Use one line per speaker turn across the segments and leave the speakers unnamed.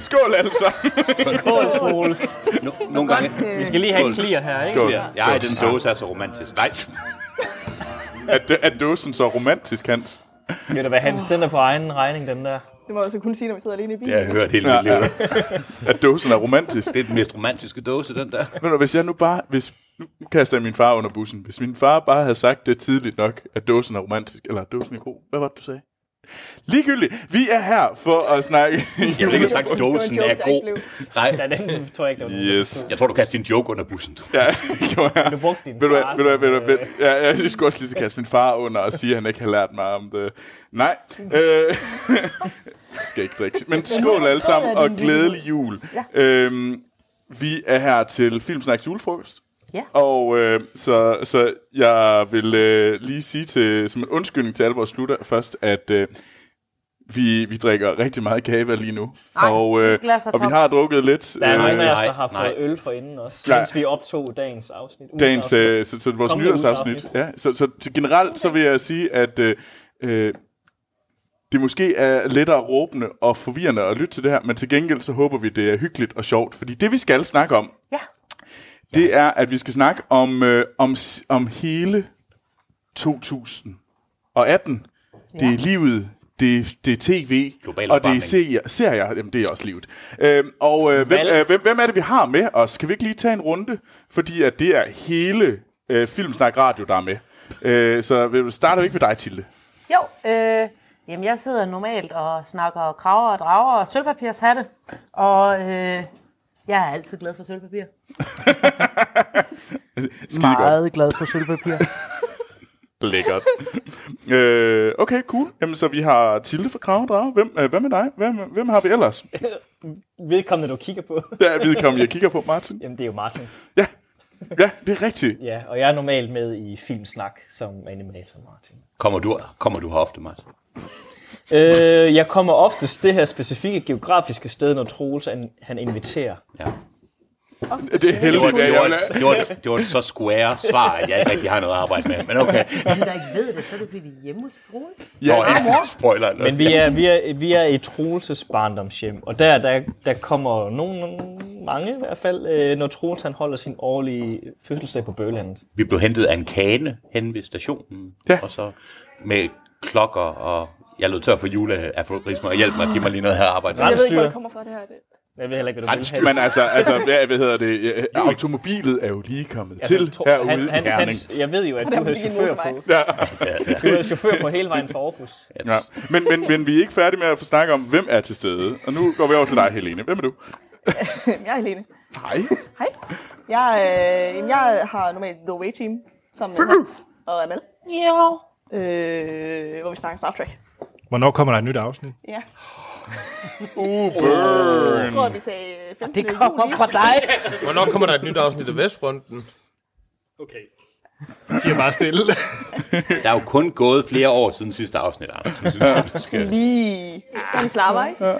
Skål alle sammen.
Skål, Troels.
No, nogle gange.
øh,
Vi skal lige have en
Skål.
clear her, ikke?
Skål.
Ja, ja, den dåse er så romantisk. Nej.
Er, dø- er dåsen så romantisk, Hans?
Ved du hvad, Hans, den er på egen regning, den der.
Det må jeg også kun sige, når vi sidder alene i bilen.
Det har jeg hørt hele mit liv.
At dåsen er romantisk?
Det er den mest romantiske dåse, den der.
Men hvis jeg nu bare... Hvis, nu kaster jeg min far under bussen. Hvis min far bare havde sagt det tidligt nok, at dåsen er romantisk, eller at dåsen er god. Hvad var det, du sagde? Ligegyldigt. Vi er her for at snakke
Jeg vil ikke have sagt, at dåsen
joke,
er
der
god.
ikke
Nej,
Ja, den tror jeg ikke, det var nogen.
Yes.
jeg tror, du kaster din joke under bussen. Du.
Ja, det gjorde jeg.
Du brugte din
Ved du
far
hvad, ved du hvad, ved du
som,
hvad, ved- ja, jeg skulle også lige så kaste min far under og sige, at han ikke har lært mig om det. Nej. Øh, jeg skal ikke drikke. Men skål alle sammen, og glædelig jul. Øhm, vi er her til Filmsnaks julefrokost.
Ja.
Og øh, så, så jeg vil øh, lige sige til, som en undskyldning til alle vores slutter først, at øh, vi, vi drikker rigtig meget kava lige nu.
Ej,
og, øh,
et glas er
og vi
tom.
har drukket lidt.
Der er
øh,
nogen af os, der
nej,
har fået
nej.
øl for inden også,
Nej.
mens vi optog dagens afsnit. Ugens
dagens,
afsnit.
øh, så, så vores
Kommende
nytårsafsnit.
nytårsafsnit.
Ja, så, så, så generelt så vil jeg sige, at øh, øh, det måske er lettere råbende og forvirrende at lytte til det her, men til gengæld så håber vi, det er hyggeligt og sjovt, fordi det vi skal snakke om,
Ja.
det er, at vi skal snakke om, øh, om, s- om hele 2018. Det er livet, det, det er tv,
Global
og det er
opvarmning.
serier. serier jamen, det er også livet. Øhm, og øh, hvem,
Valg.
øh, hvem, hvem er det, vi har med os? Kan vi ikke lige tage en runde? Fordi at det er hele øh, Filmsnak Radio, der er med. Øh, så vi starter vi ikke med dig, Tilde.
Jo, øh, jamen jeg sidder normalt og snakker kraver og drager og sølvpapirshatte, og øh, jeg er altid glad for sølvpapir.
Skide godt.
Meget glad for sølvpapir.
Lækkert. øh, okay, cool. Jamen, så vi har Tilde fra Kravedrage. Hvem, øh, hvad med dig? Hvem, hvem har vi ellers?
Vedkommende, du kigger på.
Ja, vedkommende, jeg kigger på, Martin.
Jamen, det er jo Martin.
Ja, ja det er rigtigt.
Ja, og jeg er normalt med i Filmsnak som animator, Martin.
Kommer du, kommer du her ofte, Martin?
Øh, jeg kommer oftest det her specifikke geografiske sted, når Troels han, han inviterer.
Ja.
Det er
Det var,
heldigt.
det,
at
var,
jeg-
det, var, det var et så square svar, at jeg ikke rigtig har noget at arbejde med. Men okay.
Hvis der ikke ved det, så er det fordi vi er hjemme hos Troels.
Nå, ja, spoiler.
Men vi er, vi er, vi er i Troelses barndomshjem, og der, der, der kommer nogen, mange i hvert fald, øh, når Troels han holder sin årlige fødselsdag på Bølandet.
vi blev hentet af en kane hen ved stationen.
Ja.
Og så med klokker og... Jeg lød tør for juleaforismer og hjælp mig, giv mig lige noget her at arbejde med.
Jeg ved ikke, hvor
Rensdyr.
det kommer fra, det her. Det.
Jeg ved heller ikke, hvad du vil
Men altså, altså hvad, hvad hedder det? Øh, Automobilet er jo lige kommet
Altså,
til
Tro-
herude
han, han,
i Herning.
han, jeg ved jo, at
Hvordan
du er
fik I en
chauffør
motorvej?
på. Du er chauffør på hele vejen fra Aarhus.
Ja. Men, men, men vi er ikke færdige med at få snakket om, hvem er til stede. Og nu går vi over til dig, Helene. Hvem er du?
Øh, Jeg er Helene.
Nej.
Hej. Jeg, øh, jamen, jeg har normalt The Away Team sammen med Hans og Amal. Ja. Øh, hvor vi snakker Star Trek.
Hvornår kommer der et nyt afsnit?
Ja.
Uh, burn.
Jeg tror, vi sagde øh, 15.
Det kommer fra dig.
Hvornår kommer der et nyt afsnit af Vestfronten?
Okay. De er bare stille.
Der er jo kun gået flere år siden sidste afsnit, Anders. Jeg synes, du skal-
Lige. Han slapper, ikke?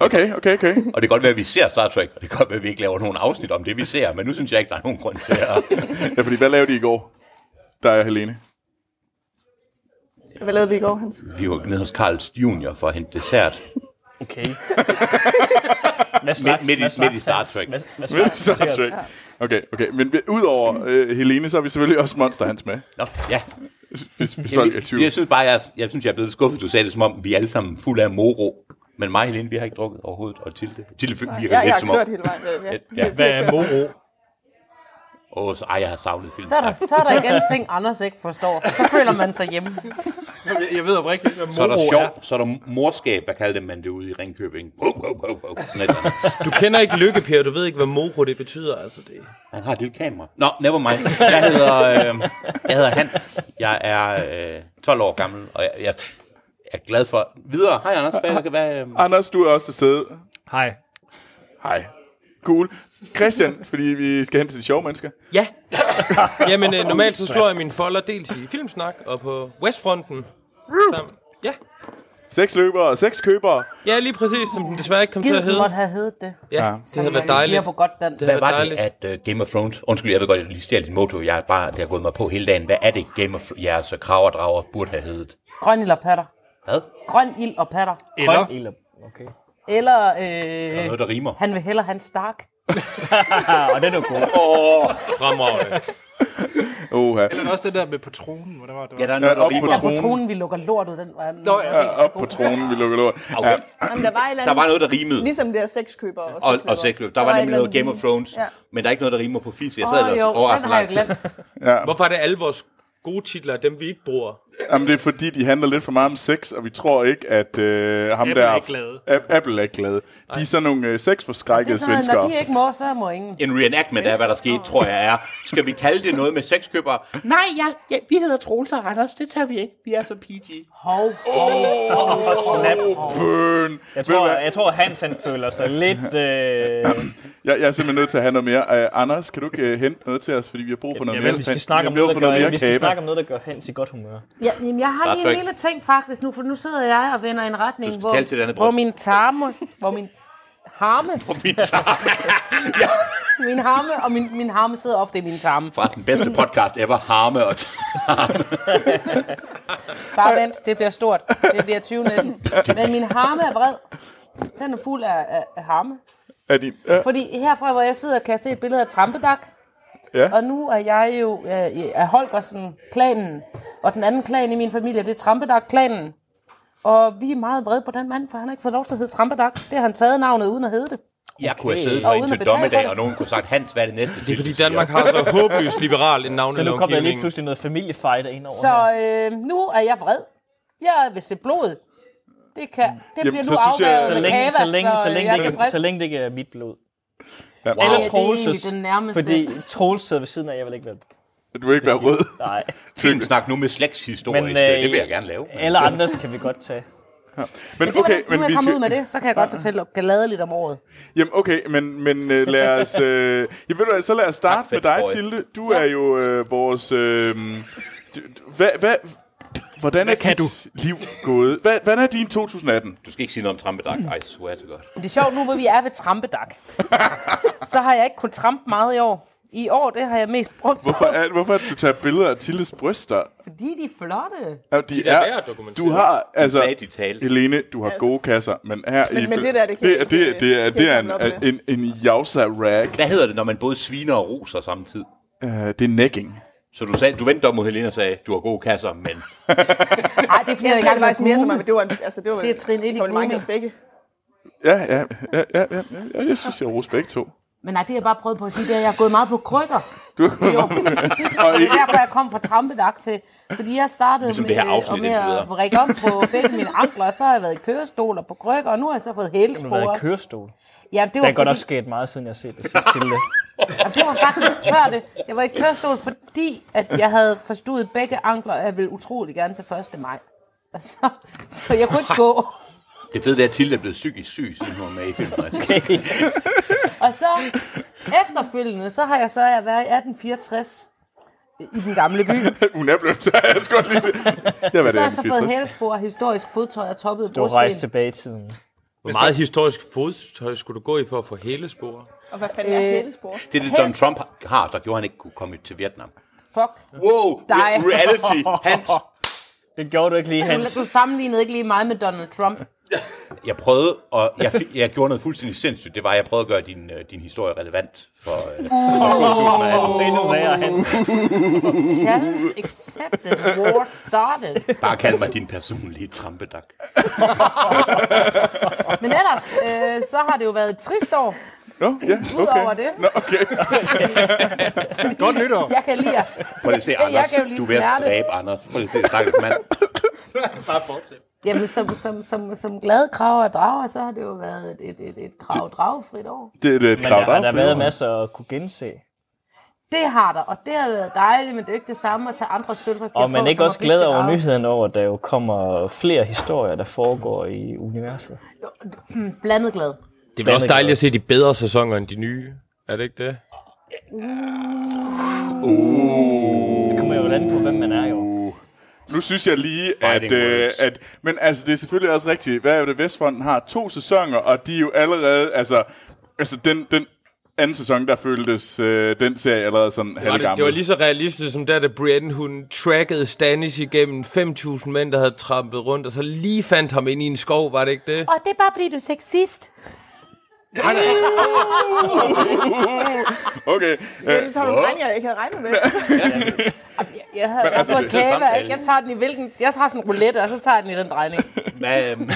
Okay, okay, okay.
Og det kan godt være, at vi ser Star Trek, og det kan godt være, at vi ikke laver nogen afsnit om det, vi ser. Men nu synes jeg ikke, der er nogen grund til at...
Ja, fordi hvad lavede I i går? Der er Helene.
Hvad lavede vi i går, Hans?
Vi var nede hos Carls Junior for at hente dessert.
Okay. Hvad slags,
midt i-
hvad slags,
midt i Star Trek.
Hvad,
Vel,
hvad slags,
så er det ikke. Okay, okay. Men vi- udover øh, Helene, så har vi selvfølgelig også Monster Hans med.
Nå, ja.
Hvis, hvis folk er
Jeg,
20.
jeg, jeg synes bare, jeg, jeg, synes, jeg er blevet lidt skuffet. Du sagde det, som om vi er alle sammen fulde af moro. Men mig og Helene, vi har ikke drukket overhovedet. Og Tilde, Tilde virker
Jeg, jeg
lidt som
har kørt
om...
hele vejen. øh, Ja.
Ja.
Hvad er moro?
Åh, så, ej, jeg har savnet film.
Så er, der, så er der igen ting, Anders ikke forstår. Så føler man sig hjemme.
Jeg ved oprigtigt ikke, hvad moro
Så er der
er.
sjov, så er der morskab, hvad kalder man det ude i Ringkøbing. Wow, wow, wow, wow. Sådan et eller andet.
Du kender ikke Lykke, Per. Du ved ikke, hvad moro det betyder. Altså, det.
Han har et lille kamera. Nå, never mind. Jeg hedder, øh, jeg hedder Hans. Jeg er øh, 12 år gammel, og jeg, jeg er glad for... Videre. Hej, Anders. Hvad, hvad, hvad, øh,
Anders, du er også til stede.
Hej.
Hej. Cool. Christian, fordi vi skal hen til de sjove mennesker.
Ja. Jamen, øh, normalt så slår jeg mine folder dels i Filmsnak og på Westfronten. Sammen. Ja.
Seks løbere og seks købere.
ja, lige præcis, som den desværre ikke kom til
Gid
at hedde.
måtte have heddet det.
Ja.
Ja, det havde
man
været dejligt.
siger på godt dansk.
Det
hvad
havde
var
været dejligt.
det, at øh, Game of Thrones... Undskyld, jeg ved godt, jeg lige stjal din motor. Jeg er bare, det har gået mig på hele dagen. Hvad er det, Game of jeres kraver drager burde have heddet?
Grøn ild og patter.
Hvad?
Grøn ild og patter.
Eller
Grøn ild og- Okay.
Eller
Der er
øh,
noget, der rimer.
han vil hellere have en stark.
Ah, og den er god.
Fremragende.
Oha.
Men også det der med patronen, hvor der var... Der var.
Ja, der er
Ja,
noget, der
op på
rimer.
Ja, på
tronen.
tronen, vi lukker lortet, den var
Nå, ja.
den var ikke
Ja,
så
op
god.
på tronen, vi lukker lort. Ja,
Jamen, der var et eller
Der
andet,
var noget, der rimede.
ligesom det her sexkøber og
Og, og sexløb. Der var
et
nemlig
eller
noget
andet
Game of Thrones.
Ja.
Men der er ikke noget, der rimer på fisk. Jeg sad
Åh,
ellers
jo, den
overraskende
har jeg
lang tid.
glemt.
Hvorfor er det alle vores gode titler, er dem vi ikke bruger?
jamen, det er fordi, de handler lidt for meget om sex, og vi tror ikke, at øh, ham
Apple
der...
er ikke glade.
Ab- Apple er ikke glade. De er sådan nogle øh,
Det er
sexforskrækkede
sådan noget, Altså, når
svenskere.
de ikke må, så må ingen.
En reenactment af, hvad der skete, tror jeg er. Skal vi kalde det noget med sexkøbere? Nej, ja, ja, vi hedder Troels og Anders. Det tager vi ikke. Vi er så PG.
Hov,
Og snap.
Burn.
Jeg tror, jeg tror Hans han føler sig lidt... Øh,
Jeg, jeg er simpelthen nødt til at have noget mere. Uh, Anders, kan du ikke uh, hente noget til os, fordi vi har brug for noget mere.
jamen, vi skal snakke om
vi har
noget,
brug for
der
noget
gør,
mere
vi skal
kage.
snakke om noget, der gør Hans i godt humør.
Ja, jamen, jeg har
Star
lige en
Trek.
lille ting faktisk nu, for nu sidder jeg og vender i en retning,
skal
hvor,
tale til det andet
hvor
bryst.
min tarme, hvor min harme, min harme og min, min harme sidder ofte i min tarme.
Fra den bedste podcast ever, Harme og
Bare vent, det bliver stort. Det bliver 2019. Men min harme er bred. Den er fuld af, af, af harme.
Er din, ja,
Fordi herfra, hvor jeg sidder, kan jeg se et billede af Trampedak.
Ja.
Og nu er jeg jo øh, af Holgersen-klanen. Og den anden klan i min familie, det er Trampedak-klanen. Og vi er meget vrede på den mand, for han har ikke fået lov til at hedde Trampedak. Det har han taget navnet uden at hedde det.
Jeg kunne have siddet
Og
her
uden at
indtil
betale for
dommedag,
det.
og nogen kunne have sagt, Hans, hvad er det næste
Det er fordi Danmark har så håbløst liberal
Så
en
nu kom der lige
navnelovgivning.
pludselig noget familiefighter ind over
Så
her.
øh, nu er jeg vred. Jeg vil se blod. Det, kan, det
Jamen,
bliver
så
nu
synes jeg-
afværget
Så
med
længe,
kava,
så længe, så
øh,
længe,
jeg
det
er
ikke,
tilfreds.
så længe det ikke er mit blod.
ja,
Ja,
Eller
det er
Troelses,
den nærmeste.
fordi Troels sidder ved siden af, jeg vil ikke være
Du vil ikke være rød.
Nej.
Film snak nu med slægtshistorie
Men,
i stedet. Det
øh,
vil jeg gerne lave.
Alle andres kan vi godt tage.
Men
Det var
okay,
da- nu er
men vi
jeg kommet
skal,
ud med det, så kan jeg godt fortælle galadeligt om året.
jamen, okay, men, men uh, lad os... Uh, jamen, ved du hvad, så lad os starte
Tak,
med dig,
Fedtboy.
Tilde. Du er jo uh, vores... Uh, hvad, hvad, hvordan er
kan
dit liv gået? Hvad, hvordan er din 2018?
Du skal ikke sige noget om trampedag. I swear to God.
Men det er sjovt nu, hvor vi er ved trampedak. så har jeg ikke kunnet trampe meget i år. I år, det har jeg mest brugt på,
Hvorfor er, hvorfor er det, du tager billeder af Tildes bryster?
fordi de er flotte.
Ja, de,
er værd at dokumentere.
Du har, altså...
Sagde de talte.
Helene, du har gode kasser, men her i...
Altså- men det der, det kan
det,
jeg
er- det, er-
ikke,
det, er-
øh,
det er
kan jeg ikke
en, en, en, en jausa-rag.
Hvad hedder det, når man både sviner og roser samtidig?
Uh, det er necking.
Så du, sagde, du vendte om mod Helena og sagde, du har gode kasser, men
Nej, det er fordi,
Jeg
jeg
ser det faktisk mere som,
om...
at det var, en- altså, det var
Det er trin ind i
mange til
grooming.
os begge.
Ja, ja, ja, ja, ja, ja, jeg synes, jeg roser begge to.
Men nej, det har jeg bare prøvet på at sige, det er, at jeg har gået meget på krykker.
Du,
Jo.
og
Det er
ikke,
derfor, jeg kom fra trampedak til. Fordi jeg startede
Ligesom det her
med, øh,
afsnit
med
indtil
at
videre.
række om på begge mine ankler, og så har jeg været i kørestol og på krykker, og nu har jeg så fået
Du har været i
hælespore.
kørestol.
Ja, det
Der
var,
er godt nok
fordi,
sket meget, siden jeg har set det sidste til det.
og det var faktisk før det. Jeg var i kørestol, fordi at jeg havde forstået begge ankler, og jeg ville utrolig gerne til 1. maj. Og så, så jeg kunne ikke gå.
det fede det er, at Tilde er blevet psykisk syg, siden hun var med i filmen. Altså.
Og så efterfølgende, så har jeg så jeg været i 1864 i den gamle by.
hun er blevet tør, jeg skulle lige til. Jeg var
Så
det,
har
jeg
jeg så fået
fik
hælespor, historisk fodtøj og toppet
Du har rejst tilbage i tiden.
Hvor meget historisk fodtøj skulle du gå i for at få hele spor?
Og hvad fanden er
Øh,
kædespor?
Det er det, Donald Trump har, der gjorde, at han ikke kunne komme til Vietnam.
Fuck.
Wow,
Dig.
reality, Hans.
Det gjorde du ikke lige, Hans.
altså, Du sammenlignede ikke lige mig med Donald Trump.
Jeg prøvede, og jeg, fik, jeg gjorde noget fuldstændig sindssygt. Det var, at jeg prøvede at gøre din, øh, din historie relevant for, øh, for 2018.
Endnu værre, Hans.
Challenge accepted. War started.
Bare kald mig din personlige trampedag.
Men ellers, øh, så har det jo været et trist år.
Nå, ja,
Udover
okay.
det.
Nå, okay.
Godt nytår.
Jeg kan lide at...
Prøv lige at se,
Jeg
Anders.
kan jo lige
du er ved at
smerte.
dræbe Anders. Prøv lige at se, stakkels mand.
Jamen, som, som, som, som glade krav og drager, så har det jo været et, et, et, et krav-dragefrit år.
Det er det er et
Men der
krav,
har der
der
været
er
masser at kunne gense.
Det har der, og det har været dejligt, men det er jo ikke det samme at tage andre sølvpapir
Og man
på,
ikke
som
også
at blive sit
glæder over
eget.
nyhederne over, at der jo kommer flere historier, der foregår i universet.
Blandet glad.
Det er vel også dejligt at se de bedre sæsoner end de nye. Er det ikke det?
Det kommer jo an på, hvem man er jo.
Nu synes jeg lige, at,
Fighting
øh,
words.
at... Men altså, det er selvfølgelig også rigtigt. Hvad er det, Vestfronten har to sæsoner, og de er jo allerede... Altså, altså den, den anden sæson, der føltes øh, den serie allerede sådan
Det var, det,
halvgammel.
det var lige så realistisk som der, da Brienne hun trackede Stannis igennem 5.000 mænd, der havde trampet rundt, og så lige fandt ham ind i en skov, var det ikke det?
Og det er bare fordi, du er sexist.
Okay.
Ja,
Øh,
det tager nogle regninger, jeg ikke havde regnet med.
Jeg, havde, jeg,
altså,
får
det-
det er
kage,
samtale.
ikke? jeg tager den i hvilken... Jeg tager sådan en roulette, og så tager jeg den i den drejning.
Hvad, øhm,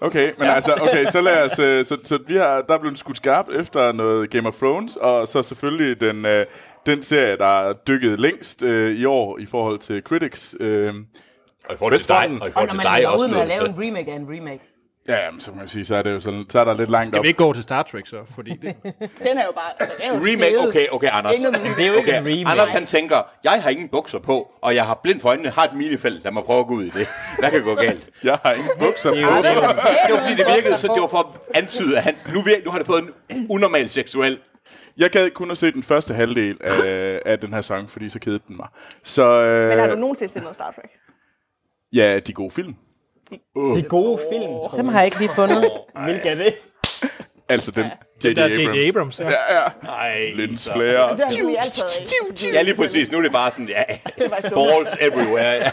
Okay, men altså, okay, så lad os, øh, så, så vi har, der er blevet skudt skarpt efter noget Game of Thrones, og så selvfølgelig den, øh, den serie, der er dykket længst øh, i år i forhold til Critics. Øh,
og i forhold til dig,
Vestfronten.
og i
Og
forhold
når
til
man
dig
er
også.
ude med at
Noget,
lave
så,
en remake af en remake.
ja, men så kan man sige, så er, det jo sådan, så er der lidt langt
Jeg
op.
vil ikke gå til Star Trek så, fordi det...
Den er jo bare... Altså, den er jo
remake,
steget.
okay, okay, Anders.
Ikke noget nyt.
Det er jo ikke
Okay,
en remake.
Anders han tænker, jeg har ingen bukser på, og jeg har blind for øjnene, har et minefelt, lad mig prøve at gå ud i det. Hvad kan gå galt?
Jeg har ingen bukser på.
Det var fordi, det
altså.
virkede, så det var for at antyde, at han, nu, vir- nu har det fået en unormal seksuel.
Jeg gad kun at se den første halvdel af, af den her sang, fordi så kedede den mig. Så øh,
Men har du nogensinde set noget Star Trek?
ja, de gode film.
De gode film, tror
Dem har jeg ikke lige fundet.
jeg. Hvilke er det?
Altså den, J.J.
Der er J.J.
Abrams.
Abrams, ja.
Lens Flair.
Det har jeg nemlig altid ikke.
Ja, lige præcis. Nu er det bare sådan, ja,
faktisk dumt.
balls everywhere. Ja.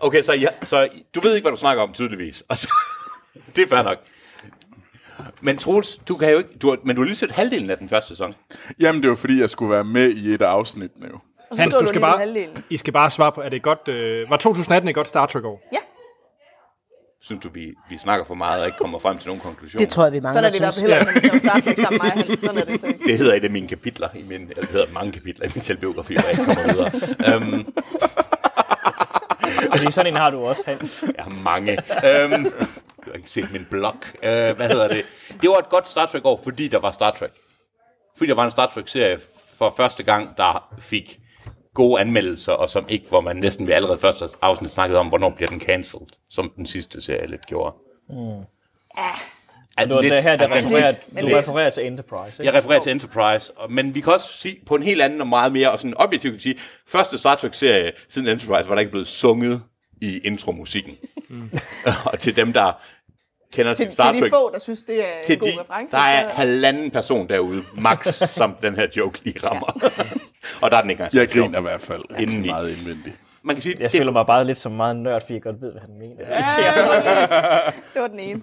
Okay, så, ja, så du ved ikke, hvad du snakker om, tydeligvis. Og så, det er fair nok. Men Troels, du kan jo ikke, du har, men du har lige set halvdelen af den første sæson.
Jamen, det var fordi, jeg skulle være med i et af afsnittene jo.
Hans,
stod
du
du lige
skal
ved
bare...
halvdelen.
I skal bare svare på, er det et godt... Øh, var 2018 et godt Star Trek-år?
Ja,
Synes du, vi, vi snakker for meget og ikke kommer frem til nogen konklusion?
Det tror jeg, vi
sådan
mangler,
er det i hvert
synes.
fald heller ikke, når vi ser Star Trek sammen med mig. Hans. Sådan er det slet ikke.
Det hedder et af mine kapitler i min, eller det hedder mange kapitler i min selvbiografi, hvor jeg ikke kommer videre. Um,
Fordi sådan en har du også, Hans.
jeg har mange. Um, jeg har ikke set min blog. Uh, hvad hedder det? Det var et godt Star Trek-år, fordi der var Star Trek. Fordi der var en Star Trek-serie for første gang, der fik gode anmeldelser, og som ikke, hvor man næsten ved allerede første afsnit snakkede om, hvornår bliver den cancelled, som den sidste serie lidt gjorde. Mm. Ah,
Det var det her, der
at den-
refererer, du
lidt-
refererer til Enterprise, ikke?
Jeg refererer til Enterprise, og- men vi kan også sige på en helt anden og meget mere, og sådan objektivt kan sige, første Star Trek-serie siden Enterprise var der ikke blevet sunget i intromusikken. Mm. og til dem, der kender
Til,
til Star
til de
Trek,
få, der synes, det er en
til
god
de,
reference.
der er
så-
halvanden person derude, max, som den her joke lige rammer. og der er den ikke engang.
Jeg griner i hvert fald ikke så
Indeni.
meget indvendigt.
Man kan sige,
Jeg
det,
føler mig bare lidt som meget nørd, fordi jeg godt ved, hvad han mener.
Det var den ene.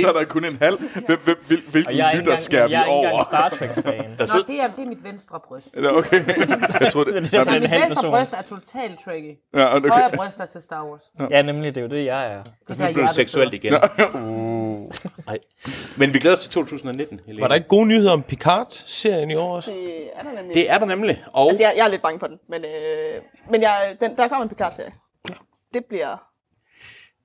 Så er der kun en halv. Hvem, hvem, hvil, hvilken
Og jeg er
lytter
ikke engang, jeg
skærer
er
vi
ikke engang
over?
Star Trek-fan.
der
Nå,
sidder,
det er, det er mit venstre bryst.
Nå, okay. Jeg tror det.
derfor,
Nå,
det
Mit
halv
venstre
person.
bryst er totalt tricky.
Ja, okay.
Højre bryst er til Star Wars.
Altså-
Ja, nemlig, det er jo det, jeg er.
Det kan
det er
jeg
seksuelt igen. Nej. Men vi glæder os til 2019, Helene.
Var der ikke gode nyheder om Picard-serien i år også?
Det er der nemlig.
Det er der nemlig. Og
Altså, jeg, jeg er lidt bange for den, men, øh, men jeg, den, der kommer en Picard-serie. Det bliver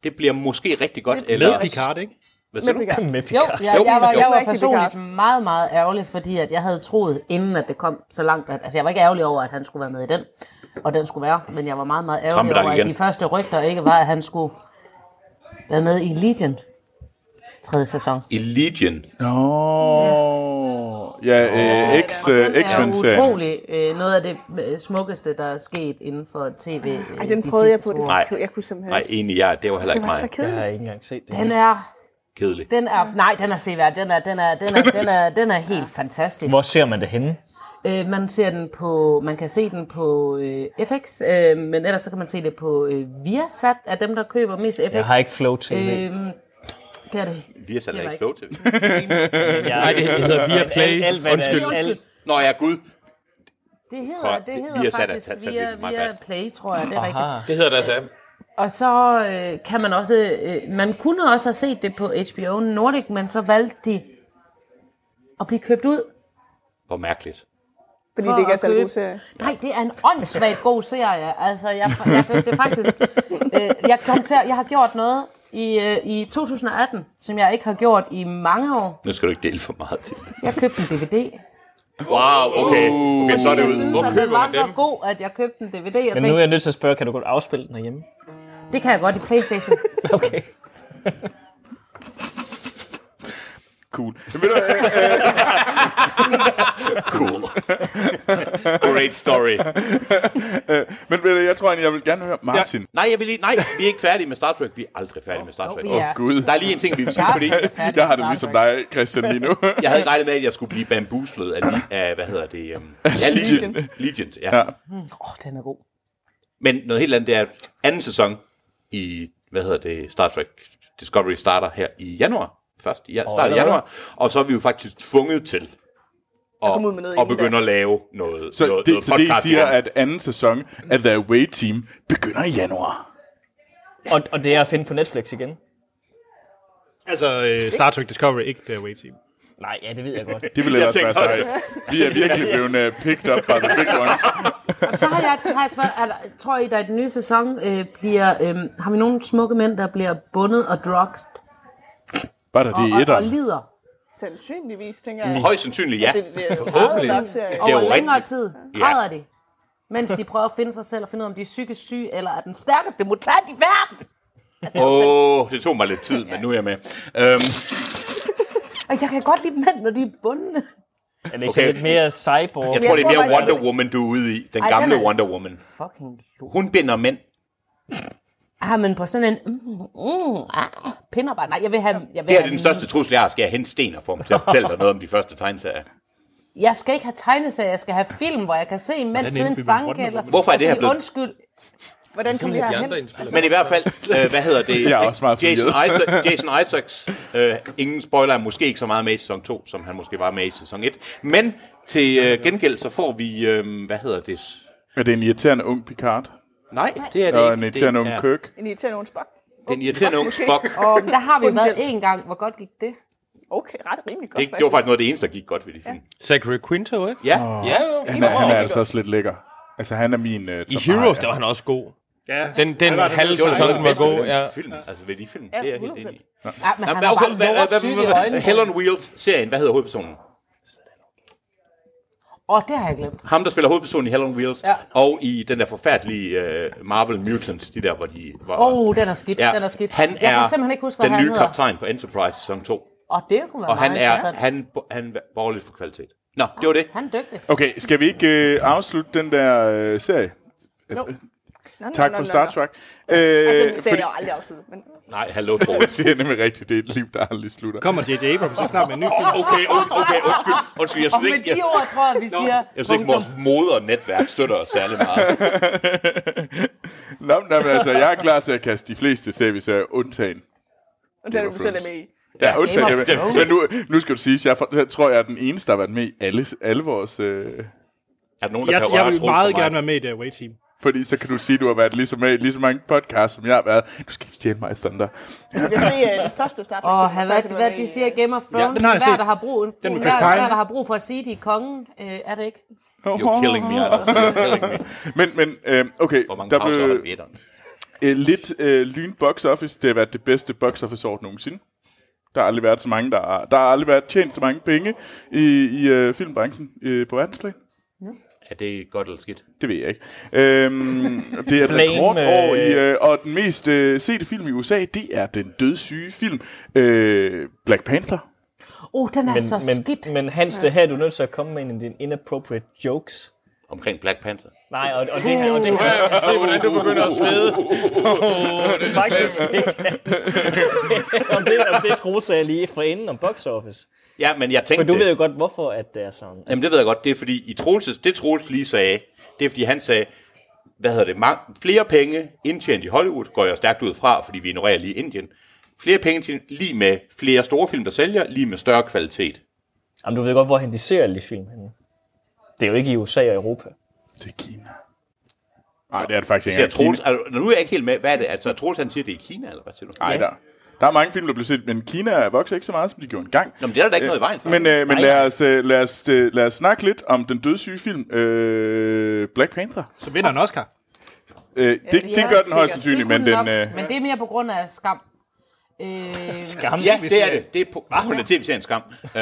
det bliver måske rigtig godt.
Med Picard, ikke?
Hvad
med
siger du?
Picard.
Med
Jo,
Picard.
jeg, jeg, var,
Jo,
jeg var
rigtig
personligt
Picard.
meget, meget ærgerlig, fordi at jeg havde troet, inden at det kom så langt, at, altså jeg var ikke ærgerlig over, at han skulle være med i den, og den skulle være, men jeg var meget, meget ærgerlig
Trampedag
over,
igen.
at de første rygter ikke var, at han skulle være med i Legion tredje sæson.
Øh, Legion.
Nå. Ja, øh, X,
Og
øh,
den er
X-Men-serien.
utrolig øh, noget af det øh, smukkeste, der er sket inden for tv øh,
Ej, den
de
prøvede jeg
sidste
på.
to
Det.
år.
Nej.
Jeg, jeg kunne simpelthen...
Nej, egentlig, ja, det var heller
det
ikke
var så
mig.
Jeg har
kedeligt.
ikke engang set det.
Den er,
Kedelig.
den er, nej, den er seværd. Den er, den er, den er, den er, den er helt fantastisk.
Hvor ser man det henne?
Øh, man ser den på, man kan se den på øh, FX, øh, men ellers så kan man se det på øh, Viasat, af dem der køber mest FX.
Jeg har ikke Flow TV.
Øhm, det er det.
Vi har sat
Det
ikke
var
flow til.
Nej, det, det hedder Via Play.
Alt, alt, hvad
Undskyld.
der- alt,
Nå ja, gud.
Det
Prøv
hedder,
at-
det hedder
Viasat er
faktisk
sat- sat
via,
lidt meget
via
bag.
Play, tror jeg, det er rigtigt.
Aha.
Det hedder deres app.
Og så øh, kan man også, øh, man kunne også have set det på HBO Nordic, men så valgte de at blive købt ud.
Hvor mærkeligt.
Fordi
for
det ikke er
at
så en god
købe-
serie.
Nej, det er en åndssvagt god serie. Altså, jeg, jeg, det, det er faktisk... Øh, jeg, kom til, at- jeg har gjort noget i, øh, i 2018, som jeg ikke har gjort i mange år.
Nu skal du ikke dele for meget til.
Jeg købte en DVD.
Wow, okay. Okay, så er det
jeg
ude.
synes,
Hvor
at den
køber
var
man
så
den?
god, at jeg købte en DVD.
Men
Jeg
nu er
tænkte,
jeg nødt til at spørge, kan du godt afspille den herhjemme?
det kan jeg godt i Playstation.
Okay.
Cool. Men ved du, øh, øh,
Cool. Great story.
Men ved du, jeg tror egentlig, jeg vil gerne høre Martin.
Nej, jeg vil lige, nej, vi er ikke færdige med Star Trek. Vi er aldrig færdige med Star Trek. Oh.
vi er.
Gud,
Der er lige en ting, vi vil sige, fordi
jeg har det ligesom dig, Christian, lige nu.
jeg havde ikke regnet med, at jeg skulle blive bambuslet af, li- af hvad hedder det? Um, ja,
Legion.
Legion. Legion, ja. ja.
Åh, oh, den er god.
Men noget helt andet, det er at anden sæson i, hvad hedder det, Star Trek Discovery starter her i januar. Først i ja, starter i januar. Og så er vi jo faktisk tvunget til at,
komme ud med noget
at
inden da.
begynde at lave noget,
Så
noget,
det,
noget
så det I
podcast
siger,
program.
at anden sæson af The Away Team begynder i januar.
Og, og det er at finde på Netflix igen.
Altså, øh, Star Trek Discovery, ikke The Away Team.
Nej, ja, det ved jeg godt.
Det ville
Jeg
ellers være
tænkte
sejt. Vi er virkelig blevet øh, picked up by the big ones.
Så har jeg, så har jeg spørg- er der, tror I, der i den nye sæson øh, bliver... Øh, har vi nogle smukke mænd, der bliver bundet og drugged
Bare der det
og,
i
og, og
etteren.
lider
Sandsynligvis, tænker jeg.
Højst sandsynligt, ja.
Det, det er jo meget nok serie.
over
jo
længere
rigtigt.
tid? Græder de? Mens de prøver at finde sig selv og finde ud af, om de er psykisk syge, eller er den stærkeste mutant i verden.
Åh, oh, det tog mig lidt tid, men nu er jeg med. Øhm,
Og jeg kan godt lide mænd, når de er bundne.
Er det ikke okay.
Okay.
lidt mere cyborg?
jeg tror, det er mere
faktisk-
Wonder Woman, du er ude i. Den
Ej,
gamle
den er-
Wonder Woman.
Fucking lort.
Hun binder mænd.
Ah, men på sådan en... Mm, mm, ah, pinarbejde. Nej, jeg vil have... Jeg, vil
Det er
have,
den største trussel, jeg har. Skal jeg hente sten og få dem til at fortælle dig noget om de første tegneserier?
jeg skal ikke have tegneserier, jeg skal have film, hvor jeg kan se en mand sidde i en
indbygger en
fangekælder.
rottende
Hvorfor er det her
og sige
blevet-
undskyld.
Hvordan
ligesom
kom vi
De
herhen?
andre indspiller.
Men i hvert fald, øh, hvad hedder det?
Jeg er også meget
Jason,
forvirret.
Isaac, Jason Isaacs, øh, ingen spoiler, er måske ikke så meget med i sæson 2, som han måske var med i sæson 1. Men til øh, gengæld, så får vi, øh, hvad hedder det?
Er det en irriterende ung Picard?
Nej, det er det
Og
ikke.
en irriterende
det
ung
er,
Kirk?
En irriterende nogen spok.
Den irriterende unge
Okay.
Spock.
Åh, men der har vi været
Potentielt.
én gang. Hvor godt gik det? Ah,
Okay, ret rimelig godt.
Det, det var faktisk noget af det eneste, der gik godt ved de film.
Zachary Quinto, ikke?
Ja,
Ja, jo.
Han er, han er altså også lidt lækker. Altså, han er min... Uh,
I Heroes, der var han også god.
Ja.
Den, den halve
det var
sæson
noget af det
den var
bedste
god,
ved
ja.
den film. Altså ved de film, det er jeg helt
100%.
enig i.
Ja, men han
Jamen,
er
okay,
bare
hvad- hvad-
lortsyg i
hvad-
øjnene.
Hell on Wheels-serien, hvad hedder hovedpersonen?
Åh, det har jeg glemt.
Ham, der spiller hovedpersonen i Hell on Wheels,
Ja.
og i den der forfærdelige øh, Marvel Mutants, de der, hvor de var...
Åh, oh, den er skidt.
Ja,
Den er skidt.
Han
jeg
er
kan simpelthen ikke huske, hvad
den
han
nye
hedder.
kaptajn på Enterprise sæson 2.
Og det kunne være
Og
meget
han er,
interessant.
han, han er borgerligt for kvalitet. Nå, det var det.
han er dygtig.
Okay, skal vi ikke uh, afslutte den der uh, serie? No. Tak for Star Trek. Øh,
Altså,
fordi,
serien er jo aldrig afsluttet, men
Nej, hallo, Troels.
det er nemlig rigtigt, det er et liv, der aldrig slutter.
Kommer J.J. Abrams ikke snart med en ny film?
Okay, okay, okay, undskyld. Undskyld, jeg
Og
synes
med
ikke, jeg,
de ord, tror jeg, vi siger...
jeg synes ikke vores modernetværk støtter os særlig meget.
Nå, men, jamen, altså, jeg er klar til at kaste de fleste serier, undtagen.
nu tager du
var
du selv er med i.
Ja, undtagen.
Game of
Jamen,
Thrones.
men nu, nu skal du sige, at jeg, for- jeg tror, jeg er den eneste, der har været med i alle, alle vores... Øh,
Er der nogen, der
Jeg,
kan
jeg
røre
vil
Troels
meget
for
gerne være med i The Away Team.
fordi så kan du sige, at du har været ligesom med i lige så mange podcasts, som jeg har været. Du skal ikke stjæle mig, Thunder.
Vi skal se øh, den første Star Trek.
Åh,
film, og
hvad,
så
hvad,
kan du
hvad
være
de
med i, øh,
siger i Game of Thrones,
den har jeg
hver,
set.
der har brug, en,
Den med Chris
hver,
Pine.
hver, der har brug for at sige, de er kongen, øh, er det ikke?
You're killing me, Anders. You're killing me.
Men, men øh, okay,
Hvor mange
der
pauser er der
blev
ved etteren?
øh, lidt øh, lyn box office. Det har været det bedste box office år nogensinde. Der har aldrig været så mange, der har, der har aldrig været tjent så mange penge i, i øh, filmbranchen øh, på verdensplan.
Er det godt eller skidt?
Det ved jeg ikke. Øhm, det er et
Blame,
rekordår, i,
øh,
øh, og den mest øh, sete film i USA, det er den dødssyge film øh, Black Panther.
Åh, oh, den er
Men,
så skidt.
men, men Hans, det her er du nødt til at komme med en af dine inappropriate jokes.
Omkring Black Panther.
Nej, og, og det her... Og det her
Se, hvordan du begynder at svede.
det er faktisk ikke... om det, om det troede jeg lige for inden om box office.
Ja, men jeg tænkte
Men du
det.
ved jo godt, hvorfor at det er sådan.
Jamen det ved jeg godt, det er fordi, i Troelses, det Troels lige sagde, det er fordi han sagde, hvad hedder det, mang- flere penge indtjent i Hollywood, går jeg stærkt ud fra, fordi vi ignorerer lige Indien. Flere penge til, lige med flere store film, der sælger, lige med større kvalitet.
Jamen, du ved godt, hvor han de ser alle de film henne. Det er jo ikke i USA og Europa.
Det er Kina. Nej, det er det faktisk
Så
ikke.
jeg
engang.
Troels, altså, nu er jeg ikke helt med, hvad er det, altså er Troels han siger, det er i Kina, eller hvad siger du?
Nej, der, der er mange film, der bliver set, men Kina vokser ikke så meget, som de gjorde engang.
Nå, men det er der da ikke noget i vejen for.
Men, øh, men
Nej.
lad, os, øh, lad, os, øh, lad os snakke lidt om den dødssyge film øh, Black Panther.
Så vinder han Oscar.
Øh, det, det,
Ja,
gør den
sikkert.
højst sandsynligt,
Det
men
kunne
den...
nok,
Øh,
men det er mere på grund af skam. Øh,
Skam.
Ja, det er det. Det er på grund af tv-serien Skam. Øh,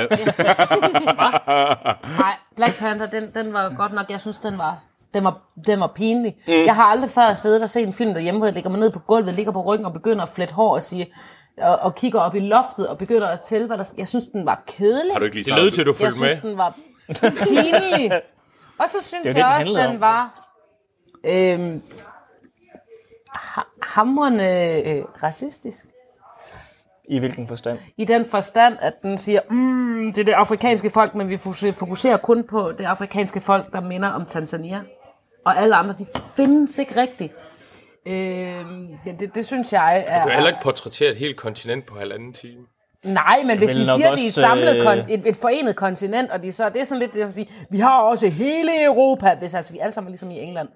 nej, Black Panther, den, den var godt nok, jeg synes, den var, den var, den var pinlig. Mm. Jeg har aldrig før siddet og set en film derhjemme, hvor jeg ligger mig ned på gulvet, ligger på ryggen og begynder at flette hår og sige, og, og kigger op i loftet og begynder at tælle, hvad der sk- Jeg synes, den var kedelig.
har du ikke lige
Det lød til, at du
jeg
følte med.
synes, den var pinlig. Og så synes
Det er jo det,
det,
den
jeg også,
handlede
den
om.
var øhm, ha- hamrende øh, racistisk.
I hvilken forstand?
I den forstand, at den siger, mm, det er det afrikanske folk, men vi fokuserer- fokuserer kun på det afrikanske folk, der minder om Tanzania. Og alle andre, de findes ikke rigtigt. Øhm, ja, det, det synes jeg er...
Du kan heller ikke portrættere et helt kontinent på halvanden time.
Nej, men hvis
vil
de
nok
siger, at de er et,
også,
samlet
øh,
kon- et, et forenet kontinent, og de så, det er sådan lidt, det er som at sige, vi har også hele Europa, hvis altså vi alle sammen er ligesom i England.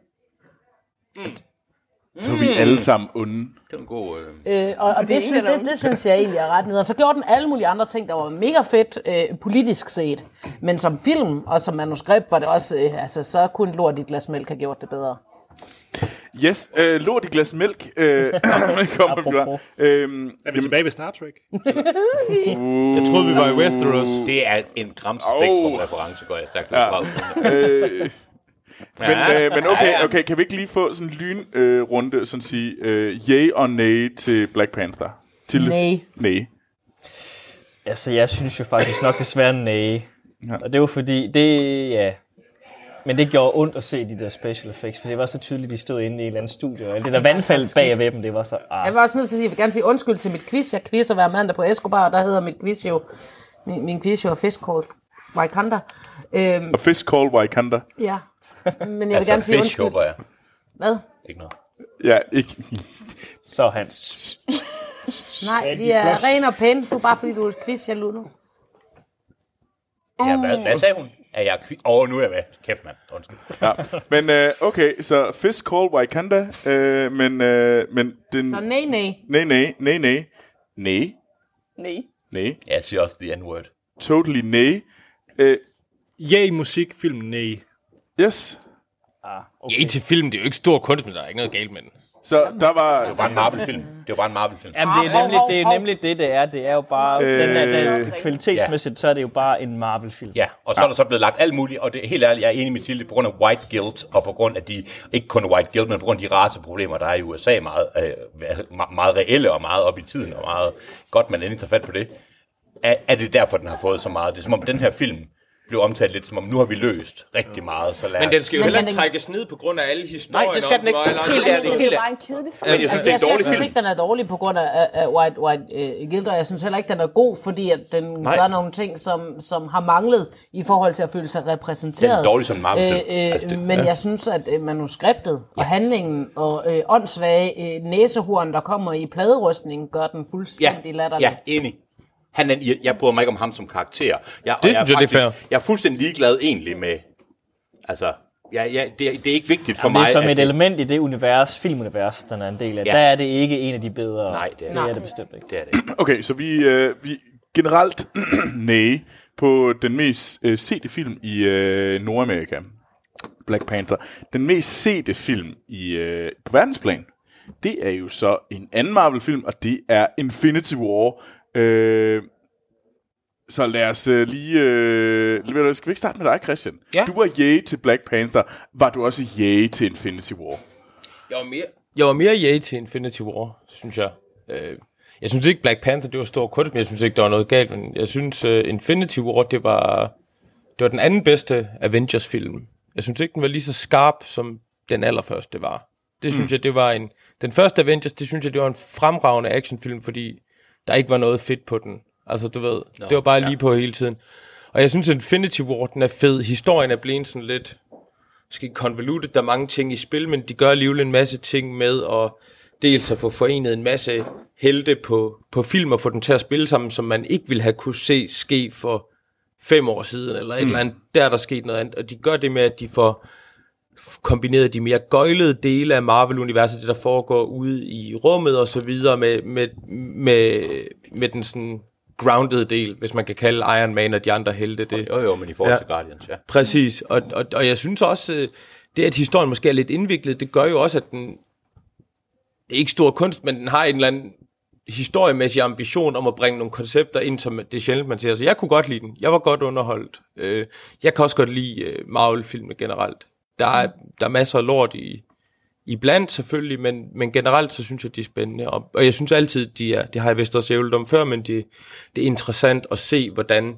Så er vi alle sammen onde.
Det er en god... Øh...
Øh, og og
er
det,
en
synes,
eller
det,
anden.
det synes jeg egentlig er ret nede. Og så gjorde den alle mulige andre ting, der var mega fedt øh, politisk set. Men som film og som manuskript var det også, øh, altså så kunne en lort i et glas mælk have gjort det bedre.
Yes, øh, lort i glas mælk. Øh, kommer vi fra.
Apropos.
Øhm,
Er vi tilbage ved Star Trek?
Jeg troede, vi var i Westeros.
Det er en Gram Spektrum-reference, går jeg stærkt ud fra.
øh, men,
Ja.
øh, men
Ja,
okay,
ja.
okay, kan vi ikke lige få sådan en lynrunde, øh, runde, sådan at sige øh, yay og nej til Black Panther? Til,
Nej.
Nej.
Altså, jeg synes jo faktisk nok desværre nej. Ja. Og det var fordi, det, ja... Men det gjorde ondt at se de der special effects, for det var så tydeligt, de stod inde i et eller andet studie, og alt det der vandfald bag ved dem, det var så...
Jeg
Ah.
var også nødt til at sige, jeg vil gerne sige undskyld til mit quiz. Jeg quizzer hver mandag på Escobar, og der hedder mit quiz jo, min, min quiz jo er fiskkort. Wakanda. Øhm,
Og Fish Call Wakanda.
ja. Men jeg vil gerne
Altså,
sige
fish,
undskyld.
håber jeg.
Hvad?
Ikke noget.
Ja, ikke.
Så Hans.
Nej, de er ren og pæne. Du er bare fordi, du er et quiz, jeg luner.
Ja, hvad, hvad sagde hun? Er jeg kvi- Åh, oh, nu er jeg med. Kæft, mand. Undskyld.
Ja. Men øh, okay, så Fish Call Wakanda, øh, men, øh, men den...
Så nej, nej.
Nej, nej, nej, nej. Nej,
Nej.
nej.
Ja, jeg siger også the n-word.
Totally nej. Øh,
Ja, i musikfilm, nej.
yes.
Okay. Ja, til film, det er jo ikke stor kunst, men der er ikke noget galt med den.
Så der var...
Det var en Marvel-film. Det var bare en Marvel-film.
Jamen, det er nemlig det, er nemlig det, det er. Det er jo bare... Øh, den er, den, kvalitetsmæssigt, så er det jo bare en Marvel-film.
Ja, og så er der så blevet lagt alt muligt, og det er helt ærligt, jeg er enig med Mathilde, på grund af white guilt, og på grund af de, ikke kun white guilt, men på grund af de raceproblemer, der er i USA, meget, øh, me- meget reelle og meget op i tiden, og meget godt, man endelig tager fat på det, er, er det derfor, den har fået så meget. Det er som om den her film blev omtalt lidt som om, nu har vi løst rigtig meget, så lad
Men
os-
den skal jo
Men
heller
den-
ikke trækkes ned på grund af alle historierne.
Nej, det skal den ikke.
om, hvor-
Helt
Det
ærligt.
er,
helt
det er
ærligt.
bare en kedelig film.
Altså,
Men jeg synes, det
Altså,
er
jeg,
en dårlig
synes
film.
ikke, den er dårlig på grund af, af, af White, White øh, Gilder. Jeg synes heller ikke, den er god, fordi at den Nej. gør nogle ting, som, som har manglet i forhold til at føle sig repræsenteret.
Den er dårlig som en Marvel-film.
Øh, øh,
Altså, det-
men jeg synes, at øh, manuskriptet og handlingen og øh, åndssvage øh, næsehorn, der kommer i pladerustningen, gør den fuldstændig latterlig.
Ja, enig. Han er, jeg, jeg bryder mig ikke om ham som karakter. Jeg, og
Det
jeg er
synes jeg, det er
faktisk-
fair.
Jeg er fuldstændig ligeglad egentlig med... Altså, ja, ja, det, det er ikke vigtigt for
For mig, det
mig.
er som
at
et
det-
element i det univers, filmunivers, den er en del af.
Ja.
Ja. Der er det ikke en af de bedre.
Nej, det er
det,
det
er det bestemt ikke.
Det er det. ikke.
Okay, så vi, øh, vi generelt nej på den mest øh, sete film i øh, Nordamerika. Black Panther. Den mest sete film i, øh, på verdensplan, det er jo så en anden Marvel-film, og det er Infinity War. Øh, så lad os øh, lige... Øh, ved du hvad, skal vi ikke starte med dig, Christian?
Ja.
Du var yay til Black Panther. Var du også yay til Infinity War?
Jeg var mere, jeg var mere yay til Infinity War, synes jeg. Øh, jeg synes ikke Black Panther, det var stor kunst, men jeg synes ikke, der var noget galt. Men jeg synes uh, Infinity War, det var, det var den anden bedste Avengers-film. Jeg synes ikke, den var lige så skarp, som den allerførste var. Det
Mm.
synes jeg, det var en... Den første Avengers, det synes jeg, det var en fremragende actionfilm, fordi der ikke var noget fedt på den. Altså, du ved, Nå, det var bare ja. lige på hele tiden. Og jeg synes, Infinity War, den er fed. Historien er blevet sådan lidt måske convoluted, der er mange ting i spil, men de gør alligevel en masse ting med at dels at få forenet en masse helte på, på film og få dem til at spille sammen, som man ikke ville have kunne se ske for fem år siden, eller et mm. eller andet, der er der sket noget andet, og de gør det med, at de får f- kombineret de mere gøjlede dele af Marvel-universet, det der foregår ude i rummet og så videre, med, med, med, med den sådan grounded del, hvis man kan kalde Iron Man og de andre helte det.
Jo, jo, men i forhold
Ja.
til Guardians, ja.
Præcis, og, og, og jeg synes også, øh, det at historien måske er lidt indviklet, det gør jo også, at den, det er ikke stor kunst, men den har en eller anden historiemæssig ambition om at bringe nogle koncepter ind, som det er sjældent, man ser. Så jeg kunne godt lide den. Jeg var godt underholdt. Øh, Jeg kan også godt lide øh, Marvel-filmene generelt. Der er, der er masser af lort i, i blandt selvfølgelig, men, men generelt så synes jeg, de er spændende. Og, og jeg synes altid, de er, det har jeg vist også ævlet om før, men de, det er interessant at se, hvordan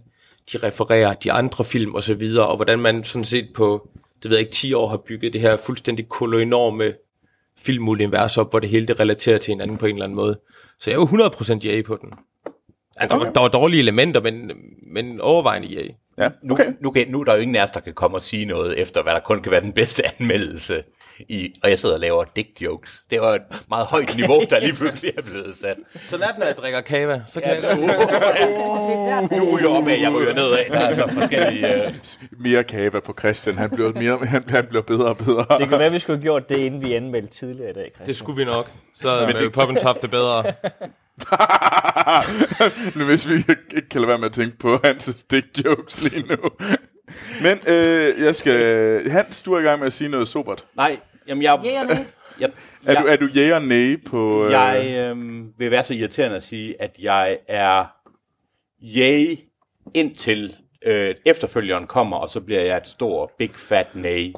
de refererer de andre film og så videre, og hvordan man sådan set på, det ved jeg ikke, 10 år har bygget det her fuldstændig kolonorme filmuniverser op, hvor det hele det relaterer til hinanden på en eller anden måde. Så jeg var 100% ja på den. Ja, der, var, der var dårlige elementer, men, men overvejende ja.
Ja,
Nu, okay. nu, kan, nu er der jo ingen af os, der kan komme og sige noget, efter hvad der kun kan være den bedste anmeldelse i, og jeg sidder og laver dick jokes. Det var et meget højt niveau, der lige pludselig er blevet sat.
Så nat, når jeg drikker kava, så kan ja, jeg...
øh,
Du ryger opad, jeg ryger nedad. Der er altså forskellige... Øh,
Mere kava på Christian. Han bliver, mere, han, han bliver bedre og bedre.
Det kan være, vi skulle have gjort det, inden vi anmeldte tidligere i dag, Christian.
Det skulle vi nok. Så men det... Poppins haft det bedre.
nu hvis vi ikke kan lade være med at tænke på Hans' dick jokes lige nu. Men øh, jeg skal... Hans, du er i gang med at sige noget sobert.
nej, jamen jeg...
Ja, ja, nej.
jeg,
Er,
jeg,
du, er du ja og nej på... Øh,
jeg øhm, vil være så irriterende at sige, at jeg er yay indtil øh, efterfølgeren kommer, og så bliver jeg et stort, big fat nay.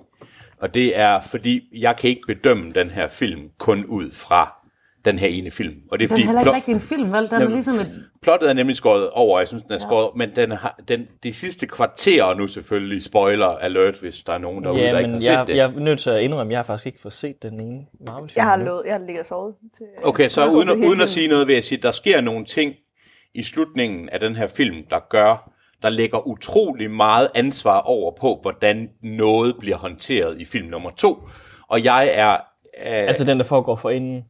Og det er, fordi jeg kan ikke bedømme den her film kun ud fra den her ene film. Og det er,
Den
fordi
er heller ikke
plot-
rigtig en film, vel? Den er
Jamen.
ligesom et...
plottet er nemlig skåret over, og jeg synes, den er skåret, men den har, den, de sidste kvarter, og nu selvfølgelig spoiler alert, hvis der er nogen derude, der
Ja,
ikke har
men
set
jeg,
det.
jeg er nødt til at indrømme, at jeg har faktisk ikke fået set den ene Marvel-film.
Jeg har
endnu.
lovet, jeg har ligget og sovet til...
Okay, så
Jeg tror,
uden,
det er helt
uden at
fint.
sige noget, vil jeg sige, at der sker nogle ting i slutningen af den her film, der gør, der lægger utrolig meget ansvar over på, hvordan noget bliver håndteret i film nummer to. Og jeg er... Øh,
Altså den, der foregår for inden.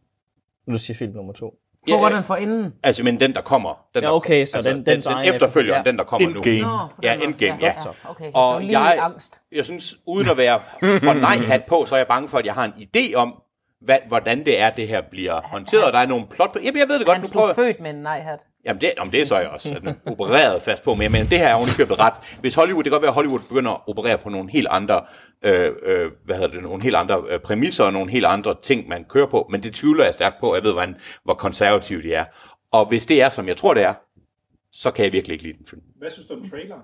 Nu siger film nummer to.
Hvor var den for inden?
altså, men den, der kommer. Den,
Ja,
der- altså,
okay, så den-
den,
dens
den
egen-
efterfølgeren,
ja.
den, der kommer nu.
Endgame.
Nå, på den
Ja,
måde.
Endgame, ja.
Okay.
Og
Og jeg... Lige
jeg-
jeg... angst.
jeg synes, uden at være for nej-hat på, så er jeg bange for, at jeg har en idé om, hvad, hvordan det er, det her bliver håndteret. Og der er nogle plot... Jamen, jeg ved det godt,
Han
nu
stod
prøver
født med en nej-hat.
Jamen det, jamen det er så jeg også sådan, opereret fast på, men jeg mener, det her er ovenikøbet ret. Hvis Hollywood, det kan godt være, at Hollywood begynder at operere på nogle helt andre, øh, øh, hvad hedder det, nogle helt andre øh, præmisser og nogle helt andre ting, man kører på, men det tvivler jeg stærkt på, jeg ved, hvordan, hvor konservative de er. Og hvis det er, som jeg tror, det er, så kan jeg virkelig ikke lide den film.
Hvad synes du om traileren?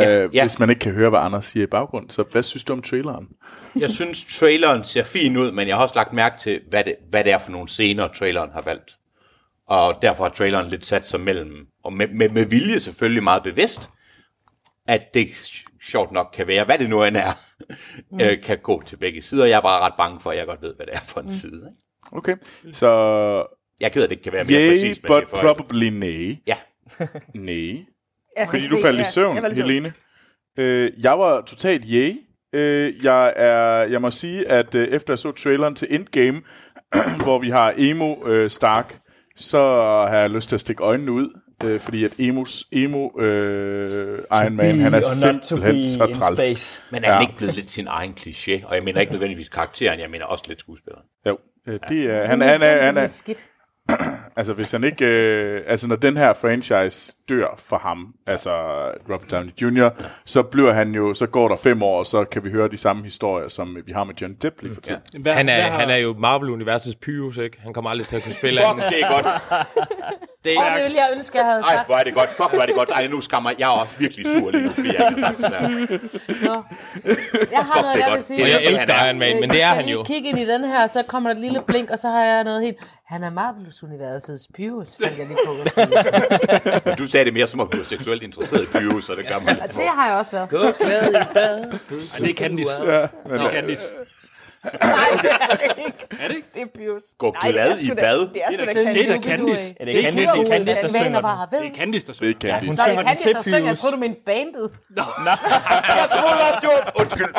øh,
ja.
Hvis man ikke kan høre, hvad Anders siger i baggrund, så hvad synes du om traileren?
Jeg synes, traileren ser fin ud, men jeg har også lagt mærke til, hvad det, hvad det er for nogle scener, traileren har valgt. Og derfor har traileren lidt sat sig mellem, og med, med, med vilje selvfølgelig meget bevidst, at det sjovt nok kan være, hvad det nu end er, mm. kan gå til begge sider. Jeg er bare ret bange for, at jeg godt ved, hvad det er for en mm. side. Ikke?
Okay, så
Jeg er ked af, at det ikke kan være mere
yay,
præcis. men
but
det er for-
probably nej.
Ja,
Nej.
Jeg kan
Fordi
ikke
du
se-
faldt i
ja,
søvn,
jeg faldt i
Helene. Øh, jeg var totalt yay. Øh, jeg, er, jeg må sige, at øh, efter jeg så traileren til Endgame, hvor vi har Emo øh, Stark, så har jeg lyst til at stikke øjnene ud, øh, fordi at Emos, Emo øh, Iron Man, han
Be
er
or not to be
simpelthen så
in
træls.
space.
men er han
Ja.
ikke blevet lidt sin egen kliché? Og jeg mener ikke nødvendigvis karakteren, jeg mener også lidt skuespilleren.
Jo, øh, det er, han, han, er, han
Det
er,
er skidt.
Altså, hvis han ikke... Øh, altså, når den her franchise dør for ham, altså Robert Downey Jr., så bliver han jo... Så går der fem år, og så kan vi høre de samme historier, som vi har med John Depp lige for tiden.
Hvad,
Han er,
hvad har-
han er jo Marvel-universets Pyrus, ikke? Han kommer aldrig til at kunne spille
Fuck,
andet.
det er godt. Det
Åh, det ville jeg ønske, jeg havde
Ej,
sagt.
hvor er det godt. Fuck, hvor er det godt. Ej, nu skammer jeg. Jeg er også virkelig sur lige nu, fordi jeg ikke har sagt det der.
Jeg har
Fuck,
noget,
det er
jeg vil
godt.
sige.
Og jeg
Det er-
elsker
han er-
Iron Man, men det er
Hvis
han
jeg
jo.
lige kigge ind i den her, så kommer der et lille blink, og så har jeg noget helt... Han er Marvelous-universets Pyrus, fandt jeg lige på. at sige.
Men du sagde det mere, som om du er seksuelt interesseret i bio, så det gør man.
Det har jeg også været.
Ej, det er Candice.
Ja,
Det er Candice.
Er det ikke? Det er Pyrus.
Gå
Nej, det er
glad
sgu
i
da-
bad.
Det er sgu da
Det er
Det
Candice.
er da Candice.
Ja, det er Candice, det er
Hvordan
Candice, der
vaner
synger
bare
den.
har ved.
Det er Candice, der
det
synger.
er Candice.
Nå, det
synger
er
den
Candice,
til
der synger. Jeg
Pyrus.
troede, du mente bandet.
Jeg troede også, det var... Undskyld.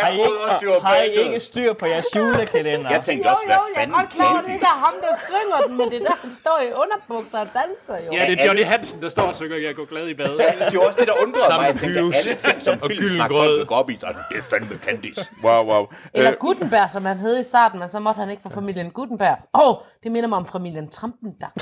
Jeg troede også, det var
Har I ikke
bad.
styr på jeres julekalender?
Jeg tænkte
Jo,
også, hvad
jo, jeg er
fanden
godt klar over, det
Candice?
ikke er ham, der synger den, men det er der, han står i underbukser og danser jo.
Ja, det er Johnny Hansen, der står og synger, jeg går glad i bad.
Det var også det, der undrede mig. Jeg
med
tænkte,
Pyrus.
alle ting, som
Og
film
gylden
snakker
grød.
folk vil gå op i, så er det, det er fandme Candice.
Mm.
Wow, wow.
Eller
Øh,
Gutenberg, som han hed i starten, men så måtte han ikke få familien Gutenberg. Åh, oh, det minder mig om familien Trampendag.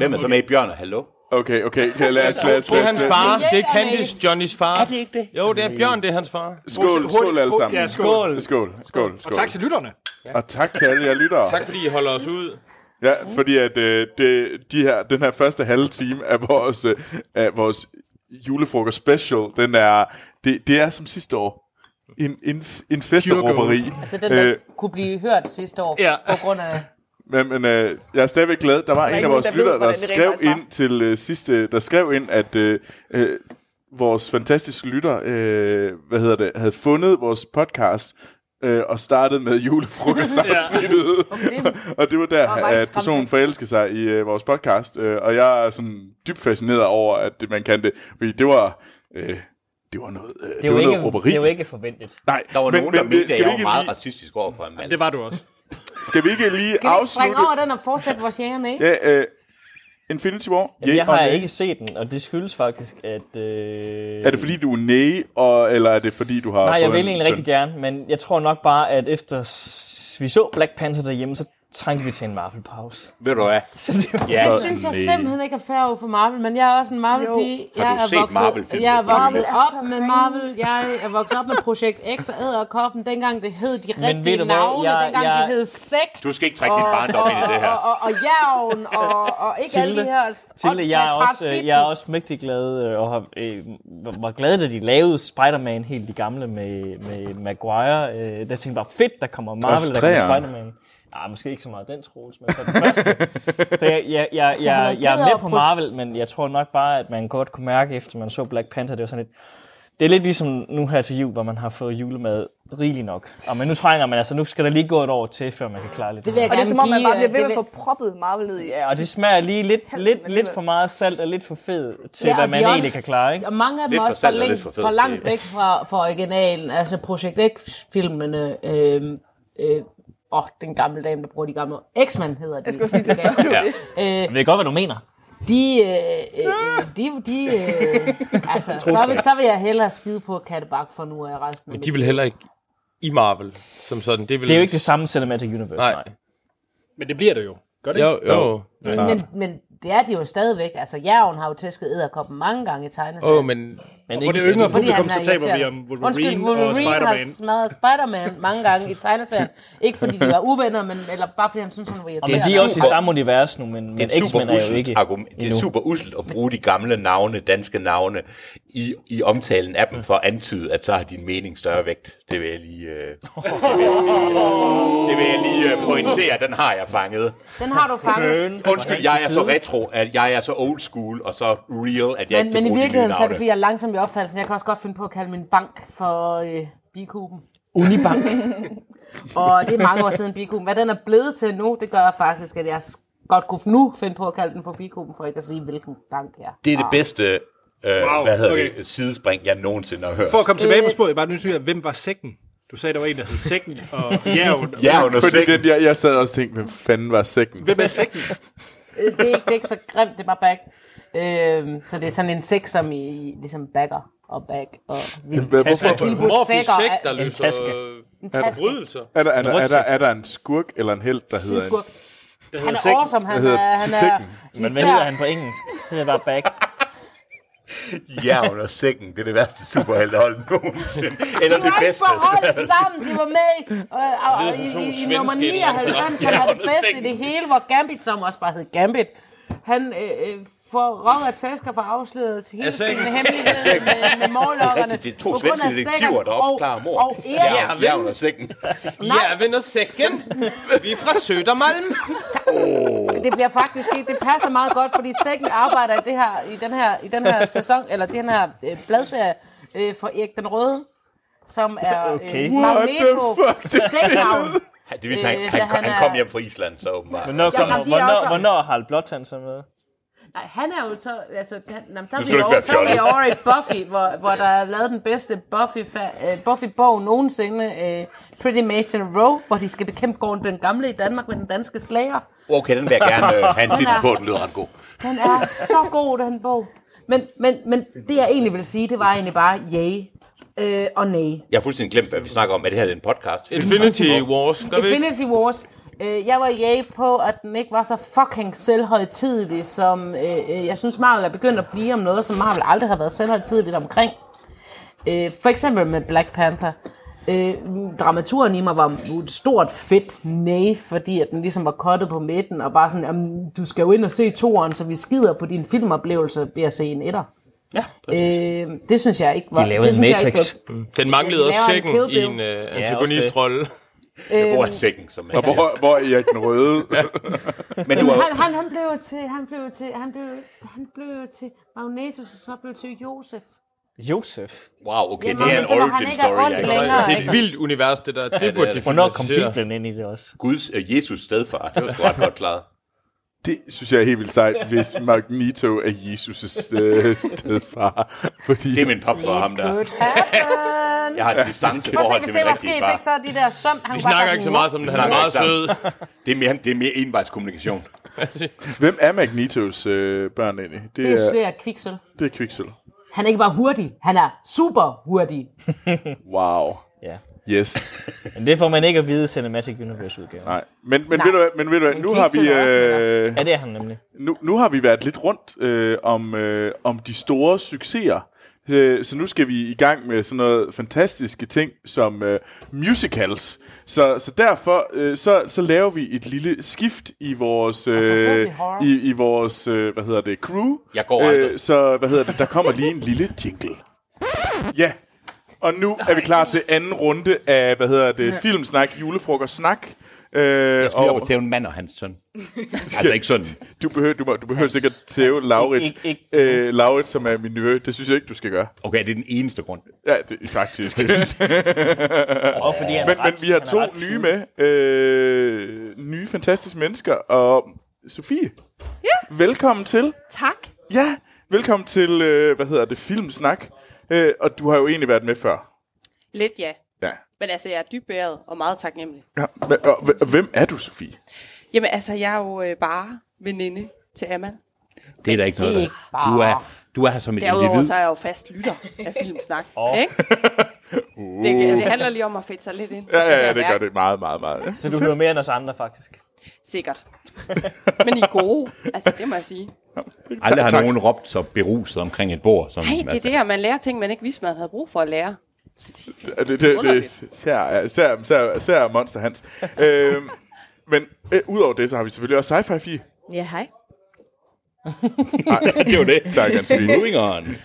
Hvem er så med i Bjørn og Hallo?
Øh, okay, okay. Kan- Lad os, lad os,
Det er
lad os,
hans
lad os.
far. Det er
Jægermæs.
Candice, Johnnys far.
Er det ikke det?
Jo, det er Bjørn, det er hans far.
Skål, skål alle
Ja,
sammen.
skål.
Skål, skål,
Og tak til
skål.
lytterne.
Og tak til alle jer lyttere.
Tak fordi I holder os ud.
Ja, fordi at øh, det, de her, den her første halve time af vores, øh, af vores julefrokost special, den er, det, det er som sidste år. En, en, en festeråberi.
Altså den, der øh, kunne blive hørt sidste år,
Ja.
ja. på grund af
Men, men øh, jeg er stadigvæk glad. Der var en
ikke
af
nogen,
vores
der ved,
lyttere, der
hvordan det rent
skrev
faktisk var.
ind til øh, sidste, der skrev ind, at øh, øh, vores fantastiske lytter, øh, hvad hedder det, havde fundet vores podcast øh, og startet med julefrokostafsnittet. ja. og det var der,
var
at
meget
personen
skræmt.
forelskede sig i øh, vores podcast. Øh, og jeg er sådan dybt fascineret over, at det- man kan det. Fordi det var... Øh, det var noget, øh, det
Det
var
er, jo
noget
ikke,
robberi.
det er jo ikke forventeligt.
Nej, øh,
Der var men, nogen, der men, mente, at
skal
jeg
vi
var
ikke
meget
lige,
racistisk over for en mand.
Det var du også.
skal vi ikke lige
Kan vi ikke springe
afslutte?
over den og fortsætte vores jægerne, ikke?
Ja, øh, Infinity War.
Jamen,
yeah
jeg har
og nay.
ikke set den, og det skyldes faktisk, at... Øh...
Er det fordi, du er næ, og, eller er det fordi, du har
Nej, jeg
fået
vil
en
egentlig
søn?
rigtig gerne, men jeg tror nok bare, at efter s- vi så Black Panther derhjemme, så trængte vi til en Marvel-pause.
Ved du hvad?
Så det var...
Ja,
Det synes jeg simpelthen ikke er fair over for Marvel, men jeg er også en Marvel-pige.
Har
Jeg
du
er
set
vokset,
Marvel-filmene?
Jeg er
Fordi-
Marvel
vokset
er så
op med
ringe.
Marvel. Jeg er vokset op med Projekt X og Æderkoppen, dengang det hed de
ved
rigtige
du hvad?
navne,
Jeg-
dengang
jeg-
de hed Sæk
Du skal ikke trække dit barndom ind i det her.
og, og, og Jævn og, og ikke alle de
Tilde.
her
Til, jeg, er også,
åndssvagt
øh, jeg er også mægtig glad, øh, og har, øh, var- var glad, da de lavede Spider-Man helt de gamle med, med Maguire. Øh, der tænkte jeg bare, fedt, der kommer Marvel, der kommer
træeren.
Spider-Man. Nej, måske ikke så meget den troels, men så den første. Så jeg, jeg, jeg,
har du
jeg,
været
jeg er
ked
med
over
på
pro-
Marvel, men jeg tror nok bare, at man godt kunne mærke, efter man så Black Panther, det var sådan lidt... Det er lidt ligesom nu her til jul, hvor man har fået julemad rigeligt nok. Og men nu trænger man, altså nu skal der lige gå et år til, før man kan klare lidt.
Det vil jeg
Og det er
gerne
som om, man
give,
bare bliver
øh,
ved med
det
at få proppet Marvel ned i.
Ja, og det smager lige lidt,
Halsen
lidt,
alligevel.
lidt for meget salt og lidt for fed til,
Ja,
ja, hvad
og de
man
er
egentlig kan klare, ikke?
Og mange af dem
Lidt
er
for
også for,
salt og lidt
længe,
for
for,
fed.
langt
Det er-
væk fra, fra originalen. Altså Projekt X-filmene. Øh, øh, åh, den gamle dame, der bruger de gamle... X-Men hedder de. Jeg
skulle også lige til at
Ja.
Jeg ved godt, hvad du mener.
De, øh, øh, øh, de, de øh, altså, så, vil, så vil jeg hellere skide på Kattebak for nu af resten af
De
mit
vil
liv.
heller ikke i Marvel, som sådan. Det, vil
Det er jo ikke det samme Cinematic Universe, nej.
Nej.
nej.
Men det bliver det jo. Gør det
Jo, jo.
Men, men det er de jo stadigvæk. Altså, Jævn har jo tæsket æderkoppen mange gange i tegneserien.
Åh, men
Men
For det yngre
Fordi han
publikum, så
er
taber vi
irriterende.
om Wolverine,
Undskyld,
og
Wolverine har
Spider-Man.
smadret Spider-Man mange gange i tegneserien. Ikke fordi de var uvenner, men eller bare fordi han synes, han var
men
irriterende.
de er også i
super-
samme univers nu, men, men
Det er et super
X-Men er jo
usselt
ikke
argument. Det er
endnu.
super usselt at bruge de gamle navne, danske navne, i, i omtalen af dem for at antyde, at så har din mening større vægt. Det vil jeg lige, øh, det vil jeg lige øh, pointere. Den har jeg fanget.
Den har du fanget.
Undskyld, jeg er så retro, at jeg er så old school og så real, at jeg
Men,
ikke kan
men i
bruge de nye
virkeligheden så er det,
navne.
fordi jeg er langsom i opfattelsen. Jeg kan også godt finde på at kalde min bank for øh, bikuben.
Unibank.
Og det er mange år siden bikuben. Hvad den er blevet til nu, det gør faktisk, at jeg s- godt kunne nu finde på at kalde den for bikuben, for ikke at sige, hvilken bank jeg
Det er det bedste øh,
Wow,
hvad hedder
okay.
det, sidespring, jeg nogensinde har hørt.
For at komme tilbage på
Øh,
sporet, jeg er bare nysgerrig, hvem var sækken? Du sagde, der var en, der hed sækken, og jævn.
Ja, under
Fordi
sækken.
den, jeg, jeg sad også og tænkte, hvem fanden var sækken?
Hvem er sækken?
Øh, det, er ikke, det er ikke så grimt, det er bare bag. Øhm, så det er sådan en sæk, som i, i- ligesom bagger og bag og vild.
Hvem- Hvorfor?
Morfis
sækker
sæk,
er
der
en
løser
taske.
øh,
En taske.
forbrydelser.
Er der, er, der, er, der, er der en skurk eller en held, der
En
hedder
skurk.
en...
Han er
sækken.
awesome, han
Hvad hedder
er, han er
sækken?
Men hvad hedder han på engelsk? Det er bare back.
Ja, under sækken. Det er det værste superheltehold nogensinde. Eller
de
det
var ikke
bedste.
på holdet sammen, de var med i, øh, og- og
som
i,
to
i, i
svenske
nummer 99, som
Ja,
er det
under
bedste i
sengen.
det hele, hvor Gambit, som også bare hed Gambit, han øh, øh, får røv af tæsker for afsløret hele sin
sengen.
hemmelighed med, med
Det er
morlokkerne.
rigtigt, det er to
på grund af
svenske detektiver,
sækken
der
og-
opklarer mord.
Og Erik,
ja, ja, under sækken.
Ja, venner sækken. Vi er fra Sødermalm.
det bliver faktisk ikke, det passer meget godt, fordi Sækken arbejder i, det her, i, den her, i den her sæson, eller den her øh, bladserie øh, for Erik den Røde, som er
Okay.
øh, Magneto Sæknavn.
Ja, Det vil sige, han,
Øh,
han,
da han
han kom
er-
hjem fra Island, så åbenbart.
Hvornår,
Ja,
kommer,
men de er
hvornår,
også-
hvornår har Harald Blåtand så med?
Nej, han er jo så... Altså, han, jamen, der er
skal du ikke
vi
være
over, så er vi
fjollet.
over i Buffy, hvor, hvor der er lavet den bedste Buffy, uh, Buffy-bog nogensinde, uh, Pretty Maids in a Row, hvor de skal bekæmpe Gården den gamle i Danmark med den danske slager.
Okay, den vil jeg gerne øh, have en titel
er-
på. Den lyder ret god.
Den er så god, den bog. Men, men, men det, jeg egentlig ville sige, det var egentlig bare yay øh, og nej.
Jeg har fuldstændig glemt, hvad vi snakker om. Er det her en podcast?
Infinity Wars. Gør vi ikke?
Infinity Wars. Øh, jeg var jæg på, at den ikke var så fucking selvhøjtidelig, som øh, øh, jeg synes, Marvel er begyndt at blive om noget, som Marvel aldrig har været selvhøjtideligt omkring. Øh, for eksempel med Black Panther. Øh, dramaturen i mig var et stort fedt nej, fordi at den ligesom var kottet på midten, og bare sådan, "Jamen, du skal jo ind og se toeren, så vi skider på din filmoplevelse ved at se en etter. Ja, øh, det synes jeg ikke var...
De lavede
det
en
synes jeg ikke
Matrix.
var-
Den manglede
Ja, de
også
laver en
sækken
Kill
i
Bill.
en øh,
det.
antagonistrolle.
Jeg bor i sækken, som man
Og
siger.
hvor, hvor er Erik den Røde?
Men du
Han,
er,
han, han blev til, han blev til, han blev, han blev til Magnetus, og så blev til Josef.
Josef?
wow, okay,
Jamen,
det er
men
en
så var han
origin
ikke
story.
ond
Jeg
længere.
kan
Det er et vildt univers, det der. Det burde
er det.
de
Hvornår kom
filmatisere.
Bibelen ind i det også?
Guds, øh, Jesus stedfar, det var sgu ret godt klaret.
Det synes jeg er helt vildt sejt, hvis Magneto er Jesus' øh, stedfar. Fordi
Det er min papfar, ham der. Jeg har et distance
Prøv at se,
forhold
kan
til
se,
min
hvad der skete,
rigtige
ikke? Så
far.
er de der søm, han
Vi
bare
snakker
sådan,
ikke så meget som den. Han er
Nej,
meget
nej.
sød.
Det er mere, det er mere envejskommunikation.
Hvem er Magnetos øh, børn egentlig?
Det er
Det er,
svært kviksøl.
det er Quicksilver.
Han er ikke bare hurtig, han er super hurtig.
Wow.
Ja.
Yes.
Men det får man ikke at vide i Cinematic Universe udgaven.
Nej. Men, men, ved du, hvad- men ved du hvad, nu har vi...
Quicksilver er også
Øh,
Ja, det er han nemlig.
nu, nu har vi været lidt rundt øh, om, øh, om de store succeser. Øh, Så nu skal vi i gang med sådan noget fantastiske ting som øh, musicals. Så, så derfor øh, så, så laver vi et lille skift i vores øh,
forhåbentlig horror.
i, i vores øh, hvad hedder det crew. Øh,
Jeg går aldrig.
så hvad hedder det? Der kommer lige en lille jingle. Ja. Og nu er vi klar til anden runde af hvad hedder det filmsnak julefrokost snak. Øh,
Jeg skal lige op
og
og tæve en mand og hans søn. altså ikke sådan.
du behøver, du, må, du behøver sikkert tæve Laurits.
Ikke- ikke-
Øh, Laurits, som er min nevø. Det synes jeg ikke, du skal gøre.
Okay, det er den eneste grund.
Ja, det, faktisk. men,
Og fordi han er ret,
men vi har
han er
to
ret
nye med. Øh, nye fantastiske mennesker. Og Sofie, ja. velkommen til.
Tak.
Ja, velkommen til, øh, hvad hedder det, Filmsnak. Øh, og du har jo egentlig været med før.
Lidt ja.
Ja.
Men altså, jeg er dybt beæret og meget taknemmelig.
ja. hva- Og, hv- og hvem er du, Sofie?
Jamen altså, jeg er jo øh, bare veninde til Amal.
Det er der ikke noget
Det er
der.
ikke bare-
Du er, du er her som et
Derudover
individ.
så er jeg jo fast lytter af filmsnak. Oh. Ikke? Det, det handler lige om at fedte sig lidt ind.
Uh. Ja, ja, ja, det
kan
gør
jeg
det meget, meget, meget.
Så du hører mere end os andre, faktisk.
mærke. Sikkert. Men I er gode. Altså, det må jeg sige.
Aldrig har
Tak.
nogen råbt så beruset omkring et bord. Som,
Nej, det er det her, man lærer ting, man ikke vidste, man havde brug for at lære. Så det,
Ja, det, det, det, især, især, især, især Monster Hans. øhm, men øh, udover det, så har vi selvfølgelig også Sci-Fi 4.
Ja, hej.
det var det.
Tak, Hans Fie.
Moving on.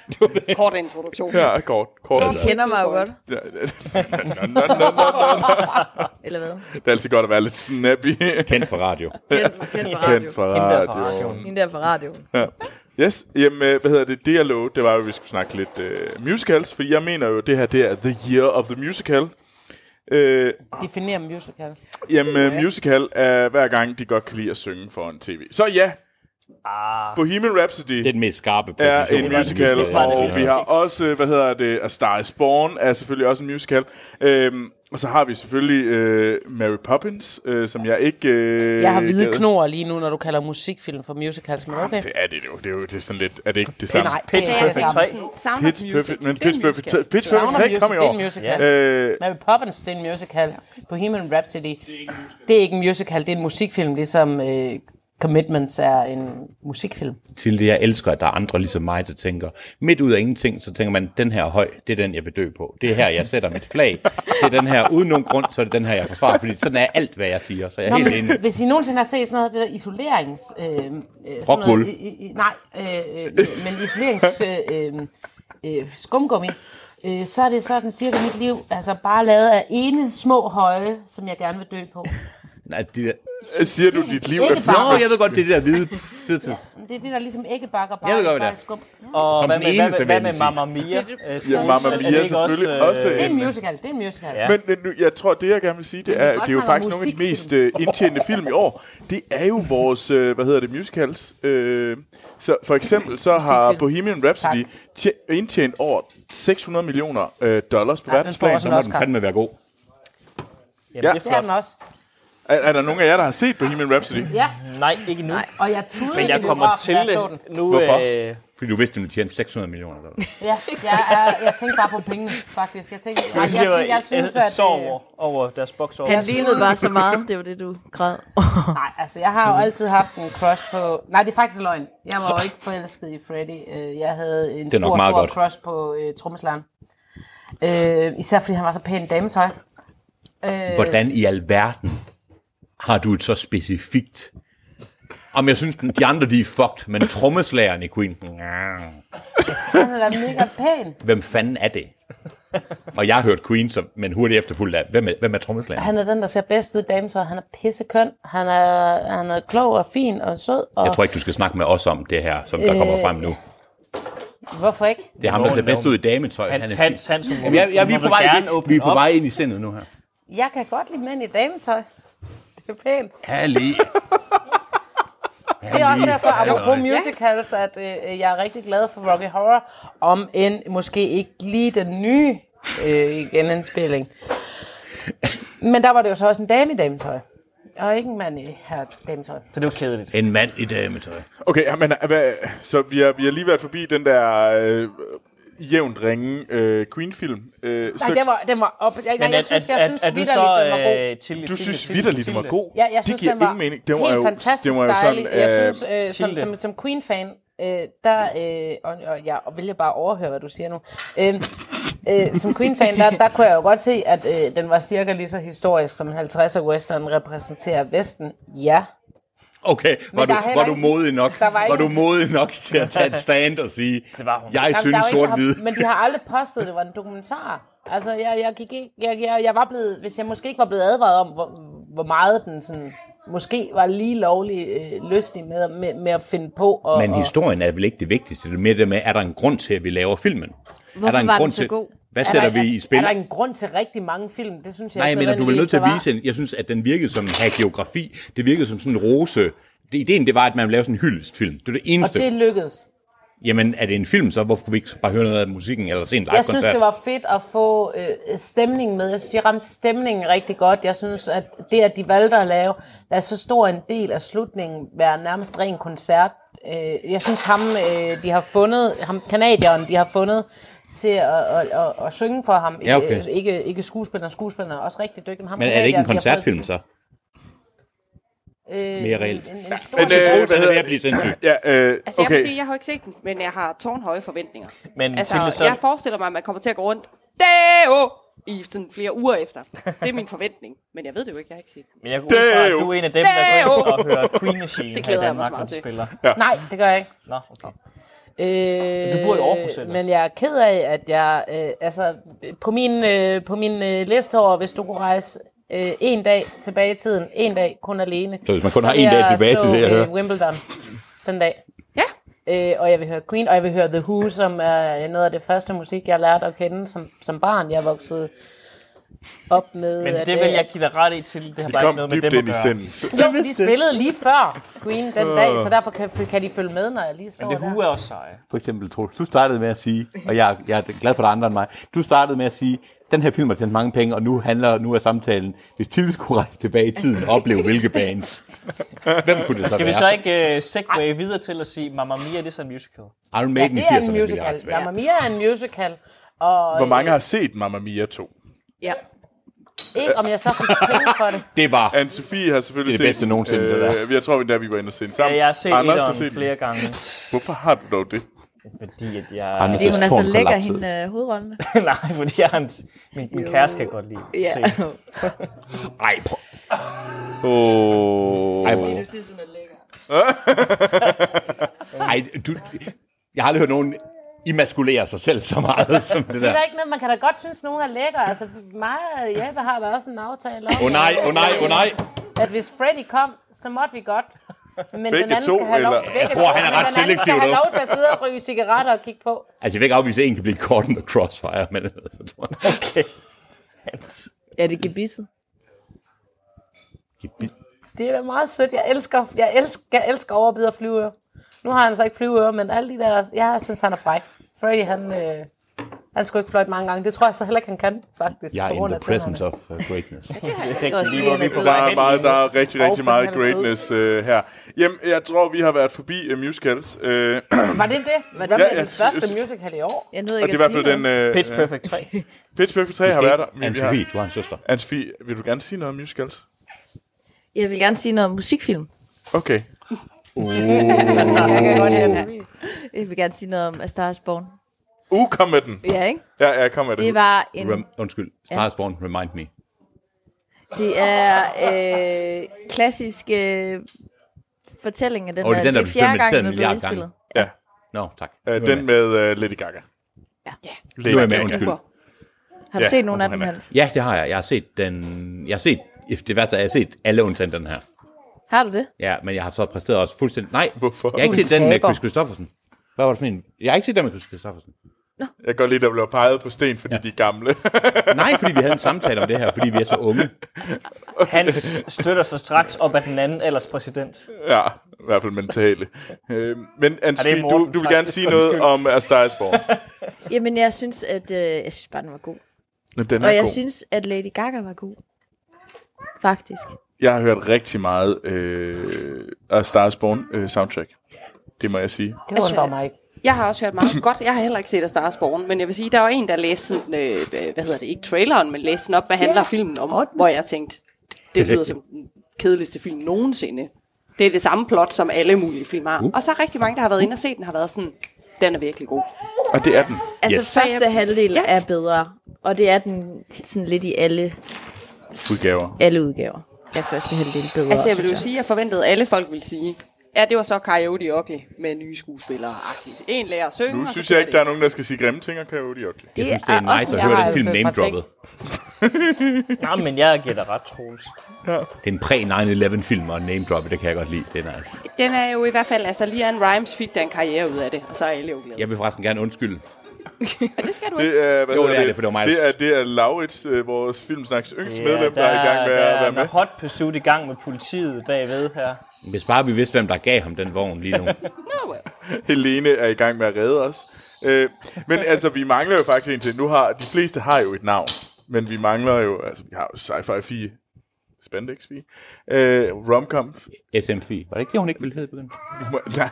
kort introduktion.
Ja, kort. kort.
Du kender mig jo godt,
Ja, nå, nå, nå, nå.
eller hvad?
Det er altid godt at være lidt snappy.
Kendt for radio.
Kendt, kendt fra radio.
Kendt fra
Hende der fra
radioen.
radioen.
Hende der fra radioen.
Yes, jamen, øh, hvad hedder det? Det jeg lovede, det var, at vi skulle snakke lidt uh, musicals, fordi jeg mener jo, at det her, det er The Year of the Musical. Øh,
Definér musical.
jamen, øh, musical er hver gang, de godt kan lide at synge foran tv. Så ja, ah. Bohemian Rhapsody
Det er den mest skarpe position.
er en
der er
musical, og
musical.
vi har også, øh, hvad hedder det, A Star is Born er selvfølgelig også en musical. Øhm, og så har vi selvfølgelig øh, Mary Poppins, øh, som jeg ikke... Øh,
Jeg har hvide
gad- Ah,
knor lige nu, når du kalder musikfilm for musicals, men okay.
Det er det jo. Det er jo det er sådan lidt... Er det ikke det samme?
Nej,
Pitch
det er det
Perfect
samme.
3.
Sound
Pitch
of
Perfect,
Music.
men
det er en
Pitch Perfect,
musical.
Pitch
Sound
Perfect
of
3 kom i
Music, det er
år.
en musical.
Øh,
Mary Poppins, det er en musical. Bohemian Rhapsody, det er ikke en musical, det er en musikfilm, ligesom øh, Commitments er en musikfilm.
Tilde, jeg elsker, at der er andre ligesom mig, der tænker, midt ud af ingenting, så tænker man, den her er høj, det er den, jeg vil dø på. Det er her, jeg sætter mit flag. Det er den her, uden nogen grund, så er det den her, jeg forsvarer. Fordi sådan er alt, hvad jeg siger, så jeg er
Nå,
helt enig.
men, hvis I nogensinde har set sådan noget af det der isolerings... Øh, øh, sådan
Rockwool.
noget, i, i, i- nej, øh, øh, men isolerings... Øh, øh, skumgummi, øh, så er det sådan cirka mit liv, altså bare lavet af ene små høje, som jeg gerne vil dø på.
Nej, de der...
siger du, dit liv
Ikke
er
bare-
Nå, jeg ved godt, det er det der hvide... Fed, fed.
Men Det er det, der ligesom æggebakker bare,
Jeg ved godt,
bare
hvad det er.
skum. Ja.
Og
Som
hvad
den
med, hvad
eneste,
med, hvad
vil jeg
med
sige.
Mamma Mia? Øh,
Ja,
Troels,
Mamma
er det
Mia er
ikke
selvfølgelig også,
øh,
Det er
en...
en musical, det er en musical. Ja.
Men øh, nu, jeg tror, det jeg gerne vil sige, det er,
godt
det er jo
snakke om
faktisk nogle af de mest øh, indtjente film i år. Det er jo vores, øh, hvad hedder det, musicals. Øh, så for eksempel så har Bohemian Rhapsody tje- indtjent over 600 millioner øh, dollars på
den får
verdensplan.
også
Så
en
må den
Oscar.
fandme være god.
Jamen, det er
Det er
flot.
den også.
Er, er der nogen af jer, der har set Bohemian Rhapsody?
Ja,
Nej, ikke nu.
og jeg tudede
Men jeg
i
kommer
biografen,
til
da jeg
det
så den.
nu.
Hvorfor?
Øh,
Fordi du vidste, at du tjente 600 millioner. Eller? hvad?
Ja, jeg, er, jeg tænkte bare på pengene, faktisk. Jeg tænkte, nej, jeg,
det var,
synes, jeg synes, at...
sov
øh,
over, over deres boks over.
Han lignede bare så meget, det var det, du græd.
Nej, altså jeg har jo altid haft en crush på... Nej, det er faktisk løgn. Jeg var jo ikke forelsket i Freddy. Øh, Jeg havde en
er nok
stor,
meget
stor
godt.
crush på øh, trommeslageren. Øh, især fordi han var så pæn i dametøj. Øh.
Hvordan i alverden har du et så specifikt... Om jeg synes, de andre de er fucked, men trommeslageren i Queen...
Han er da mega pæn.
Hvem fanden er det? Og jeg har hørt Queen, som, men hurtigt efterfulgt af, hvem er, hvem er trommeslageren?
Han er den, der ser bedst ud i dametøj. Han er pissekøn. Han er, han er klog og fin og sød. Og
Jeg tror ikke, du skal snakke med os om det her, som der
Øh.
kommer frem nu.
Hvorfor ikke?
Det er ham, der ser bedst ud i dametøj. Han
Hans,
er fin.
Hans, Hans, hun må,
Jamen, jeg, jeg, vi, er
hun
på
må
vej,
gerne
ind-
åbne
vi er på
op.
vej ind i sindet nu her.
Jeg kan godt lide mænd i dametøj. Det er pænt.
Herlig.
Det er også derfor, apropos musicals, at øh, jeg er rigtig glad for Rocky Horror, om end måske ikke lige den nye øh, genindspilling. Men der var det jo så også en dame i dametøj, og ikke en mand i her dametøj.
Så det var kedeligt.
En mand i dametøj.
Okay, ja, men hvad, så vi har, vi har lige været forbi den der øh, jævnt ringe øh, Queen-film. Øh,
Nej, den var, den var op. Jeg, jeg, jeg synes, jeg synes
er du
vidderligt,
så,
den var god.
øh, til,
du
til-
synes
til-
vidderligt,
til
den var
det?
god.
Ja, jeg synes,
det giver
den var
ingen mening. Det var
helt
jo,
fantastisk
det var jo sådan,
dejlig. jeg
øh,
synes, øh, som,
Tilde.
som, som Queen-fan, øh, der, øh, og, og jeg vil jeg bare overhøre, hvad du siger nu. Øh, øh, som Queen-fan, der, der kunne jeg jo godt se, at øh, den var cirka lige så historisk, som 50'er western repræsenterer Vesten. Ja.
Okay, var du,
der er heller
var du
ikke-
modig nok?
der var
Var,
ikke-
du modig nok til at tage et stand og sige,
Det var hun.
jeg
Jamen, der
synes
er jo ikke-
sort-hvid?
Men de har aldrig påstået, at det var en dokumentar. Altså, jeg, jeg, gik ikke, jeg, jeg, jeg var blevet, hvis jeg måske ikke var blevet advaret om, hvor, hvor meget den sådan, måske var lige lovlig øh, lystig med, med, med at finde på. Og,
Men
og,
historien er vel ikke det vigtigste. Det er mere det med, er der en grund til, at vi laver filmen? er der en
var den
grund
så
til,
god?
Hvad
Er
sætter
der-
vi i
Er
spil?
der en grund til rigtig mange film? Det synes jeg
Nej, jeg
ikke
mener, du er nødt til at
nødvendigvis,
vise en, Jeg synes, at den virkede som en geografi. Det virkede som sådan en rose. Det, ideen, det var, at man ville lave sådan en hyldestfilm. Det er det
der var.
eneste.
Og det lykkedes.
Jamen, er det en film, så hvorfor kunne vi ikke bare høre noget af musikken eller se en live
Jeg synes, det var fedt at få øh, stemningen med. Jeg synes, de ramte stemningen rigtig godt. Jeg synes, at det, at de valgte at lave, lade så stor en del af slutningen være nærmest ren koncert. Øh, jeg synes, ham, øh, de har fundet, ham, kanadieren, de har fundet til at, at, at, at synge for ham.
Ja, okay.
Ikke, ikke, ikke skuespillerne, skuespillerne er også rigtig dygtige. Men, ham
Men er det ikke en
kanadieren, de
koncertfilm,
har
så?
fået- Øh,
Mere reelt?
En, en, en stor
Men,
Jeg
øh,
troede, det
hvad
havde
hedder
ved at blive sindssygt.
Ja, øh,
Altså, okay. jeg
okay.
må sige, jeg har ikke set den, men jeg har tårnhøje forventninger.
Men altså, Tilde,
Altså,
så,
jeg forestiller mig, at man kommer til at gå rundt Deo! i sådan flere uger efter. Det er min forventning, men jeg ved det jo ikke, jeg har ikke set den.
men jeg går ud fra,
Deo!
at du er en af dem, der går ind og hører Queen Machine
Det
her i
glæder jeg mig
Danmark,
så meget
når du
til.
spiller.
Nej, det gør jeg ikke.
Nå, okay.
Øh,
Du bor i Aarhus ellers.
Men jeg er ked af, at jeg... Øh, altså, på min, øh, på min øh, liste over, hvis du kunne rejse øh, en dag tilbage i tiden, en dag kun alene,
Så hvis man kun har
vil
en dag
jeg
tilbage
slå,
til det, jeg hører.
øh, Wimbledon den dag.
Ja.
Øh, og jeg vil høre Queen, og jeg vil høre The Who, som er øh, noget af det første musik, jeg lærte at kende som, som barn. Jeg voksede op med...
Men
at,
det
øh,
vil jeg give dig ret i til. Det har
Vi
bare ikke
kom
noget med
dybt
dem at
ind i
gøre.
sindet.
Jo, for de spillede lige før Queen den
Øh.
dag, så derfor kan, kan de følge med, når jeg lige står
Men det
der.
hue er også seje.
For eksempel, Troels, du startede med at sige, og jeg, jeg er glad for, at der er andre end mig, du startede med at sige, den her film har tjent mange penge, og nu handler nu er samtalen, hvis Tilde skulle rejse tilbage i tiden og opleve hvilke bands. Hvem kunne det så
Skal vi
være?
så ikke uh, segue videre til at sige, Mamma Mia, det er så en musical?
Iron
Ja,
Maiden
det
i
er
80'erne
en
ville jeg rejse
musical.
tilbage.
Mamma Mia er en musical. Og
Hvor mange har set Mamma Mia 2?
Ja.
ikke om jeg så fik penge for det.
Det var
Anne-Sophie har selvfølgelig set... Øh,
Det er det bedste nogensinde, det der.
Jeg tror, det er, vi var inde og se den sammen.
Ja, jeg har set
Anders har
etteren
set
flere
flere.
gange,
Hvorfor har du dog det?
fordi at jeg...
Fordi hun er så
Tårn
lækker,
kollapsede.
hende øh, hovedrollen.
Nej, fordi jeg har en... Min, min kæreste kan godt lide
Ja.
at se den.
Ej, prøv.
Åh...
Ej, hvor-
synes, hun er lækker.
Ej, du, jeg har aldrig hørt nogen emaskulere sig selv så meget som det
Det er
der.
da ikke noget, man kan da godt synes, nogen er lækker. Altså, mig og Jeppe har da også en aftale om,
Åh oh, nej, åh oh, nej, åh oh, nej.
at hvis Freddy kom, så måtte vi godt. Men
Begge
den anden
to,
skal have lov,
eller-
begge
Jeg
tror, han er
men
ret
den anden
selektiv
skal have
nu.
lov til at sidde og ryge cigaretter og kigge på.
Altså, jeg vil ikke afvise, at en kan blive caught in the crossfire, men altså, så tror jeg...
Ja, det er gebisset.
Det er da meget sødt. Jeg elsker, jeg elsker, jeg elsker overbid og flyveøre. Nu har han så ikke flyveøre, men alle de der... Jeg synes, han er fræk. Freddy, han... Øh, han skulle ikke fløjte mange gange. Det tror jeg så heller ikke, han kan, faktisk.
Jeg
på
er in
grund
the
af tænderne.
presence of uh, greatness.
Det er
Det var
rigtig
også
lige, hvor
lige
vi er på
en
Der
vej
er,
hen.
meget, der er rigtig, rigtig
Hvorfor
meget
han er død?
greatness øh, her. Jamen, jeg tror, vi har været forbi uh, musicals. Øh,
Var det det? Hvad
Ja,
bliver
ja,
den største
s-
musical i år?
Jeg nåede
og
ikke
det er i
at
hvert
sige
fald den...
noget.
Øh,
Pitch Perfect 3.
Pitch Perfect 3 har været der. men vi har-
Anne-Sophie, du har en søster.
Anne-Sophie, vil du gerne sige noget om musicals?
Jeg vil gerne sige noget om musikfilm.
Okay.
Jeg vil gerne sige noget om A Star is Born.
Uh, kom med den.
Ja, ikke?
Ja, ja, kom med den.
Det var en...
Rem, undskyld, Stars Born, remind me.
Det er øh, klassisk øh, fortælling af den,
Og det er
her.
den, der
det
blev
er fjerde gang,
filmatiseret
den
en
er blevet
milliard
indspillet.
Ja,
Nå, tak.
øh,
Nu er jeg
den med øh, Lady Gaga.
Ja.
Lady
Nu er jeg med,
Gaga.
undskyld.
Super. Har du
Ja,
set nogen af
han
dem
er-
helst?
Ja, det har jeg. Jeg har set den... Jeg har set... Det værste er, jeg har set alle undtagen den her.
Har du det?
Ja, men jeg har så præsteret også fuldstændig... Nej, Hvorfor? jeg har
Du er
ikke
en
set den med
taber.
Chris Christoffersen. Hvad var det for en? Jeg har ikke set den med Chris Christoffersen.
Jeg kan godt lide, at der bliver peget på sten, fordi ja. de er gamle.
Nej, fordi vi havde en samtale om det her, fordi vi er så unge.
Han s- støtter sig straks op af den anden ellers præsident.
Ja, i hvert fald mentale. Øh, men
Ja, det
anne
er
du,
Morten,
du vil gerne
faktisk.
sige noget om A Star Is Born.
Jamen, jeg synes, at øh, jeg synes bare, den var god.
Nå, den er
og jeg
god.
synes, at Lady Gaga var god. Faktisk.
Jeg har hørt rigtig meget øh, A Star Is Born øh, soundtrack. Det må jeg sige.
Det undrer mig ikke.
Jeg har også hørt meget godt. Jeg har heller ikke set A Stars Born, men jeg vil sige, der var en, der læste sådan, øh, hvad hedder det, ikke traileren, men læste den op, hvad handler filmen om, hvor jeg tænkte, det lyder som den kedeligste film nogensinde. Det er det samme plot, som alle mulige film har. Og så er rigtig mange, der har været inde og set den, har været sådan, den er virkelig god.
Og det er den.
Altså, yes.
Yes.
første halvdel ja. er bedre. Og det er den sådan lidt i alle,
Udgaver.
alle udgaver. Er første halvdel bedre,
Altså jeg vil jo
synes
sige, at jeg forventede, at alle folk ville sige, ja, det var så Coyote Ugly med nye skuespillere-agtigt. En lærer at synge,
Nu
og så
synes
kører
jeg ikke,
det.
der er nogen, der skal sige grimme ting og Coyote Ugly.
Jeg
Det
synes, det er nice
en-
at
jeg
høre
har
den film
altså et par
name-droppet.
Nej, men jeg giver dig ret, Troels.
Det er en præ-9-11-film og name-droppet, det kan jeg godt lide. Det er nice.
Den er jo i hvert fald, altså lige Anne Rimes fik der en karriere ud af det, og så er alle jo glade.
Jeg vil forresten gerne undskylde.
Og det skal du ikke.
Det er, hvad
Jo, det
hedder
er det, for det var mig, der-
det er, det er Laurits, øh, vores filmsnaks yngste medlem, der, er i gang med
der
at
er
være
en
med.
hot pursuit i gang med politiet bagved her.
Hvis bare vi vidste, hvem der gav ham den vogn lige nu.
Nå, well.
Helene er i gang med at redde os. Øh, men altså, vi mangler jo faktisk en til. Nu har, de fleste har jo et navn, men vi mangler jo, altså, vi har jo sci-fi 4, spandex 4, øh, romcom.
SM4. Var det ikke det, hun ikke ville hedde begyndt?
Nej,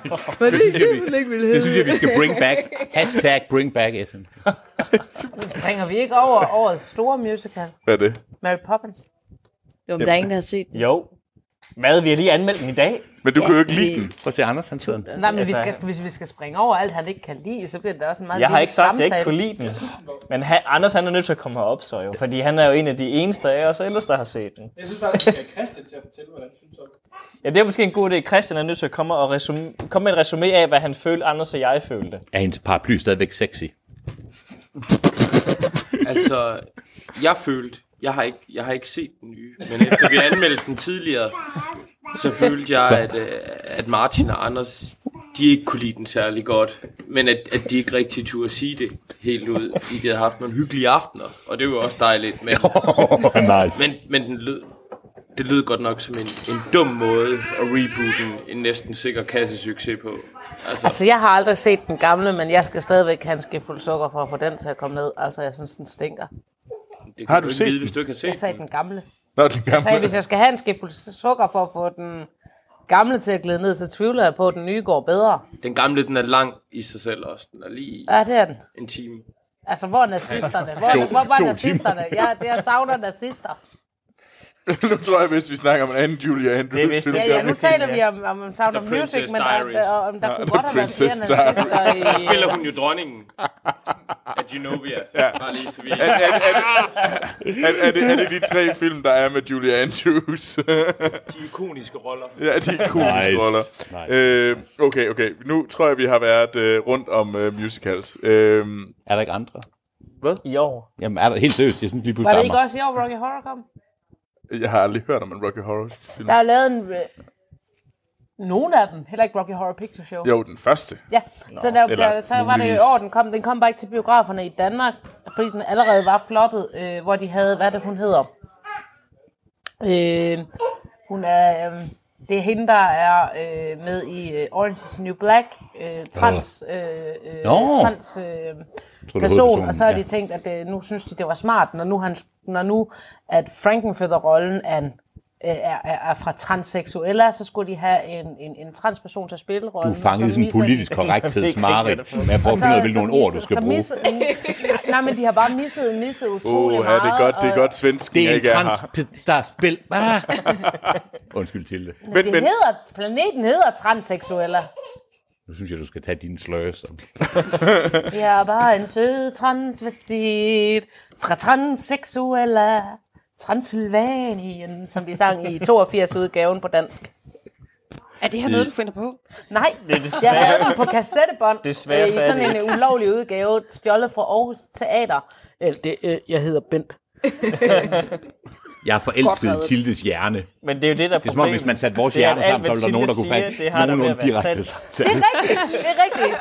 Det synes jeg, vi skal bring back. Hashtag bring back SM.
Ringer vi ikke over årets store musical?
hvad er det?
Mary Poppins.
Jo, men der er ingen, der har set den.
Jo. Hvad, vi har lige anmeldt den i dag.
Men du ja, kan jo ikke lide den.
Prøv at se Anders, han sidder den.
Nej, men vi
altså-
skal, hvis vi skal springe over alt, han ikke kan lide, så bliver det også en meget
Jeg har
lille
ikke sagt, at jeg
samtale.
ikke kunne lide den. Men han, Anders han er nødt til at komme herop så jo, fordi han er jo en af de eneste af os ellers, der har set den.
Jeg synes faktisk, at Christian til at fortælle, hvordan han synes om det.
Ja, det er måske en god idé. Christian er nødt til at komme, og resume, komme med et resume af, hvad han følte, Anders og jeg følte.
Er hendes paraply stadigvæk sexy?
Altså, jeg følte, jeg har, ikke, jeg har ikke set den nye, men efter vi anmeldte den tidligere, så følte jeg, at, øh, at Martin og Anders, de ikke kunne lide den særlig godt, men at, at de ikke rigtig turde sige det helt ud, fordi de havde haft nogle hyggelige aftener, og det var jo også dejligt, men,
nice.
men, men den lød, det lød godt nok som en, en dum måde at reboote en, en næsten sikker kassesucces på.
Altså, jeg har aldrig set den gamle, men jeg skal stadigvæk have en skefuld sukker for at få den til at komme ned. Altså, jeg synes, den stinker.
det
Har
kan
du
ikke
set
vide,
den?
Hvis du ikke har set
Jeg sagde den gamle.
Nå, den
Jeg sagde,
gamle.
hvis jeg skal have en skefuld sukker for at få den gamle til at glide ned, så tvivler jeg på, at den nye går bedre.
Den gamle, den er lang i sig selv også. Den er lige
Ja, det er den.
en time.
Altså, hvor er nazisterne? Hvor, to, hvor var
to
nazisterne? Ja, det jeg savner nazister.
nu tror jeg, hvis vi snakker om en anden Julia Andrews
vist
film,
Ja,
der-
ja, nu taler vi om, om, om Sound
The
of Music,
Princess
men
Diaries.
der, om der
Ja,
kunne
The
godt have været flere
Princess Diaries.
nazister i...
Spiller hun jo dronningen af Genovia. Ja. Bare lige, så vi
er, er, er, er, er, det, er det de tre film, der er med Julia Andrews?
De ikoniske roller.
ja, de er cool nice.
Nice.
roller.
Nice.
Øh, okay, okay. Nu tror jeg, vi har været øh, rundt om øh, musicals. Øh,
Er der ikke andre?
I år.
Jamen, er der helt seriøst? Jeg synes lige
Var
pludselig,
det
der er
ikke
mig.
også i år, Rocky Horror kom?
jeg har aldrig hørt om en Rocky Horror film.
Der er jo lavet en... øh, Nogle af dem. Heller ikke Rocky Horror Picture Show.
Jo, den første.
Ja, så, der,
eller
der, så var det jo i
muligvis.
år, den kom. Den kom bare ikke til biograferne i Danmark, fordi den allerede var floppet, øh, hvor de havde, hvad er det, hun hedder? Øh, hun er, øh, det er hende, der er øh, med i øh, Orange is the New Black, øh, trans, øh, øh,
Nå.
trans øh,
Tror du,
person,
hovedpersonen?
og så har de
Ja.
tænkt, at øh, nu synes de, det var smart, når nu, han, når nu at Frankenfødder-rollen er, en, øh, er, er, er fra transseksuelle, så skulle de have en, en, en transperson til at spille
Du
rollen.
er fanget i
som
sådan en
viser-
politisk korrekthedsmareridt med at prøve at finde ud af, hvilke nogle ord, du skal bruge.
nej, men de har bare misset, misset
Åh,
utrolig
oh, ja,
meget.
det er godt, det er godt svensk,
Det er en
ikke er
trans,
her.
der er spil. Ah. Undskyld til det.
Men, øh, det
men-
hedder, planeten hedder transseksuelle.
Nu synes jeg, du skal tage dine slurs. og-
Jeg er bare en sød transvestit fra transseksuelle. Transylvanien, som de sang i 82-udgaven på dansk.
Er det her noget, du finder på?
Nej,
desværre-
jeg havde den på kassettebånd
Desværre
øh, i
så er
sådan
det
en ulovlig udgave, stjålet fra Aarhus Teater. Eller det, øh, jeg hedder Bent.
Jeg er
Godt
forelsket i
reddet.
Tildes hjerne.
Men det er jo det, der er
Det er som om, hvis man satte vores
Det er, at
hjerner sammen,
alt,
så ville der
hvad
nogen, der
Tilde
kunne falde
siger, det har der ved at
nogenlunde
være
direkte
sandt.
Det
samtale.
er rigtigt, det er rigtigt.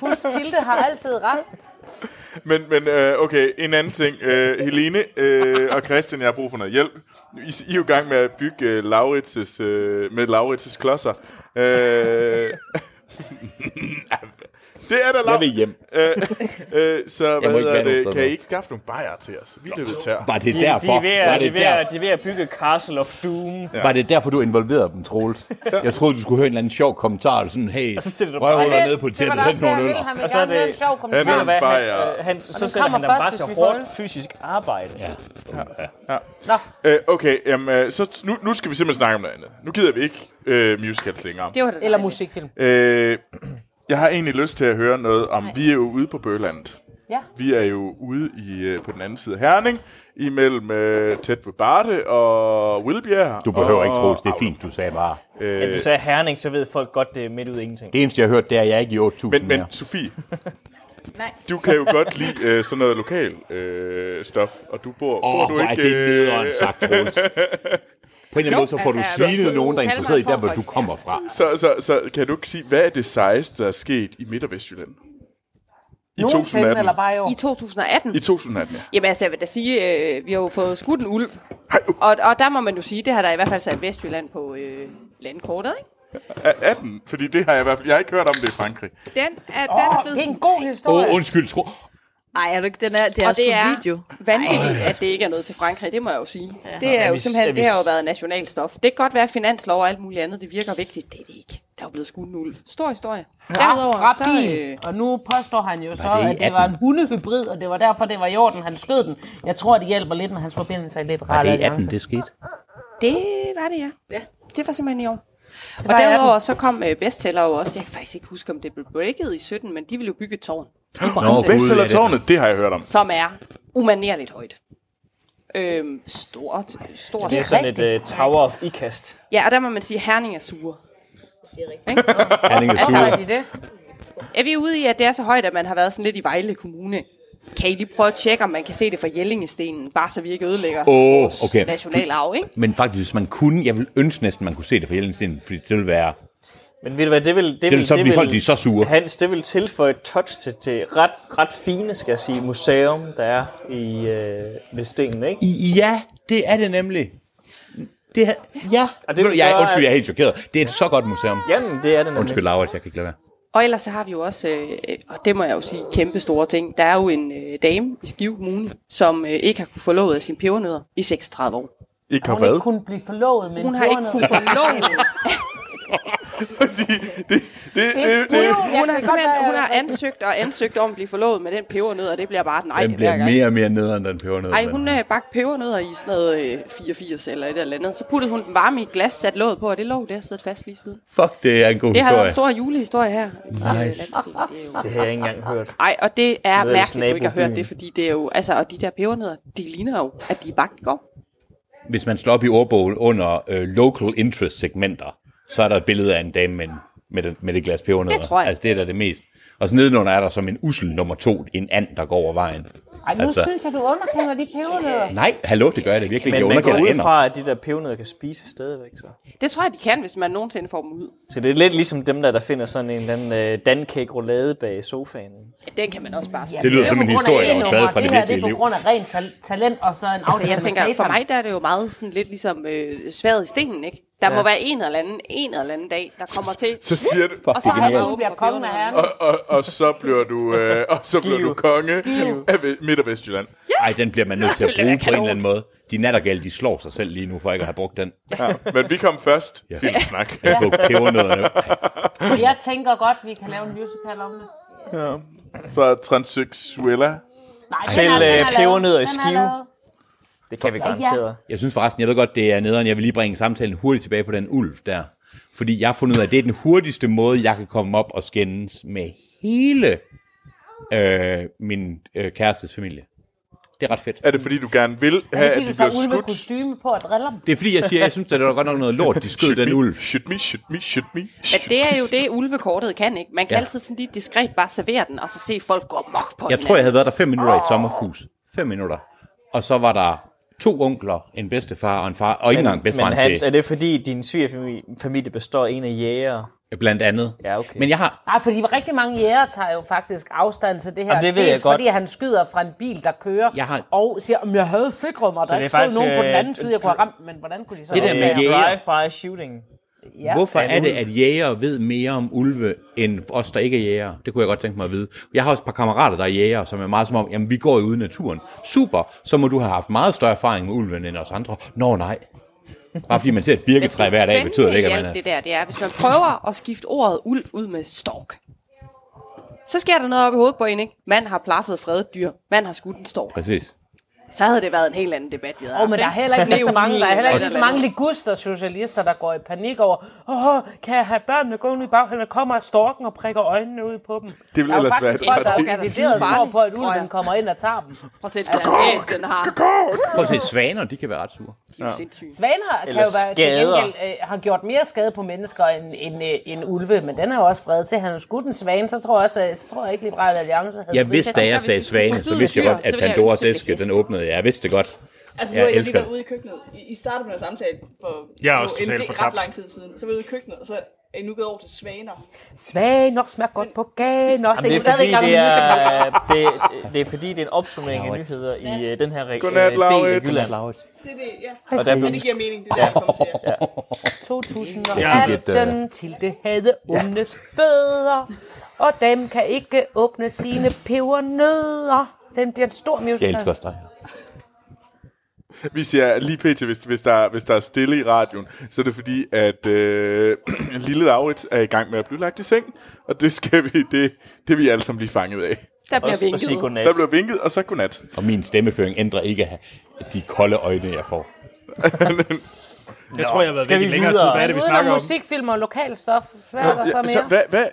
Hus Tilde har altid ret.
Men, men øh, okay, en anden ting. Øh, Helene øh, og Christian, jeg har brug for noget hjælp. I, I er jo i gang med at bygge øh, Laurits' øh, med Laurits' klodser. Øh, det er da Lav.
Jeg vil hjem.
Øh, øh, så
ikke
hvad
være
hedder
nogen
det?
steder.
Kan I ikke skaffe nogle bajer til os? Vi løber tør.
Var det
de,
derfor?
De er ved, at-
Var
de, er
det
ved, at-
derfor?
de er ved at bygge Castle of Doom.
Var det derfor, du involverede dem, Troels?
Ja.
Jeg troede, du skulle høre en eller anden sjov kommentar. eller Sådan, hey,
Og så stiller du
røvhuller nede på tæppet, hent nogle øller.
vil gerne høre en sjov kommentar.
Ved du hvad,
Bare,
han,
ja.
øh, han,
Og
så
den
sætter
kommer
han dem bare
først,
til
hvis vi får
hårdt
den.
fysisk arbejde. Ja.
Ja. Øh, okay, jamen, øh, så nu, nu skal vi simpelthen snakke om noget andet. Nu gider vi ikke øh, musicals længere.
Det var det Eller musikfilm.
Øh, jeg har egentlig lyst til at høre noget om, vi er jo ude på Bøgelandet.
Ja.
Vi er jo ude i, øh, på den anden side af Herning, imellem øh, tæt ved Barte og Wilbjerg.
Du behøver
og,
ikke, Troels. Det er fint, du sagde bare.
At
Øh.
du sagde Herning, så ved folk godt, det er midt ud af ingenting.
Det eneste, jeg har hørt, det er, at jeg er ikke i 8.000
Men, men
mere.
Sofie,
Nej.
du kan jo godt lide øh, sådan noget lokal øh, stof, og du bor,
Åh,
bor du
hvor er
ikke... øh,
det
øh,
nederen sagt, Troels. På en eller anden måde, så får du svinet nogen, der er interesseret i der, hvor du kommer fra.
Så, så, så kan du ikke sige, hvad er det sejeste, der er sket i Midt- og Vestjylland? I 2018.
bare i år?
I 2018.
I 2018, ja.
Jamen altså, jeg vil da sige, øh, vi har jo fået skudt en ulv. Og, og der må man jo sige, det har der i hvert fald sat Vestjylland på øh, landkortet, ikke?
A- 18, fordi det har jeg i hvert fald... Jeg har ikke hørt om det i Frankrig.
Den er, oh, den er blevet...
Det er en god historie.
undskyld, tro.
Nej, er du ikke? Den er, det er
og det er
video.
vanvittigt, at det ikke er noget til Frankrig, det må jeg jo sige. Ja. Det er
Er
jo
vi-
simpelthen,
er vi-
det har jo været nationalstof. Det kan godt være finanslov og alt muligt andet, det virker vigtigt. Det er det ikke. Der er jo blevet skudt en ulv. Stor historie.
Fra, fra
så, øh,
bil. Og nu påstår han jo så,
det i
at det var en hundehybrid, og det var derfor, det var i orden, han skød den. Jeg tror, det hjælper lidt med hans forbindelse i Liberale Alliance.
det skete?
Det var det, ja. ja. Det var simpelthen i år.
Det var
Og
i
derudover
18.
så kom øh, bestseller jo også. Jeg kan faktisk ikke huske, om det blev breaket i 17, men de ville jo bygge et tårn.
Nå, bestsellertårnet, det har jeg hørt om.
Som er umanerligt højt. Øhm, stort, stort.
Det er sådan et øh, Tower of Ikast.
Ja, og der må man sige, at Herning er sure. Jeg siger rigtigt.
Herning er
Altså,
sure.
det?
Er vi ude i, at det er så højt, at man har været sådan lidt i Vejle Kommune? Kan I lige prøve at tjekke, om man kan se det fra Jellingestenen, bare så vi ikke ødelægger
Åh,
vores
okay.
nationalarv, ikke?
Men faktisk, hvis man kunne, jeg ville ønske næsten, man kunne se det for Jellingstenen, fordi det ville være...
Men ved du hvad, det vil... Det,
Det vil så blive folk, de er så sure.
Hans, det vil tilføje et touch til det ret, ret fine, skal jeg sige, museum, der er i øh, ved stenen, ikke?
Ja, det er det nemlig. Det er, ja.
Og
Og
det
det
vil
jeg,
gøre,
undskyld, jeg er
at-
helt chokeret. Det er et så godt museum.
Jamen, det er det
Undskyld, Laura, jeg kan ikke lade være.
Og ellers så har vi jo også, øh, og det må jeg jo sige, kæmpe store ting. Der er jo en øh, dame i Skive Kommune, som øh, ikke har kunne få lovet af sine pebernødder i 36 år.
Ikke
Hun ikke kunne blive forlovet med
Hun har ikke kunnet få lovet.
Det,
det,
det,
Jeg
hun, har
kan
simpelthen,
godt
hun
være-
har ansøgt og ansøgt om at blive forlovet med den pebernød, og det bliver bare et nej
Den bliver mere og mere nederen, den peber ned.
Ej, hun øh, bagte pebernødder i sådan noget øh, 84 eller et eller andet. Så puttede hun den varme i et glas, satte låget på, og det lå der siddet fast lige siden.
Fuck, det er en god
det har været
historie.
en stor julehistorie her.
Nice.
Det har jeg ikke engang hørt.
Nej, og det er
Noget af
mærkeligt, at du ikke har hørt
nabobyen.
det, fordi det er jo, altså, og de der pebernødder, de ligner jo, at de er bagt i går.
Hvis man slår op i ordbogen under øh, local interest segmenter, så er der et billede af en dame med, en- med, det, med det glas pebernødder.
Det tror jeg.
Altså, det er da det mest. Og så nedenunder er der som en ussel nummer to, en and, der går over vejen.
Ej, nu altså. synes jeg, du underkender de pebernødder.
Nej, hallo, det gør jeg det virkelig ikke.
Men
Jeg
man går
underkender
ud
hænder.
fra, at de der pebernødder kan spise stadigvæk, så.
Det tror jeg, de kan, hvis man nogensinde får dem ud.
Så det er lidt ligesom dem der, der finder sådan en eller anden øh, dancake roulade bag sofaen.
Ja, den kan man også bare spise.
Det lyder som en historie, der var taget fra det
her, det
virkelige
er
liv.
på grund af rent tal- talent og så en aftale
Altså, jeg tænker,
med
for
satan.
mig der er det jo meget sådan lidt ligesom øh, sværet i stenen, ikke? Der
Ja.
må være en eller anden, en eller anden dag, der kommer til.
så siger det-
Og så
Fuck,
har
det er
jeg
genialt.
åbnet på kongen af herren.
Og, og, og så bliver du, øh, og så bliver du konge af Ve- Midt- og Vestjylland.
Ej, den bliver man nødt til at bruge på en eller anden måde. De nattergale, de slår sig selv lige nu, for ikke at have brugt den.
Ja. Men vi kom først. Ja. Filmsnak.
Jeg får pebernødderne. Ej,
Jeg tænker godt, vi kan lave en musical om det.
Ja. Fra transseksuella.
Nej,
Til, øh, pebernødder i Skive. Det kan vi
Ja, ja.
garanteret.
Jeg synes forresten, jeg ved godt, det er nederen. Jeg vil lige bringe samtalen hurtigt tilbage på den ulv der. Fordi jeg har fundet ud af, at det er den hurtigste måde, jeg kan komme op og skændes med hele øh, min øh, kærestes familie. Det er ret fedt.
Er det fordi, du gerne vil
Ja,
have, at de bliver skudt?
kostyme på og driller dem.
Det er fordi, jeg siger, jeg synes, at det var godt nok noget lort, de skød den ulv.
Shoot me, shoot me, shoot me.
Men det er jo det, ulvekortet kan, ikke? Man kan
Ja.
altid sådan lige diskret bare servere den, og så se folk gå mok på
Jeg tror, jeg havde været der fem minutter i et sommerhus. fem minutter. Og så var der to onkler, en bedstefar og en far, og ikke engang bedstefaren
Men Hans, er
til.
det fordi, din svigerfamilie familie består af en af jæger?
Blandt andet.
Ja, okay.
Men jeg har...
Nej, fordi rigtig mange jæger tager jo faktisk afstand til det her.
Jamen, det ved
Dels
jeg godt.
fordi han skyder fra en bil, der kører,
Jeg har-
og siger, om jeg havde sikret mig,
Så det
der
er
ikke stod
faktisk,
nogen på den
øh,
anden side, jeg kunne have ramt, men hvordan kunne de så
Det der med
opdage
jæger-
Drive-by shooting.
Ja.
Hvorfor
Ja,
er det,
ulv.
at jæger ved mere om ulve, end os, der ikke er jæger? Det kunne jeg godt tænke mig at vide. Jeg har også et par kammerater, der er jæger, som er meget som om, jamen vi går jo ude i naturen. Super, så må du have haft meget større erfaring med ulven end os andre. Nå nej. Bare fordi man ser et birketræ hver dag, betyder det ikke, at man
er...
er...
det der, det er, hvis man prøver at skifte ordet ulv ud med stork, så sker der noget op i hovedet på en, ikke? Man har plaffet fredet dyr. Man har skudt en stork.
Præcis.
Så havde det været en helt anden debat, vi havde
Åh, oh, men der er heller ikke lige så mange, der er heller ikke lige så mange
ligger.
liguster socialister, der går i panik over, åh, kan jeg have børnene gående i baghaven, der kommer storken og prikker øjnene ud på dem.
ville
Der er jo
ellers
faktisk
være et
folk, der
ret-
er decideret
Farligt,
tror på, at
tror
ulven
jeg.
kommer ind og tager dem.
Prøv at se, at den har.
Prøv at se, svaner, de kan være ret sure.
Ja. Sindssygt.
Svaner kan
Eller
jo være, til
skader.
gengæld, øh, har gjort mere skade på mennesker end, end, øh, end ulve, men den er jo også fredet til. Han har skudt en svane, så tror jeg, også, øh, så tror jeg ikke, Liberale Alliance havde...
Jeg vidste, da jeg sagde svane, så vidste jeg godt, at Pandoras æske, den
åbner.
åbnede. Jeg vidste det godt.
Altså, nu har
Jeg
jeg lige
elsker
været
det.
ude i køkkenet. I, I startede med den samtale for,
Jeg er
for
også
en
totalt
del- ret
fortabt.
lang tid siden. Så var jeg ude i køkkenet, og så er I nu gået over til svaner.
Svaner smager godt på gagen også.
Jamen, det, er
Jeg
fordi,
stadig
det,
ikke engang
er,
musical.
det, det er fordi, det er en opsummering af nyheder i øh, den her øh,
Godnat,
del af
Laurits.
Jylland, Laurits.
Det er det, ja.
Og der er blevet-
Men det giver mening. Det er
Ja.
der, jeg kom til.
Ja.
2018 til det havde ondes fødder, og dem kan ikke åbne sine pebernødder. Den bliver en stor musical.
Jeg elsker også Vi siger lige pt, hvis, hvis, der, hvis der er stille i radioen, så er det fordi, at øh, lille Laurits er i gang med at blive lagt i seng, og det skal vi, det, det er vi alle sammen lige fanget af.
Der bliver Og- og vinket. sige godnat.
Der bliver vinket, og så godnat.
Og min stemmeføring ændrer ikke de kolde øjne, jeg får.
Jeg tror, jeg har været
Skal
væk i
vi
længere tid.
videre?
Hvad er det, vi
Uden
snakker om?
musikfilm og lokalstof, hvad er der
Nå,
så
ja, så
mere?
hvad-
hvad?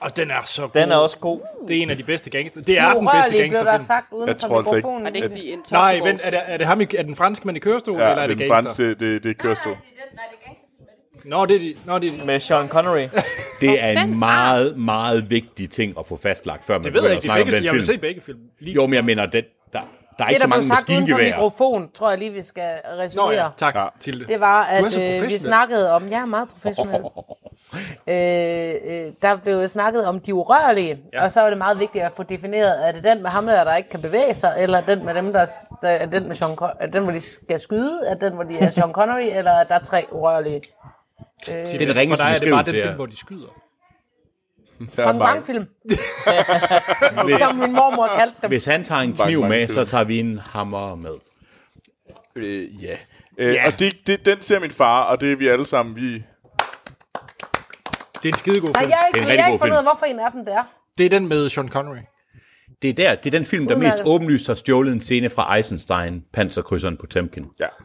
Og den er så god.
Den er også god.
Det er en af de bedste gangster. Det er den
Urørlig
bedste
blev der
gangsterfilm.
sagt uden Jeg for tror altså ikke, mikrofonen. at- Er det ikke
de
Nej,
Intouchables?
vent, er det, er det ham i, er den franske mand i kørestol,
Ja,
eller er
det
det
er
gangster?
den franske, det, det er kørestol.
Nå, det er de, nå, det er
Med Sean Connery.
Det er en meget, meget vigtig ting. Det er fastlagt, før man
Det ved jeg
begynder
ikke,
at
det
snakke
er
om den
begge, jeg vil se
film.
begge film. Lige.
Jo, men jeg mener, den, der, der er
Det,
ikke
der
så
blev
mange
sagt uden for
maskingeværer.
mikrofon, tror jeg lige, vi skal resumere.
Nå ja, tak, ja. Tilde.
Det var,
Du er
at
så
øh, vi
professionel.
snakkede om... Jeg er meget professionel. Øh, øh, der blev snakket om de urørlige, ja. og så var det meget vigtigt at få defineret, er det den med ham der, der ikke kan bevæge sig, eller den med dem, der, der er den, med Sean Con- er den, hvor de skal skyde, er den, hvor de er Sean Connery, eller er der tre urørlige? Øh,
Til-
Det er den ringeste
For dig er det bare
beskrivelse,
den
ja.
film, hvor de skyder.
Der
Bang bang film. Som min mormor kaldte dem.
Hvis han tager en
Bang,
kniv
bang,
med,
film.
så tager vi en hammer med.
Øh, ja. Øh, Og det, det, den ser min far, og det er vi alle sammen, vi...
Det er en skidegod
Nej, jeg har ikke, jeg har ikke fundet ud af, hvorfor en af dem der.
Det er den med Sean Connery.
Det er der, det er den film, der mest
Udmærket.
åbenlyst har stjålet en scene fra Eisenstein, panserkrydseren på Temkin.
Ja.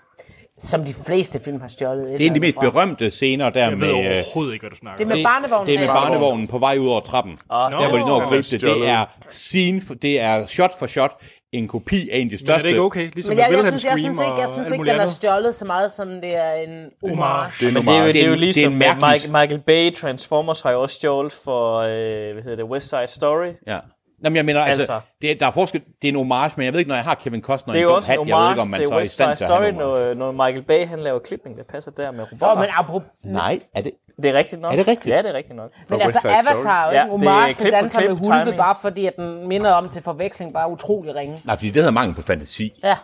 Som de fleste film har stjålet.
Det er en af de mest berømte scener der
Jeg ved
med... øh,
overhovedet ikke, hvad du snakker
Det er med barnevognen.
Det er med
Ja.
barnevognen på vej ud over trappen.
Ah,
der, hvor de når
nå.
at gribe det, det er, scene for, det er shot for shot en kopi af en af de største.
det ikke okay? Ligesom
Men jeg, jeg, synes, jeg synes ikke, jeg synes ikke den er stjålet så meget, som det er en homage.
Det er
Men det er, jo, det er jo ligesom
en
det er
mærkelig-
Michael, Michael Bay Transformers har jo også stjålet for, øh, hvad hedder det, West Side Story.
Ja. Nå, men jeg mener, altså,
Altså.
altså det, er- der er forskel. Det er en homage, men jeg ved ikke, når jeg har Kevin Costner
Det
i
er jo
en
også
hat,
en
jeg ved ikke,
homage
om man
til
så er i
West Side
stand til at have
Story,
en homage.
når, når Michael Bay han laver klipning, der passer der med robotter.
Åh, men apropos...
øh,
Nej, er det...
Det er rigtigt nok.
Er det rigtigt?
Ja, det er rigtigt nok.
Men altså, Avatar er jo ikke en homage til danser med hulve, bare fordi at den minder om til forveksling bare utrolig ringe.
Nej, fordi det hedder mangel på fantasi.
Ja.
Det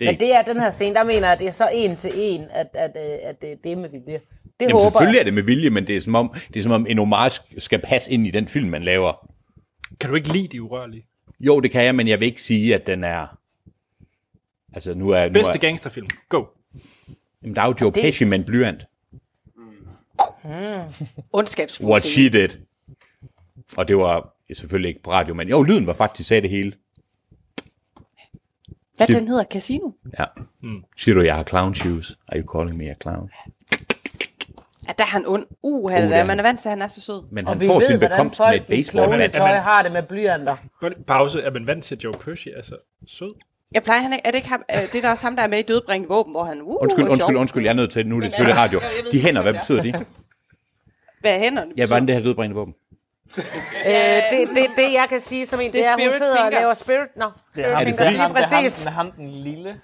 Det
er
Men det er den her scene, der mener jeg, at det er så en til en, at, at, at, at det det er med vilje. Det
Jamen,
håber
selvfølgelig
jeg.
er det med vilje, men det er, som om, det er som om en homage skal passe ind i den film, man laver.
Kan du ikke lide de urørlige?
Jo, det kan jeg, men jeg vil ikke sige, at den er... Altså, nu er... Nu
Bedste
er
gangsterfilm. Go.
jamen, der er jo Joe
Det-
Pesci med en blyant.
Ondskabsfuldt.
What she did. Og det var selvfølgelig ikke på radio, men jo, lyden var faktisk sagde det hele.
Hvad
Shit.
den hedder? Casino?
Ja. Mm. Siger du, jeg har clown shoes? Are you calling me a clown?
Ja, der er han ond. Uh,
Uh,
han
der er
er, man er vant til, at han er så sød.
Men
Og
han
vi
får
ved,
sin
hvordan
bekomst
folk
med et
i klovne
baseball.
tøj har det med blyanter.
Pause. Er man vant til Joe Pesci? Altså, sød.
Jeg plejer han ikke, er det ikke ham, øh, det er da også ham, der er med i dødbringende våben, hvor han, uh,
Undskyld,
hvor
undskyld,
sjov.
undskyld, jeg er nødt til, nu er det selvfølgelig radio.
Jeg ved
De hænder,
ikke,
hvad
hvad
betyder
det
de?
Hvad er hænderne?
Ja, hvordan det her dødbringende våben?
Øh, det, det, det, jeg kan sige som en, det,
Det er
er, at hun
Spirit
sidder og
Fingers.
laver spirit... Nå,
Det
spirit
er ham,
fingers,
det er
lige
ham, det er ham,
præcis.
den, ham den lille,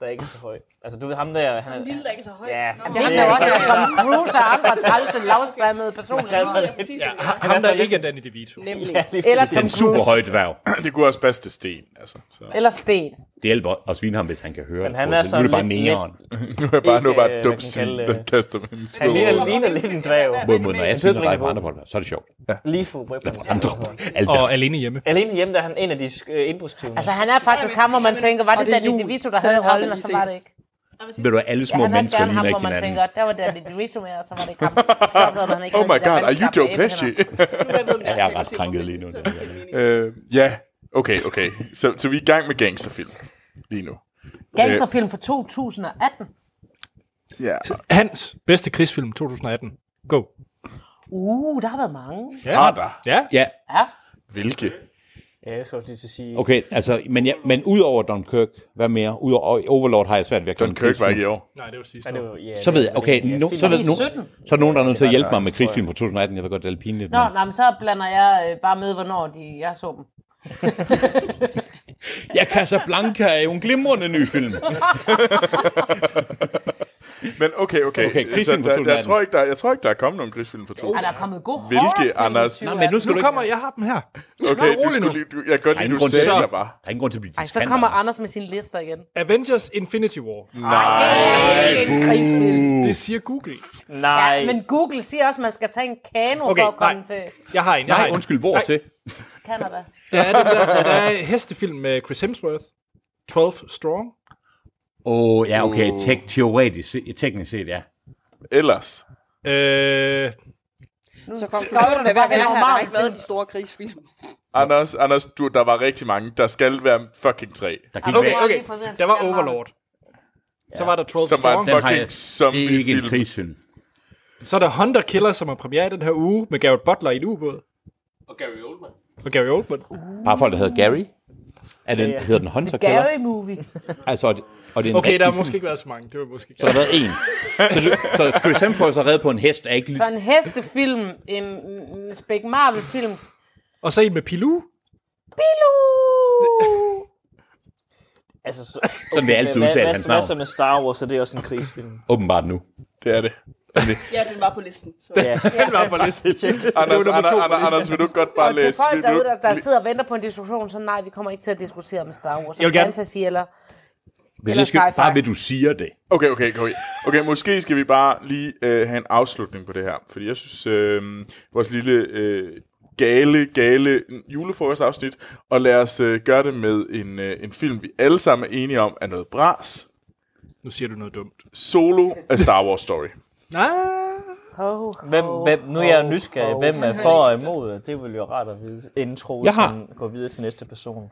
der ikke er så høj. Altså, du ved ham der... Han, er,
lille,
der ikke er så høj? Ja.
Jamen, det er ham, der også er Tom Cruise og andre trælse, lavstammede personer.
Han er sådan
lidt-
ja,
Ham, der ikke er Danny DeVito.
Nemlig. Eller Tom
en
Cruise.
super høj dværg.
Det kunne også passe til sten, altså. Så.
Eller Sten.
Det hjælper at svine ham, hvis han kan høre
Men
det.
han
Nu
er
det
sådan
bare
lidt-
næren.
Nu er jeg bare, nu er jeg bare
Ikke,
et
øh,
dumt
hvad
svin,
kan kalde,
der
øh,
kaster med en
Han
svog.
ligner, ligner lidt en dræv.
Mod, mod, når jeg sviner dig på
Flygtningeniveau.
andre bolder, så er det sjovt. Ja.
Lige fod på Eller
Andre Alt
Og alene hjemme.
Alene hjemme, der er han en af de sk- øh, indbrudstyvene.
Altså, han er faktisk ham, hvor man tænker, var
og
det,
det er
Danny
jul,
DeVito, der
så
havde
har man
rollen, og
lige
så
set
var det ikke.
Ved du, alle små
han er
mennesker
gerne ham,
ligner
hvor
ikke
man
hinanden.
tænker, der var Danny DeVito med, og så var det ikke ham. Så opdagede man ikke
Oh
rigtig,
my
der
god, are you
mandskab
Joe
med
Pesci?
æblehænder.
Ja, jeg er ret krænket lige nu.
Øh, Ja, okay, okay. Så, så vi er i gang med gangsterfilm lige nu.
Gangsterfilm fra 2018.
Øh, Ja.
Hans bedste krigsfilm 2018. Go.
Uh, der har været mange.
Ja.
Har der?
Ja.
Ja,
Ja.
Hvilke?
Ja, jeg skulle også lige til at sige...
okay, altså, men, ja, men ud over Dunkirk, hvad mere? Ud over Overlord har jeg svært ved at kalde
John
en
Kirk var
krigsfilm.
ikke i år.
Nej, det var sidste
Ja, det var,
år.
ja,
Så ved jeg, okay, nu, så, ved, nu, så er nogen, der er nødt til at hjælpe mig med
tror jeg.
krigsfilm fra 2018. Jeg ved godt, det er pinligt.
Nå,
Men...
nej, men så blander jeg øh, bare med, hvornår de, jeg så dem.
Ja, Casablanca er jo en glimrende ny film.
Men okay, okay.
Okay, krigsfilm fra
Så der- der- jeg,
2018.
tror ikke, der, jeg tror ikke, der er kommet nogen krigsfilm for to.
Er der kommet god
Hvilke, Anders?
Nej, men nu skal
Nu
du ikke...
kommer jeg, jeg har dem her.
Okay,
Nå,
du
rolig
skulle
nu.
lige, du, jeg kan godt
Der er
lide,
ingen
du
grund til,
sagde,
så...
der var.
der er ingen grund til at blive
Ej, så
diskant,
kommer
Anders.
Anders med sine lister igen.
Avengers Infinity War. Det siger Google.
Nej.
Ja, men Google siger også, at man skal tage en kano
Okay,
for at komme
nej.
til
Jeg har en. Jeg har
Nej,
en.
undskyld, hvor til?
Canada.
Der er, den der, der er hestefilm med Chris Hemsworth. 12 Strong. Øh,
Åh, oh, ja, okay, tek- teoretisk, se- teknisk set, ja.
Ellers.
Øh,
Så konklusionen er, hvad har der har ikke været de store krigsfilm?
Anders, Anders du, der var rigtig mange. Der skal være fucking tre.
Der kan ikke
okay,
være...
okay. Der var Overlord. Så var der 12
Som var
Strong.
en
Den har
fucking
jeg... Det er ikke en
zombie-film.
krigsfilm.
Så er der Hunter Killer, som har premiere den her uge, med Garrett Butler i en ubåd.
Og Gary Oldman.
Og Gary Oldman.
Bare folk, der hedder Gary. Er den, hedder den Hunter Killer?
Gary movie.
Altså, og det, og det er en
Okay,
rigtig
der har
film.
måske ikke været så mange. Det var måske
Så der har været en. Så, det- så Chris Hemsworth har reddet på en hest, er ikke
Så
lige...
en hestefilm, en, en Spæk Marvel-film.
Og så en med Pilou.
Altså, så,
Sådan vil jeg altid udtale
hvad,
hans
Hvad
navn.
så med Star Wars, så det er også en krigsfilm?
Åbenbart nu.
Det er det.
Ja, den var på listen. Så.
Ja.
Den var på listen.
Anders,
nummer
Anders,
to på
Anders,
listen.
Anders, vil du ikke godt
Og
bare
til
læse?
folk
vil du-
derude, der, der sidder og venter på en diskussion, så nej, vi kommer ikke til at diskutere med Star Wars.
Jeg
Og
vil gerne-
fantasy eller...
Vil
Eller
jeg skal,
sci-fi.
bare ved, du siger det.
Okay, okay, okay. Okay, måske skal vi bare lige øh, have en afslutning på det her. Fordi jeg synes, øh, vores lille øh, gale, gale julefrokostafsnit, og lad os øh, gøre det med en, øh, en film, vi alle sammen er enige om, er noget bras.
Nu siger du noget dumt.
Solo af Star Wars Story.
Nej.
Oh,
Hvem, hvem, nu er jeg jo nysgerrig. Hvem er for og imod? Det vil jo rart at vide, inden Troels
Jeg har-
han går videre til næste person.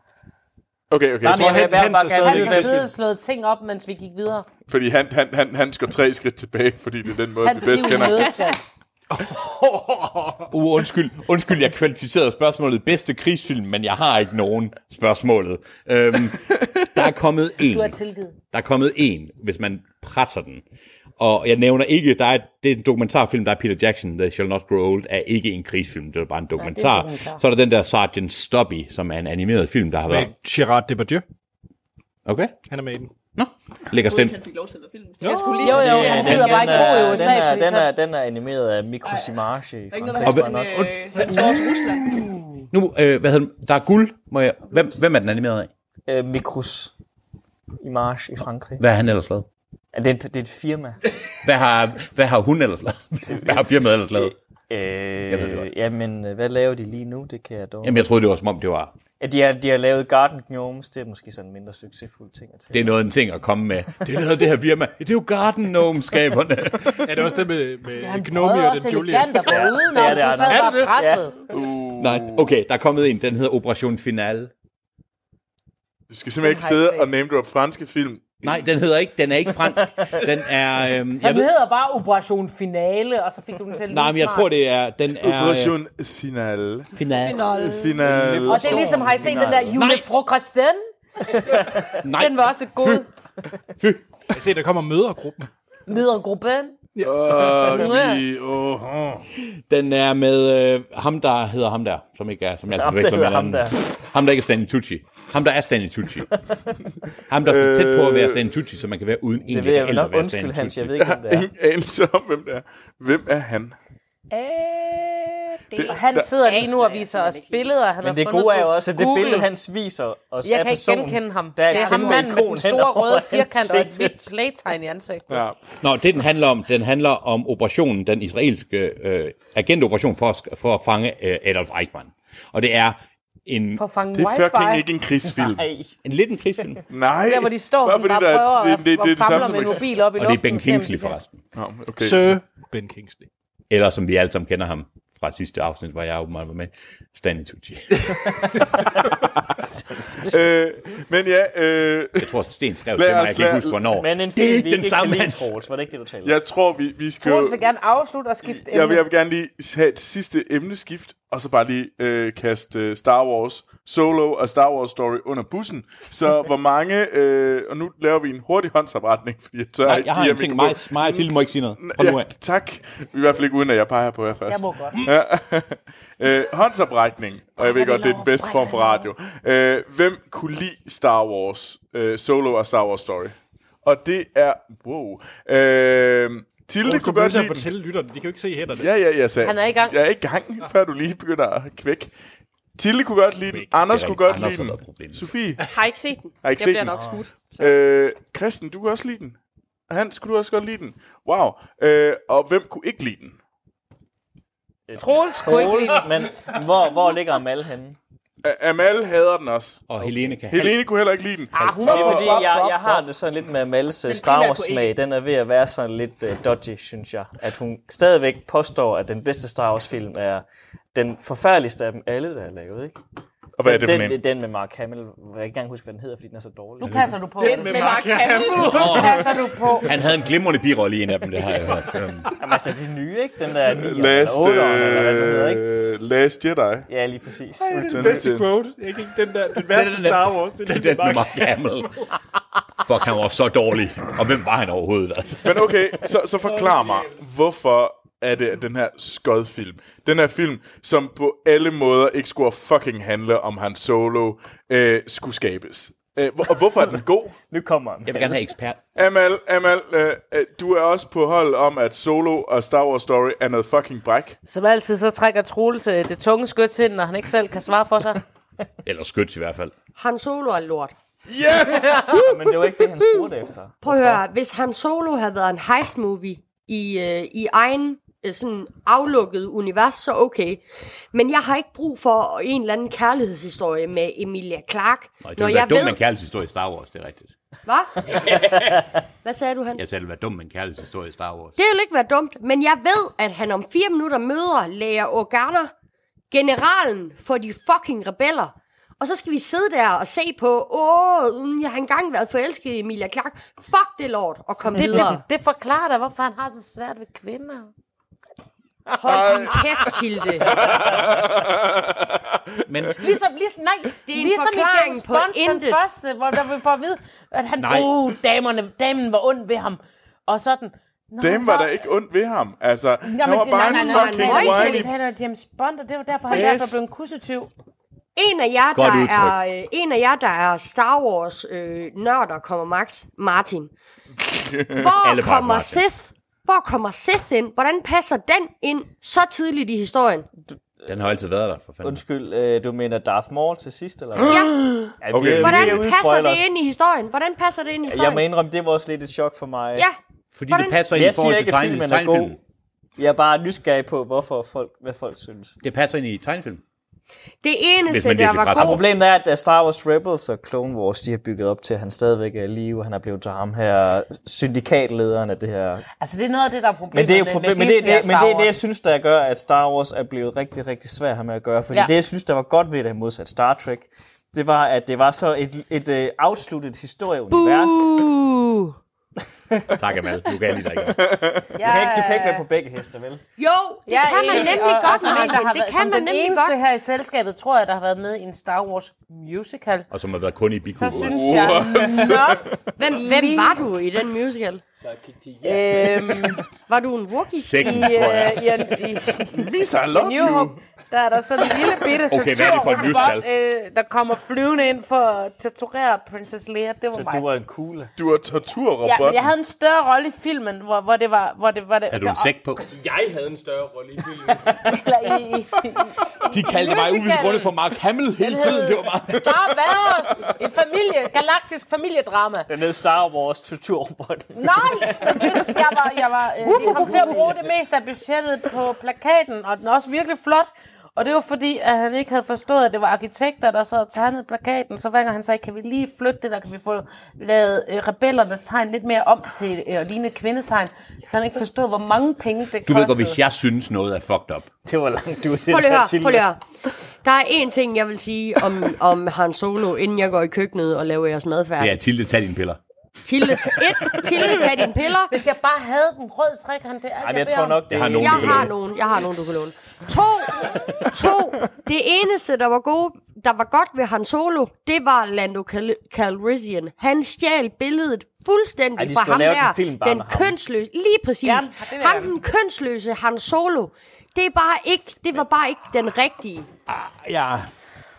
Okay, okay.
Nej,
Jeg
men
tror,
jeg vil
Hans-
bare
Hans er
gerne
Han
vide,
stadig-
har
hvem-
siddet og slået ting op, mens vi gik videre.
fordi han, han, han, han går tre skridt tilbage, fordi det er den måde, vi
Hans liv
bedst kender.
nødskal.
Uh, undskyld, undskyld, jeg kvalificerede spørgsmålet bedste krigsfilm, men jeg har ikke nogen spørgsmålet. Øhm, der er kommet en.
Du er tilgivet.
Der er kommet en, hvis man presser den. Og jeg nævner ikke, der er, det er en dokumentarfilm, der er Peter Jackson, The Shall Not Grow Old, er ikke en krigsfilm, det er bare en dokumentar.
Nej, det er en dokumentar.
Så er der den der Sergeant Stubby, som er en animeret film, der har
Med
været...
Gerard Depardieu.
Okay,
Han er med i den.
lægger stemt.
Han fik lov til at filme. Øh,
Jeg skulle
Jo, jo,
Ja,
han
den-
hedder bare
den
ikke
er-
Bro i USA,
den er,
fordi
den, er,
så...
den er animeret af Mikko Simage.
Ikke noget, der hedder
Og-
sådan, øh, han tog til Rusland.
Nu, øh, hvad hedder den? Der er guld. Må jeg, hvem, hvem er den animeret af?
Øh, Mikros Image i Frankrig.
Hvad har han ellers lavet?
Er det, et, det er et firma.
Hvad har, hvad har hun ellers lavet? Hvad har firmaet ellers lavet? Jeg ved det
Øh,
godt.
jamen, øh, hvad laver de lige nu? Det kan jeg dog.
Jamen, jeg troede, det var som om, det var...
Ja, de, har, de har lavet Garden Gnomes. Det er måske sådan en mindre succesfuld ting at
Det
tage.
er noget af en ting at komme med. Det er lavet det her firma. Det er jo Garden Gnome-skaberne.
Er det også det med, med
Han
Gnomeo
prøvede
og
også
den Julia?
elegant at gå udenom.
det er det,
Du sad
Anders.
bare presset.
Øh, Nej, okay, der er kommet en. Den hedder Operation Finale.
Du skal simpelthen ikke sidde og name drop franske film.
Nej, den hedder ikke. Den er ikke fransk. Den er... Øhm,
Så
jeg
den
ved,
hedder bare Operation Finale, og så fik du den til at lyde
nej, men jeg
smart.
tror, det er... Den er... Øh,
Operation Finale.
finale.
Finale.
Og det er ligesom, har I set den der julefrokosten?
Nej,
Den var også god.
Jeg ser, der kommer mødergruppen.
Mødergruppen.
Ja. Åh, vi, åh, åh.
Den er med øh, ham, der hedder ham der, som ikke er, som jeg
Ham,
altid
der
forveksler med
hedder ham
hinanden. Ham, der ikke er Stanley Tucci. Ham, der er Stanley Tucci. ham, der er så tæt på at være Stanley Tucci, så man kan være uden egentlig
ved jeg
reelt
vel
at
nok.
være
Undskyld,
Stanley
Hans,
Tucci.
jeg ved ikke, hvem det er.
Ingen anelse om, hvem det er. Hvem er han?
Og han
der-
sidder lige nu og viser os billeder, han
Men
har
det
fundet
gode er
på
jo også, at det
Google.
billede, han viser os
Jeg
af
kan ikke
personen,
genkende ham.
der er
det er
et
ham
kæmpe
manden med den
ikon
store
henover
røde firkant og et
ansigtet.
hvidt playtegn i ansigtet.
Ja. Nå, det den handler om, den handler om operationen, den israelske øh, agentoperation for at, sk- for at fange øh, Adolf Eichmann. Og det er en...
For at fange
det er
wifi.
fucking ikke en krigsfilm.
Nej.
En lidt en krigsfilm.
Nej.
Der, hvor de står,
Bare
sådan
fordi
bare
der er-
prøver at-
det- det-
at
det er det
famle
samme
med
som-
mobil op i
og det er
luften,
Ben
selvom de
Kingsley
kan-
forresten.
Nå, okay.
Sir
Ben Kingsley.
Eller som vi alle sammen kender ham fra sidste afsnit, hvor jeg åbenbart var med, Stanley Tucci.
øh, men ja... Øh,
jeg tror, Sten skrev til mig, jeg kan ikke huske, hvornår.
Men en
Det er
film, vi
ikke den
ikke kan
samme
lide,
Hans.
Troels. Var det ikke det, du talte om?
Jeg tror, vi, vi skal...
Troels vil gerne afslutte og skifte
Jeg vil,
emne.
jeg vil gerne lige have et sidste emneskift, og så bare lige øh, kaste øh, Star Wars Solo og Star Wars Story under bussen. Så hvor mange... Øh, og nu laver vi en hurtig håndsopretning, fordi jeg tør
Nej,
ikke
jeg har
give
en
jer
ting.
mikrofon.
Mig, mig og Tilde må ikke sige noget. Hold nu
Ja,
af.
tak. I hvert fald ikke uden, at jeg peger på jer først.
Jeg må godt.
Ja. øh, håndsoprækning, og jeg ved godt, det er den bedste form for radio. Øh, hvem kunne lide Star Wars, øh, Solo og Star Wars Story? Og det er... Wow. Øh, Tilde
Troels,
kunne
bliver
godt
nødt til
lide
at fortælle lytterne, de kan jo ikke se hænderne.
Ja, ja, jeg sagde.
Han er i gang.
Jeg er i gang, før du lige begynder at kvække. Tilde kunne godt lide den. Anders
Det er
kunne godt
Anders,
lide
der
den.
har været problemet.
Sofie
Har ikke set den.
har ikke
den
set
bliver
den.
nok skudt.
Øh, Christen, du kunne også lide den. Og Hans, skulle du også godt lide den. Wow. Øh, og hvem kunne ikke lide den?
Troels
kunne ikke lide
men hvor, hvor ligger Amal henne?
A- Amal hader den også.
Og Helene kan
Helene kunne heller ikke lide den.
Ah, hun
Og-
det er fordi, jeg, jeg har det sådan lidt med Amals øh, Star Wars smag. Den er ved at være sådan lidt uh, dodgy, synes jeg. At hun stadigvæk påstår, at den bedste Star Wars film er den forfærdeligste af dem alle, der er lavet, ikke?
Og hvad er det for
den,
en?
Den, den med Mark Hamill. Jeg kan ikke engang huske, hvad den hedder, fordi den er så dårlig.
Nu passer du på.
Den med Mark Hamill.
Nu passer du på.
Han havde en glimrende birolle i en af dem, det har jeg hørt. Øhm,
Jamen, altså, de nye, ikke? Den der 9 eller
Last,
8 eller hvad den hedder, ikke?
øh, Last Jedi.
Ja, lige præcis.
Ej, det er den bedste quote. Jeg kan ikke den der, den værste
den der-
Star Wars. Det er
den
den,
der
den
med Mark Hamill. Fuck, han var så dårlig. Og hvem var han overhovedet? Altså?
Men okay, så, så forklar mig, hvorfor er det at den her skodfilm? Den her film, som på alle måder ikke skulle fucking handle om Han Solo, øh, skulle skabes. Øh, hvor- og hvorfor er den god?
Nu kommer han.
Jeg vil gerne have ekspert.
Amal, Amal øh, øh, du er også på hold om, at Solo og Star Wars Story er noget fucking bræk.
Som altid, så trækker Troels øh, det tunge skødt til, når han ikke selv kan svare for sig.
Eller skyts i hvert fald.
Han Solo er lort.
Yes!
Men det var ikke det, han spurgte efter.
Prøv at høre, hvis Han Solo havde været en heist movie i, øh, i egen øh, sådan aflukket univers, så okay. Men jeg har ikke brug for en eller anden kærlighedshistorie med Emilia Clarke.
Nå, det
når
ville være
jeg
dumt med
ved...
en kærlighedshistorie i Star Wars, det er rigtigt.
Hvad? Hvad sagde du, han?
Jeg sagde, det ville være dumt med en kærlighedshistorie i Star Wars.
Det ville ikke være dumt, men jeg ved, at han om fire minutter møder Leia Organa, generalen for de fucking rebeller. Og så skal vi sidde der og se på, åh, mm, jeg har engang været forelsket i Emilia Clark. Fuck det lort, og kom
Det,
videre.
det, det forklarer dig, hvorfor han har så svært ved kvinder.
Hold din kæft, Tilde.
Men
Ligesom, ligesom, nej, det
er
er
en
ligesom i
forklaring
James
på
Bond, den
intet.
første, hvor der vi får at vide, at han,
Nej.
oh, damerne, damen var ond ved ham, og sådan. Nå,
Dem
så-
var der ikke ondt ved ham. Altså,
Nå,
han
men
var
det-
bare
nej,
en
nej, nej, nej,
fucking
nej, nej,
whiny
nej, Han er James Bond, og det var derfor, han
Yes.
derfor blev en kussetyv.
En af jer,
Godt
der
udtryk.
er, øh, en af jer, der er Star Wars øh, nørder, kommer Max Martin. Hvor kommer Sith? Hvor kommer Sith ind? Hvordan passer den ind så tidligt i historien?
Den har altid været der, for fanden.
Undskyld, øh, du mener Darth Maul til sidst, eller
Ja.
Ja,
Okay.
vi er- vi er
Hvordan
ude i
passer
spoilers.
det ind i historien? Hvordan passer det ind i
Jeg
historien?
må indrømme, det var også lidt et chok for mig.
Ja.
Fordi det passer ind i
Men jeg
forhold
siger
til
ikke, at
tegne-
filmen er god.
tegnefilmen.
Jeg er bare nysgerrig på, hvorfor folk, hvad folk synes.
Det passer ind i tegnefilm.
Det eneste, der var
Og
god...
problemet er, at øh, Star Wars Rebels og Clone Wars, de har bygget op til, at han stadigvæk er i live, og han er blevet til ham her, syndikatlederen af det her.
Altså, det er noget af det, der er problemet
Men det er jo
med-
problem,
med
men det,
Disney og
det, men
Star
det er det,
Wars.
jeg synes, der gør, at Star Wars er blevet rigtig, rigtig svært at have med at gøre. Fordi
Ja.
ja. det, jeg synes, der var godt ved det, modsat Star Trek, det var, at det var så et, et, et afsluttet historieunivers.
Boo!
tak, Amal. Du kan lide dig ikke.
Du kan, ikke, du kan ikke være på begge heste, vel?
Jo, det
Jeg er
kan man
enig,
nemlig
og-
godt,
og som en, altså, der
Martin.
har
Det
været-
kan
som
man
den
nemlig
eneste
godt.
her i selskabet, tror jeg, der har været med i en Star Wars musical.
Og som har været kun i Bikubo.
Så synes jeg,
Hvem, hvem var du i den musical?
Så jeg kiggede til jer.
Øhm, var du en Wookie?
Second, tror jeg.
I, øh, i, i,
Miss, I love
New
you.
Hope,
der er der sådan en lille bitte
Okay, hvad er det for en musical?
øh, der kommer flyvende ind for at torturere Princess Leia. Det var mig.
var
en kugle.
Du var torturrobot.
Ja, men jeg havde en større rolle i filmen, hvor, hvor det var... Hvor det, var det, der,
på?
Jeg havde en større rolle i filmen.
Eller i, i,
De kaldte mig ud til
Musicalen.
grunde for Mark Hamill hele
Den
tiden.
hed-
Det var meget...
Star Wars! Et familie, galaktisk familiedrama.
Den hed Star Wars torturrobot.
Nej, men just, jeg var, jeg var, øh, vi kom til at bruge det meste af budgettet på plakaten, og den er også virkelig flot. Og det var fordi, at han ikke havde forstået, at det var arkitekter, der sad og tegnede plakaten. Så hver gang han sagde, kan vi lige flytte det, der kan vi få lavet øh, rebellernes tegn lidt mere om til øh, at ligne et kvindetegn. Så han ikke forstod, hvor mange penge det
Du
kostede.
ved godt, hvis jeg synes noget er fucked up.
Det var langt du til
Prøv lige at høre, prøv lige at høre. Der er én ting, jeg vil sige om, om Han Solo, inden jeg går i køkkenet og laver jeres mad færdig.
Ja, Tilde, tag dine piller.
Tilde, t- et, Tilde, tag dine piller.
Hvis jeg bare havde den rød trekant, det er alt,
men jeg
beder
tror
om.
nok, det
Jeg har nogen,
jeg
du kan
har
låne.
nogen, jeg har nogen, du kan låne. To, to. Det eneste, der var, gode, der var godt ved Han Solo, det var Lando Cal- Calrissian. Han stjal billedet fuldstændig
Ej, de
fra
skulle
ham
lave
der.
en film bare
den
med ham.
kønsløse, lige præcis.
Ja,
Ja,
det vil jeg
ham
gerne.
den kønsløse Han Solo. Det, er bare ikke, det var bare ikke den rigtige.
Ja,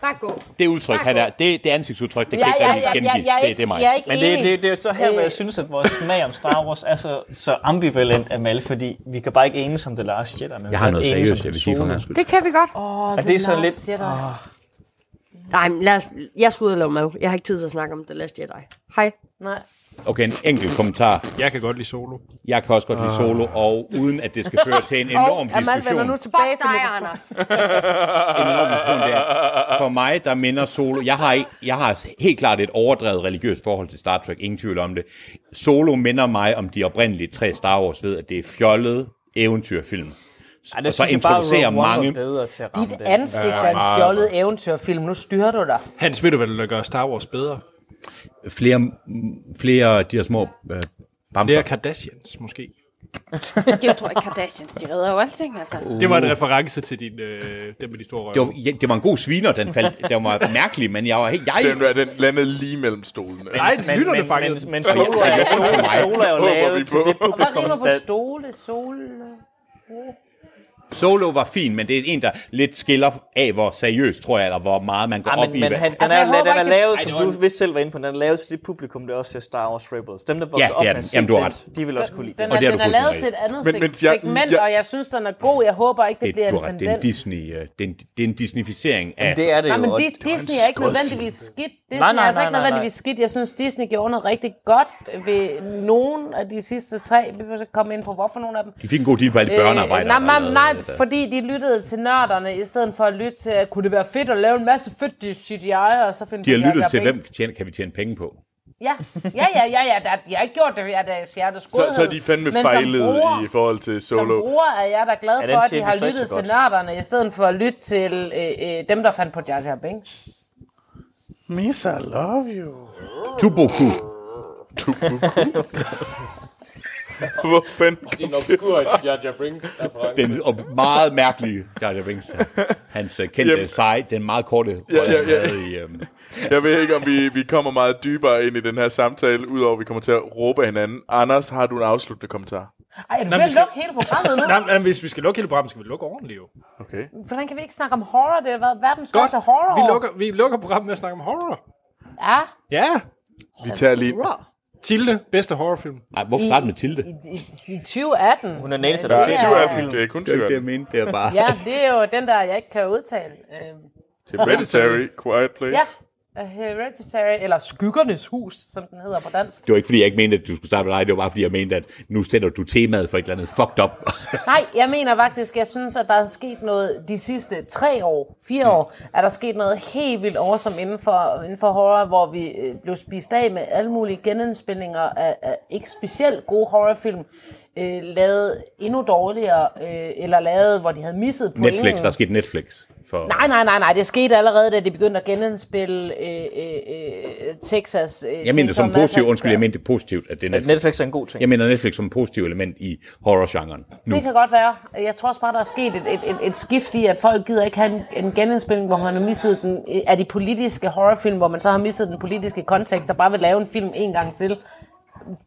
Bare gå.
det udtryk, han er, det, det ansigtsudtryk, det kan
Ja,
ikke
ja,
rigtig
ja, ja,
gengives.
jeg er
Det,
ikke-
det er mig.
jeg er ikke-
Men det,
Enig.
det, det er så her, hvor
Øh.
jeg synes, at vores smag om Star Wars er så, så ambivalent af Mal, fordi vi kan bare ikke enes om The Last Jedi. men vi
Jeg har
kan
noget
enes om
seriøst,
Han
jeg vil sige for
Solo.
en gang skyld.
Det kan vi godt.
Åh,
Og det er så lidt... Ah, Åh,
Nej, men lad os, jeg skulle ud og lave mad. Jeg har ikke tid til at snakke om The Last Jedi. Hej.
Nej.
Okay, en enkelt kommentar.
Jeg kan godt lide solo.
Jeg kan også godt lide solo, og uden at det skal føre til en
Og
enorm
Amal vender
diskussion.
nu tilbage til
dig,
mikrofonen.
Anders.
en enorm diskussion det er, for mig, der minder Solo... Jeg har, ikke- jeg har helt klart et overdrevet religiøst forhold til Star Trek, ingen tvivl om det. Solo minder mig om de oprindelige tre Star Wars ved, at det er fjollet eventyrfilm.
Ej,
og
det
så
synes jeg bare,
introducerer
Rogue One var
mange...
bedre til at ramme
Dit
den.
ansigt er en fjollet eventyrfilm. Nu styrer du dig.
Hans, ved du, hvad der gør Star Wars bedre?
Flere, flere af de her små øh, bamser.
Flere Kardashians, måske.
Det er jo, tror jeg, Kardashians, de redder jo alting, altså.
Det var en reference til din, øh, den med de store
Det
røve.
var, ja, det var en god sviner, den faldt. Den var mærkelig, men jeg var helt... Jeg,
Den, den landede lige mellem stolene.
Nej, lytterne
men, men, men,
fangede
men Solo er jo, Solo, Solo er jo
Håber vi
lavet til
på.
det
Og hvad rimer
publikum,
på
der,
stole, sol?
Solo var fin, men det er en, der lidt skiller af, hvor seriøst, tror jeg, eller hvor meget man går
Ja,
op
men,
i.
men
hvad-
han, den,
Altså,
altså,
jeg
er,
håber
den er
ikke,
lavet,
det-
som
Ej, det var
du vist selv var inde på, den er lavet til det publikum, der også ser Star Wars Rebels. Dem, der vokser
det
op
er
med
den.
at se
Jamen, du har
den,
ret.
de vil også kunne lide
Den
den.
Og
er,
det er
den
du
er
fuldstændig
lavet
ret i.
til et andet
Men-
men,
men
men,
jeg-
segment,
jeg-
og jeg synes, den er god. Jeg håber ikke, det,
det,
bliver
du
en
har ret, det er en
tendens.
Disney, øh, det er en, det er en Disney-ficering af...
Det er det jo.
Nej, men
og-
Di- Disney er ikke nødvendigvis skidt. Disney
Nej, nej,
er altså ikke
nej, nej,
nødvendigvis skidt. Jeg synes, Disney gjorde noget rigtig godt ved nogen af de sidste tre. Vi vil så komme ind på, hvorfor nogle af dem.
De fik en god deal på alle
Øh,
børnearbejdere.
nej, nej,
der
nej,
lavede det.
fordi de lyttede til nørderne, i stedet for at lytte til, at kunne det være fedt at lave en masse fedt CGI, og så finde
De har
på, at
lyttet
der
til,
er
hvem tjener, kan vi tjene penge på?
Ja, ja, ja, ja, ja der, jeg har ikke gjort det ved deres hjertes
Så,
godhed.
så er de fandme
men
fejlet
som bruger,
i forhold til
Som
Solo.
bruger er jeg da glad
Ja,
for,
den
at de
tjener
har
så ikke så
lyttet til
godt.
nørderne, i stedet for at lytte til øh, øh, dem, der fandt på Jar Jar Binks.
Miss, I love you.
Tuboku.
Hvor fanden?
Det er en obskur Jar Jar Binks reference.
Den og meget mærkelige Jar Jar Binks. Hans øh, kendte
Jamen.
sej, den meget korte
Ja,
rolle,
ja,
han
ja.
havde i... øhm,
Jeg ved ikke, om vi, vi kommer meget dybere ind i den her samtale, udover at vi kommer til at råbe af hinanden. Anders, har du en afsluttende kommentar?
Ej, er du
Nå,
ved
vi
at
skal-
lukke hele programmet nu?
Nej, men hvis vi skal lukke hele programmet, skal vi lukke ordentligt jo.
Okay.
Hvordan kan vi ikke snakke om horror? Det har været verdens største horror.
Vi lukker, vi lukker programmet med at snakke om horror.
Ja,
Ja.
Vi tager lige...
Tilde, bedste horrorfilm.
Nej, hvorfor starte med Tilde?
i, i, i 2018.
Hun er nailed til
Der
dig.
er 20 af film. Det er kun 20 af
det,
film.
jeg mente. Det er bare...
Ja, det er jo den der, jeg ikke kan udtale. Øhm,
Hereditary, Quiet Place.
Ja, Hereditary, eller Skyggernes Hus, som den hedder på dansk.
Det var ikke, fordi jeg ikke mente, at du skulle starte med dig. Det var bare, fordi jeg mente, at nu sætter du temaet for et eller andet fucked up.
Nej, jeg mener faktisk, jeg synes, at der er sket noget de sidste tre år, fire år, er der sket noget helt vildt awesome inden for, inden for horror, hvor vi øh, blev spist af med alle mulige genindspilninger af, af ikke specielt gode horrorfilm, øh, lavet endnu dårligere, øh, eller lavet, hvor de havde misset pointen.
Netflix, der er sket Netflix. For...
Nej, nej, nej, nej, det skete allerede, da de begyndte at genindspille øh, øh, øh, Texas. Øh,
Jeg mener det som
Chainsaw
positivt,
Massacre.
undskyld, jeg mente det positivt, at det er
At
Netflix.
Netflix er en god ting.
Jeg mener Netflix som positivt element i horrorgenren. Nu.
Det kan godt være. Jeg tror også bare, der er sket et, et, et, et skift i, at folk gider ikke have en, en genindspilning, hvor man har misset den, af de politiske horrorfilm, hvor man så har misset den politiske kontekst, og bare vil lave en film en gang til.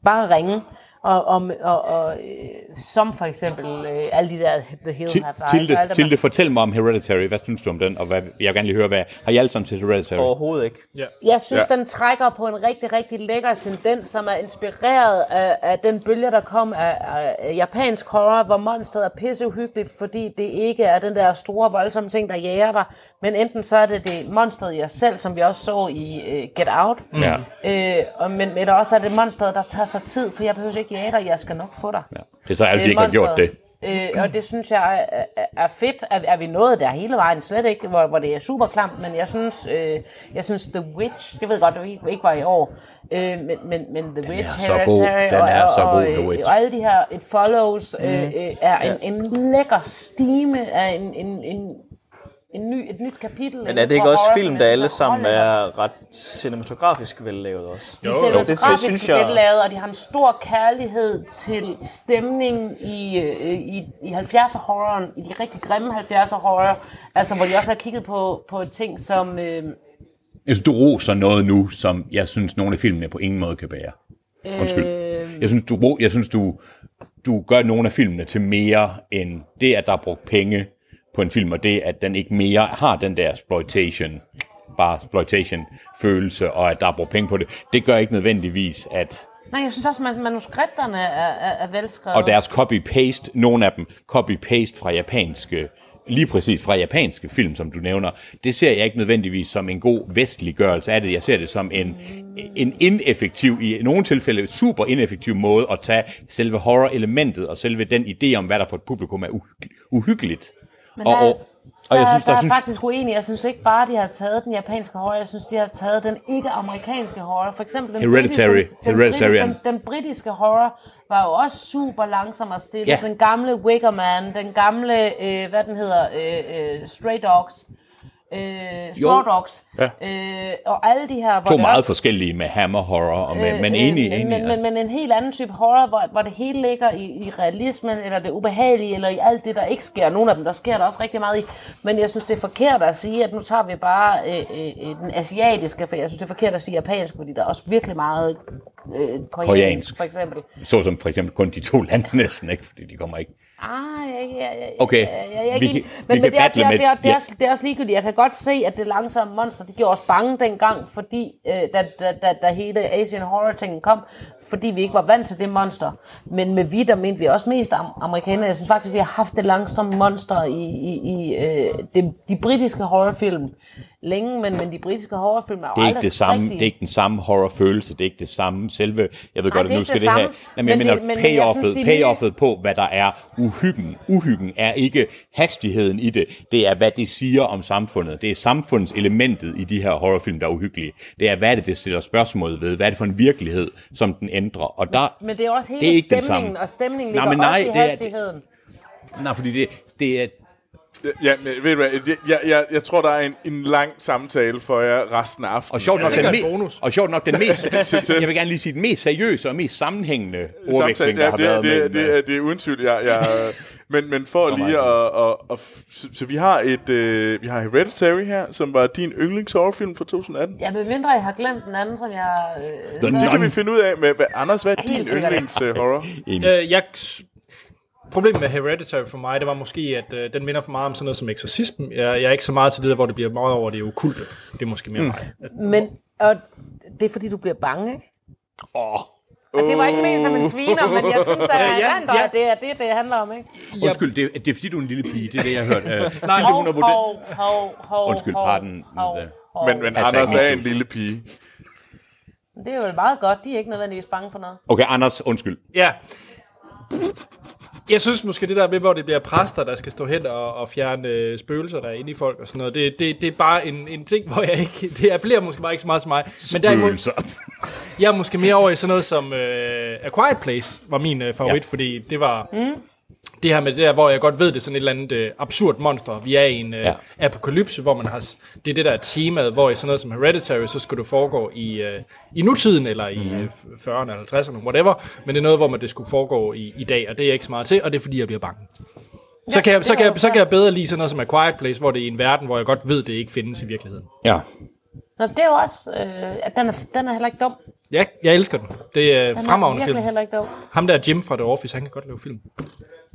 Bare ringe. Og, og, og, og øh, som for eksempel øh, alle de der The Hill
Til-
Half Eyes.
Tilde,
og alle dem
Tilde,
der-
fortæl mig om Hereditary. Hvad synes du om den? Og hvad, jeg vil gerne lige høre, hvad har I alle sammen set Hereditary?
Overhovedet ikke.
Ja.
Jeg synes, ja. den trækker på en rigtig, rigtig lækker tendens, som er inspireret af, af den bølge, der kom af, af af japansk horror, hvor monstret er pisseuhyggeligt, fordi det ikke er den der store, voldsomme ting, der jager dig. Men enten så er det det monstret i jer selv, som vi også så i uh, Get Out.
Ja.
Øh, og, men eller også er det monstret, der tager sig tid, for jeg behøver ikke jage dig, jeg skal nok få dig. Ja.
Det er så alle, de ikke har gjort det.
Øh, og det synes jeg er, er- er fedt. Er, er vi nået der hele vejen? Slet ikke, hvor, hvor det er super klamt, men jeg synes, øh, jeg synes The Witch, det ved jeg godt, det ikke- ikke var i år, øh, men, men, men The Witch,
er så god.
Hereditary
Den er
og,
så
og,
god,
øh,
The Witch.
Og alle de her It Follows øh,
Mm.
øh, er
Ja.
en, en lækker stime af en, en, en, en ny, et nyt kapitel.
Men er
inden
det ikke
for
også
horror, som
film,
jeg
der
synes
alle
er
sammen
håndværk?
er ret cinematografisk vellavet også?
De jo, jo. grafisk lavet, og de har en stor kærlighed til stemningen i, øh, i, i 70'er horroren, i de rigtig grimme 70'er horror, altså hvor de også har kigget på, på ting som... Øh,
Jeg synes, du roser noget nu, som jeg synes, nogle af filmene på ingen måde kan bære. Undskyld.
Øh.
Jeg synes, du, ro- jeg synes, du, du gør nogle af filmene til mere end det, at der er brugt penge på en film, og det, at den ikke mere har den der exploitation, bare exploitation-følelse, og at der er brugt penge på det. Det gør ikke nødvendigvis, at
nej, jeg synes også, at manuskripterne er, er, er velskrevet.
og deres copy-paste, nogle af dem copy-paste fra japanske, lige præcis fra japanske film, som du nævner, det ser jeg ikke nødvendigvis som en god vestlig gørelse af det. Jeg ser det som en, en ineffektiv, i nogle tilfælde super ineffektiv måde at tage selve horror-elementet og selve den idé om, hvad der for et publikum er uhy- uhyggeligt.
Men
Og,
der-
og, og jeg synes,
der,
der,
er
synes,
faktisk uenig. Jeg synes ikke bare, de har taget den japanske horror. Jeg synes, de har taget den ikke-amerikanske horror. For eksempel den,
Hereditary.
britiske- den,
Hereditary.
den, den, den britiske horror var jo også super langsom og stille.
Ja.
Den gamle Wicker Man, den gamle, øh, hvad den hedder, øh, øh, Stray Dogs, øh, Straw
Jo.
Dogs,
Ja.
øh, og alle de her... hvor
to
det
meget
også-
forskellige med hammer horror, og med,
Øh,
men
øh,
enig,
men,
enig. altså.
Men, men, men en helt anden type horror, hvor, hvor det hele ligger i, i realismen, eller det ubehagelige, eller i alt det, der ikke sker. Nogle af dem, der sker der også rigtig meget i. Men jeg synes, det er forkert at sige, at nu tager vi bare øh, øh, øh, den asiatiske, for jeg synes, det er forkert at sige japansk, fordi der er også virkelig meget øh,
Koreansk.
koreansk, koreansk, for eksempel.
Så som for eksempel kun de to lande næsten, ikke? fordi de kommer ikke
Ah, ja, ja, ja,
Okay,
ja, ja, ja,
vi
ikke-
kan- vi
men
kan
men det er-
battle
det er-
med-
det er- det
ja.
er også- det er også ligegyldigt. Jeg kan godt se, at det langsomme monster, det gjorde os bange dengang, fordi øh, da, da, da, da hele Asian Horror-tingen kom, fordi vi ikke var vant til det monster. Men med vi, der mente vi også mest am- amerikanere. Jeg synes faktisk, vi har haft det langsomme monster i, i, i øh, de, de britiske horrorfilm længe, men, men de britiske horrorfilm er jo
det er ikke
aldrig
det samme,
rigtige.
det er ikke den samme horrorfølelse, det er ikke det samme selve, jeg ved
Nej,
godt,
det er
at nu
ikke
skal
det
det, her,
samme,
nej, men,
men
men,
det-
men
men- men jeg
payoffet,
synes, de
payoffet på, hvad der er uhyggen. Uhyggen er ikke hastigheden i det, det er, hvad det siger om samfundet. Det er samfundselementet i de her horrorfilm, der er uhyggelige. Det er, hvad er det, det stiller spørgsmål ved? Hvad er det for en virkelighed, som den ændrer? Og der,
Men det er også hele
det er ikke den
stemningen,
samme.
og stemningen
Nej,
ligger
men
nej,
nej,
også i
det er-
hastigheden.
nej, fordi det, det er...
Ja, men ved du hvad, jeg, jeg, jeg, jeg tror, der er en, en lang samtale for jer resten af aftenen.
Og sjovt nok, den, me-
bonus.
og sjovt nok den mest,
Til- til-
jeg vil gerne lige sige, den mest seriøse og mest sammenhængende
Samtale,
ordveksling, der
ja,
har
det,
været
det,
mellem... øh,
det, det, er- det er uden tvivl, jeg, jeg, men, men for lige at... at, at, så, så vi har et øh, vi har Hereditary her, som var din yndlingshorrorfilm fra 2018.
Ja, medmindre jeg har glemt den anden, som jeg... Øh,
Den det kan vi finde ud af med, hvad, Anders, hvad er
Helt
din
sikkert.
yndlingshorror?
Øh, jeg, s- problemet med Hereditary for mig, det var måske, at øh, den minder for meget om sådan noget som eksorcismen. Jeg, jeg er ikke så meget til det der, hvor det bliver meget over det okulte. Det er måske mere
Mm.
mm. mig.
Men og det er fordi, du bliver bange, ikke?
Åh.
Og det var ikke ment som en sviner, men jeg synes, at
Ja,
ja,
ja,
ja,
ja.
ja. det er det, det handler om, ikke?
Undskyld, det, det er fordi, du er en lille pige, det er det, jeg har hørt. Øh, Tilde,
Nej.
hun har vurderet...
Hov, hov, hov,
Undskyld,
hov,
pardon.
hov. hov.
Men, men
Hashtag
Anders
me
er
too.
en lille pige.
Det er jo meget godt, de er ikke nødvendigvis bange for noget.
Okay, Anders, undskyld.
Ja. Jeg synes måske det der med, hvor det bliver præster, der skal stå hen og, og fjerne øh, spøgelser, der er inde i folk og sådan noget, det, det, det er bare en, en ting, hvor jeg ikke... Det appellerer måske bare ikke så meget til mig. Men
Spøgelser.
jeg er måske mere over i sådan noget som øh, A Quiet Place var min øh, favorit,
Ja.
ja. fordi det var...
Mm.
det her med det der, hvor jeg godt ved, det er sådan et eller andet øh, absurd monster. Vi er i en øh,
Ja.
ja. apokalypse, hvor man har... s- Det er det, der er temaet, hvor i sådan noget som Hereditary, så skulle det foregå i, øh, i nutiden, eller i
Mhm.
mm. 40'erne, 50'erne, whatever. Men det er noget, hvor man det skulle foregå i, i dag, og det er jeg ikke så meget til, og det er fordi, jeg bliver bange. Så,
Ja,
ja, kan, jeg,
det
så,
var
kan
jo
jeg, så
fair.
kan jeg bedre lide sådan noget som A Quiet Place, hvor det er i en verden, hvor jeg godt ved, det ikke findes i virkeligheden.
Ja.
Nå, det er jo også... Øh, at den, er, den er heller ikke dum.
Ja, jeg elsker den. Det er
Han
en
er
fremragende
virkelig
film.
heller ikke dum.
Ham der Jim fra The Office, han kan godt lave film.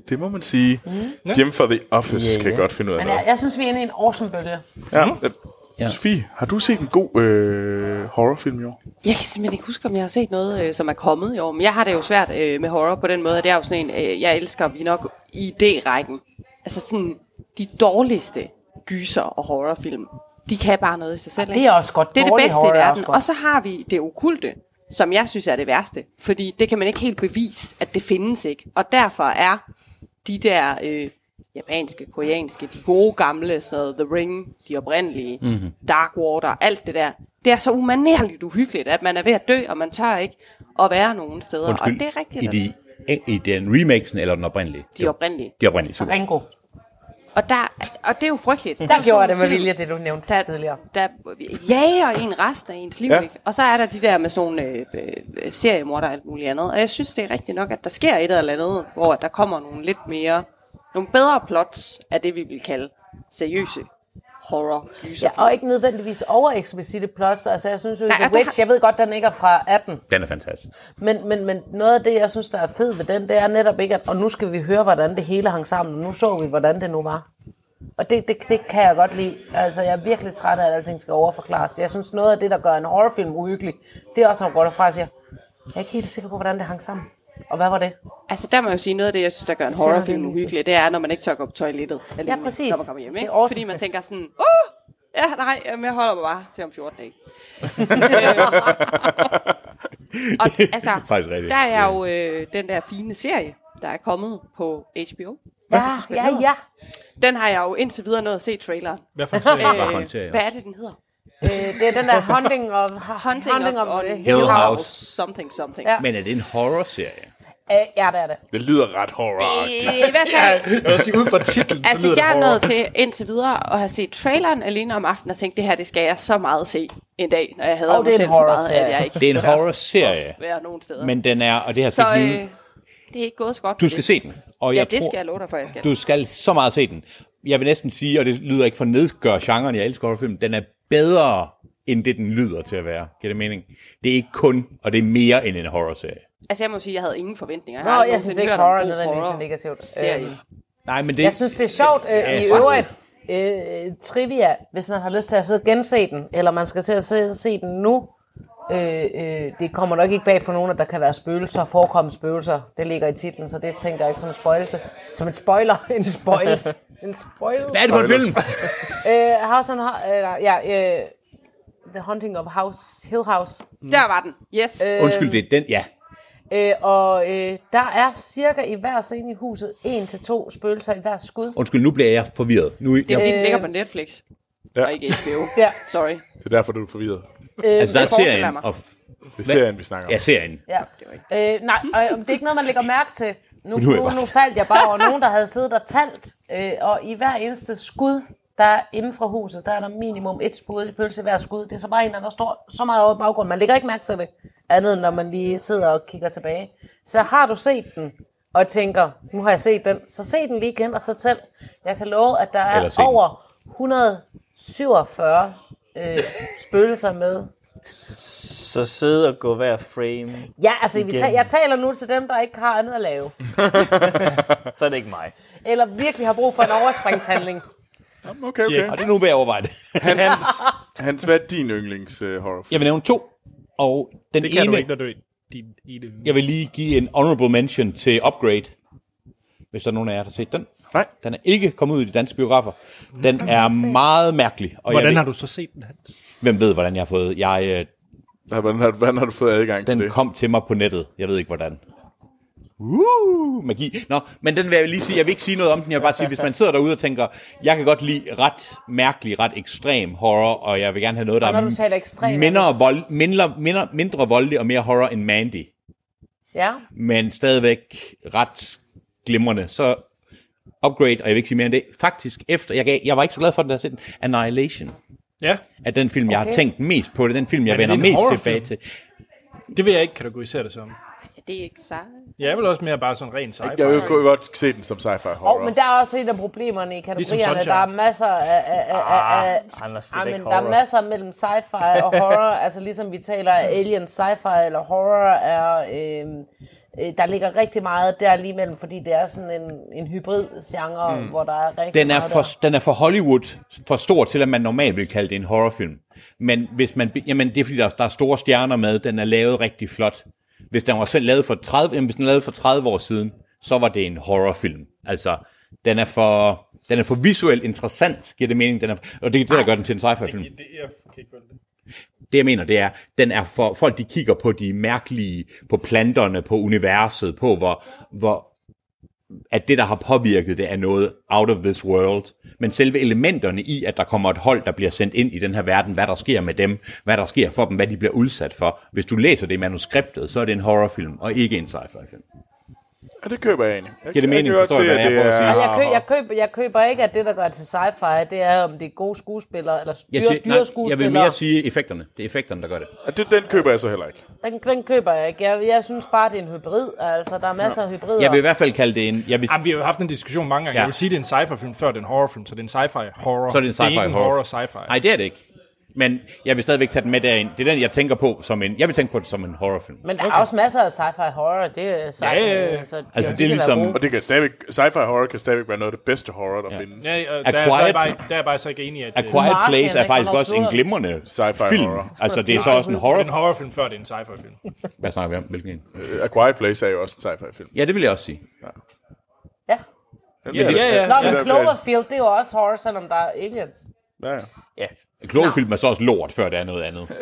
Det må man sige.
Mm.
Mm. Jim fra The Office
Ja,
yeah, kan
ja.
godt finde ud af
Men
noget.
jeg, jeg synes, vi er inde i en awesome bølge.
Ja. Mm. Ja. Sofie, har du set en god øh, horrorfilm i år?
Jeg kan simpelthen ikke huske, om jeg har set noget, øh, som er kommet i år. Men jeg har det jo svært øh, med horror på den måde, at det er jo sådan en, øh, jeg elsker vi er nok i idérækken. Altså sådan, de dårligste gyser og horrorfilm, de kan bare noget i sig selv.
det
ikke?
er også godt.
Det er det
Dårlig
bedste
horror
i
er også
verden.
godt.
Og så har vi det okulte, som jeg synes er det værste. Fordi det kan man ikke helt bevise, at det findes ikke. Og derfor er de der øh, japanske, koreanske, de gode gamle, sådan noget, The Ring, de oprindelige,
Mhm.
mm-hmm. Dark Water, alt det der. Det er så umanerligt uhyggeligt, at man er ved at dø, og man tør ikke at være nogen steder. og det er rigtigt.
i, de, i den remakesen eller den oprindelige?
De oprindelige.
De oprindelige, super.
Ringo.
Og, der, og det er jo frygteligt.
Der
er jo sådan
gjorde jeg
nogle
det med
film,
vilje, det du nævnte tidligere.
Der jager en resten af ens liv,
Ja.
ja. ikke? Og så er der de der med sådan nogle øh, øh, seriemorder og alt muligt andet. Og jeg synes, det er rigtigt nok, at der sker et eller andet, hvor der kommer nogle lidt mere, nogle bedre plots af det, vi vil kalde seriøse horror gyser.
Ja, og ikke nødvendigvis overeksplicite plots. Altså, jeg synes jo,
Nej,
The
og der
Witch, jeg ved godt, den ikke er fra 18.
Den er fantastisk.
Men, men, men noget af det, jeg synes, der er fedt ved den, det er netop ikke, at og nu skal vi høre, hvordan det hele hang sammen. Nu så vi, hvordan det nu var. Og det, det, det kan jeg godt lide. Altså, jeg er virkelig træt af, at alting skal overforklares. Jeg synes, noget af det, der gør en horrorfilm uhyggelig, det er også, når man går derfra og siger, jeg er ikke helt sikker på, hvordan det hang sammen. Og hvad var det?
Altså der må jeg jo sige, noget af det, jeg synes, der gør en
Jeg tænder
horrorfilm
lige lyset.
uhyggelig, det er, når man ikke tør gå på toilettet. alene,
præcis.
Når man kommer hjem,
Det
ikke?
er awesome.
Fordi man tænker sådan, uh, ja, nej, jamen, jeg holder mig bare til om 14 dage. og altså,
Faktisk rigtigt.
der er jo øh, den der fine serie, der er kommet på HBO.
Ja,
ja,
ja.
Den har jeg jo indtil videre nået at se traileren. Øh,
Hvad for en serie? Hvad for en serie?
hvad er det, den hedder?
Øh, det er den der Hunting of, hunting hunting of,
of
of
on
Hill
Hill
House.
House.
Something, something.
Ja.
Men er det en horrorserie?
Øh, ja, det er det.
Det lyder ret horror
I hvert fald,
Jeg vil sige, ud fra titlen, så
Altså,
lyder det
jeg er
horror.
nået til indtil videre at have set traileren alene om aftenen og tænkt, det her, det skal jeg så meget se en dag, når jeg hader
Og
mig
det er en
selv så meget, at
horrorserie.
jeg ikke
Det er en
tør
horrorserie.
at være nogen steder.
Men den er, og det har jeg
så
set
øh,
lige-
det er ikke gået så godt.
Du
for
skal
det.
se den. Og
ja,
jeg
det
tror-
skal jeg love dig for, jeg skal.
Du skal så meget se den. Jeg vil næsten sige, og det lyder ikke for at nedgøre genren, jeg elsker horrorfilm, den er bedre, end det den lyder til at være. Giver det mening? Det er ikke kun, og det er mere end en horrorserie.
Altså, jeg må sige, at jeg havde ingen forventninger.
Nå,
har aldrig
jeg synes ikke,
nogensinde hørt om
horror
god
nødvendigvis er negativt.
serie.
Øh,
Nej, men
Det,
det...
jeg synes, det er sjovt øh,
Ja,
i
faktisk.
øvrigt. Øh, trivia, hvis man har lyst til at sidde og gense den, eller man skal til at sidde og se den nu. Øh, øh, det kommer nok ikke bag for nogen, at der kan være spøgelser, forekomme spøgelser. Det ligger i titlen, så det tænker jeg ikke som en spøjelse. Som en spoiler. En spøjelse. en spøjelse.
Hvad er det for en film?
øh, House on, Ho- eller, ja, øh, The Hunting of House, Hill House.
Der var den. Yes.
mm.
Undskyld, det er den, ja.
Øh, og øh, der er cirka i hver scene i huset en til to spøgelser i hver skud.
Undskyld, nu bliver jeg forvirret. Nu,
Det er fordi, den
Øh,
ligger på Netflix,
Ja.
og ikke HBO.
ja.
Sorry.
Det er derfor, du er forvirret.
Øh,
altså, der er
det forestiller
serien.
mig.
Og
Det er serien, vi snakker om.
Ja, serien.
Ja. Øh, nej, øh, det er ikke noget, man lægger mærke til.
Nu
Nu,
er jeg
nu,
bare-
nu faldt jeg bare over nogen, der havde siddet og talt, øh, og i hver eneste skud, der er inden for huset, der er der minimum et skud, pølse i hver skud. Det er så bare en, eller anden, der står så meget over i baggrunden. Man lægger ikke mærke til det, andet end når man lige sidder og kigger tilbage. Så har du set den, og tænker, nu har jeg set den, så se den lige igen, og så tæl. Jeg kan love, at der
Eller
er
se den.
over 147 øh, spøgelser med
Så sidde og gå hver frame.
Ja, altså, vi
igennem.
ta- jeg taler nu til dem, der ikke har andet at lave.
Så er det ikke mig.
Eller virkelig har brug for en overspringshandling.
Okay, okay.
Og det er nu ved at overveje det.
Hans, Hans, hvad er din yndlings øh, horrorfilm?
Jeg vil nævne to. Og den
Det kan
ene,
du ikke, når du er din, i det.
Jeg vil lige give en honorable mention til Upgrade, hvis der er nogen af jer, der har set den.
Nej.
Den er ikke kommet ud i de danske biografer.
Mm.
Den er meget mærkelig. jeg
Hvordan
ved-
har du så set den, Hans?
Hvem ved, hvordan jeg har fået... Jeg, øh,
ja, hvordan, har, hvordan har du fået adgang
til det? Den kom til mig på nettet. Jeg ved ikke, hvordan. Uh, magi. Nå, men den vil jeg lige sige. Jeg vil ikke sige noget om den. Jeg vil bare sige, hvis man sidder derude og tænker, jeg kan godt lide ret mærkelig, ret ekstrem horror, og jeg vil gerne have noget, der
Og når
er
du taler ekstrem, er
minder
det-
vold, mindre, mindre, mindre voldelig og mere horror end Mandy.
Ja.
men stadigvæk ret glimrende. Så upgrade, og jeg vil ikke sige mere end det, faktisk efter, jeg, gav, jeg var ikke så glad for den, der den, Annihilation.
Ja.
Er den film, jeg har
Okay.
tænkt mest på, det er den film, jeg
Men er
vender
det en
mest
horrorfilm?
tilbage til.
Det vil jeg ikke kategorisere det som.
det er ikke så.
Jeg er vel også mere bare sådan ren sci-fi.
Jeg vil- kunne godt se den som sci-fi horror.
Og, men der er også et af problemerne i kategorierne.
Sunshine.
Ligesom der er masser af... af, af, af, af
Ah, Anders, det er
Ej,
da
men
ikke
der er
horror.
masser mellem sci-fi og horror. altså ligesom vi taler alien sci-fi eller horror, er, øh, øh, der ligger rigtig meget der lige mellem, fordi det er sådan en, en hybrid genre,
Mm.
mm. hvor der er rigtig
Den er,
meget
for,
der.
den er for Hollywood for stor til, at man normalt vil kalde det en horrorfilm. Men hvis man, jamen, det er fordi, der, der er store stjerner med. Den er lavet rigtig flot. Hvis den var selv lavet for 30, jamen, hvis den er lavet for 30 år siden, så var det en horrorfilm. Altså, den er for, den er for visuelt interessant, giver det mening. Den er, og det er det, der gør den til en sci-fi-film.
Det, jeg kan ikke følge det.
Det jeg mener, det er, den er for folk, de kigger på de mærkelige, på planterne, på universet, på hvor, hvor at det, der har påvirket det, er noget out of this world. Men selve elementerne i, at der kommer et hold, der bliver sendt ind i den her verden, hvad der sker med dem, hvad der sker for dem, hvad de bliver udsat for. Hvis du læser det i manuskriptet, så er det en horrorfilm, og ikke en sci-fi film.
Ja, det køber jeg egentlig. Jeg,
Giver det mening?
jeg kan
Forstår
godt
du,
se,
hvad
at
jeg
det
prøver at sige?
er...
Og
Jeg, køb, jeg, køber, jeg køber ikke, at det, der gør det til sci-fi, det er, om det er gode skuespillere, eller dyre,
Jeg, siger,
dyre
nej, jeg
skuespillere.
vil mere sige effekterne. Det er effekterne, der gør det.
Og det, den køber jeg så heller ikke.
den, den køber jeg ikke. Jeg, jeg synes bare, det er en hybrid. Altså, der er masser af hybrider.
Jeg vil i hvert fald kalde det en... Jeg vil,
Jamen, vi har jo haft en diskussion mange gange. Ja.
Ja.
Jeg vil sige, det er en sci-fi-film, før det er en horrorfilm, så det er en sci-fi horror.
Så er det en sci-fi
det er ikke
horror.
horror sci-fi.
Nej, det er det ikke. Men jeg vil stadigvæk tage den med derind. Det er den, jeg tænker på som en... Jeg vil tænke på det som en horrorfilm.
Men der okay. er også masser af sci-fi horror. Det er sci-fi. Så
Altså,
de kan
ligesom-
være gode.
Og det kan stadigvæk... Sci-fi horror kan stadigvæk være noget af det bedste horror, der ja. findes.
Ja, og
A
der, er jeg
Quiet-
så bare, der er jeg bare så ikke enig i, at...
A
øh,
Quiet Place er faktisk også en glimrende
Sci-fi
film.
horror.
Altså, det er så også en
Det er
horror...
en horrorfilm, før det er en sci-fi-film.
Hvad snakker vi om? Hvilken en?
Øh, A Quiet Place er jo også en sci-fi film.
Ja, det vil jeg også sige.
Ja.
Ja.
Den
Ja,
bliver-
ja, ja.
den
Nå,
bliver-
men Cloverfield, det er jo også horror, selvom der er aliens.
Ja, ja.
Ja.
Cloverfield er så også lort, før det er noget andet. Så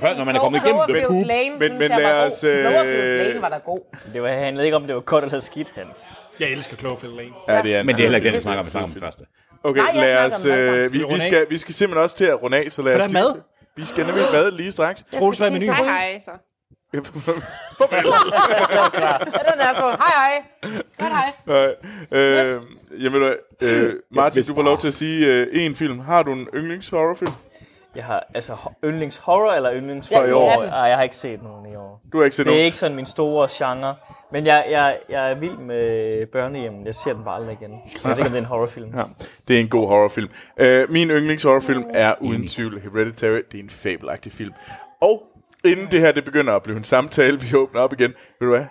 før, når man er kommet igennem
Cloverfield
det poop...
Lane,
Men-
men, synes
men
men, jeg
lad
var
os,
god.
øh,
Cloverfield Lane var da god.
Det var, handlede ikke om, det var godt eller skidt, Hans.
Jeg elsker Cloverfield Lane.
Ja, det er en
Men det er heller ikke
fed
den,
film.
vi snakker om.
Fed
Vi snakker om den
film.
første.
Okay,
Nej, jeg
lad
snakker
os...
om den
øh,
altså.
vi, vi, skal, vi skal simpelthen også til at runde af, så lad
For
os...
der er
lige-
mad.
Vi skal nemlig mad lige straks.
Troels, hvad er menuen?
Hej, hej, så.
Ja, den er så, hej hej. Hej hej.
Nej. Øh, jamen, ved du hvad, øh, Martin, du får lov til at sige øh, en film. Har du en yndlingshorrorfilm?
Jeg har altså ho- yndlingshorror eller yndlings
For i år.
Nej, jeg har ikke set nogen i år.
Du har ikke set
det
nogen?
er ikke sådan min store genre. Men jeg, jeg, jeg er vild med børnehjemmen. Jeg ser den bare aldrig igen. Jeg ved ikke, om det er en horrorfilm.
Ja, det er en god horrorfilm. Øh, min yndlingshorrorfilm er uden tvivl Hereditary. Det er en fabelagtig film. Og inden det her det begynder at blive en samtale, vi åbner op igen. Ved du hvad?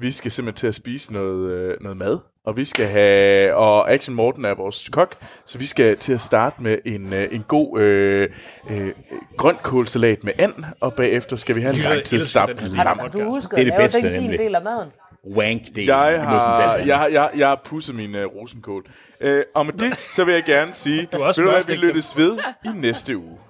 Vi skal simpelthen til at spise noget, øh, noget mad. Og vi skal have... Og Action Morten er vores kok. Så vi skal til at starte med en, øh, en god øh, øh, grønkålsalat med and. Og bagefter skal vi have en
Jeg
lang tid
elsker den
stabt
her
lam.
Har du husket
Det er det
at lave
bedste,
den din
nemlig.
del af maden?
Wank-delen.
Jeg har, jeg, har- jeg, jeg har pudset min uh, rosenkål. Uh, og med det, så vil jeg gerne sige,
Du har også
ved du hvad, vi
smørstegt dem.
lyttes ved i næste uge.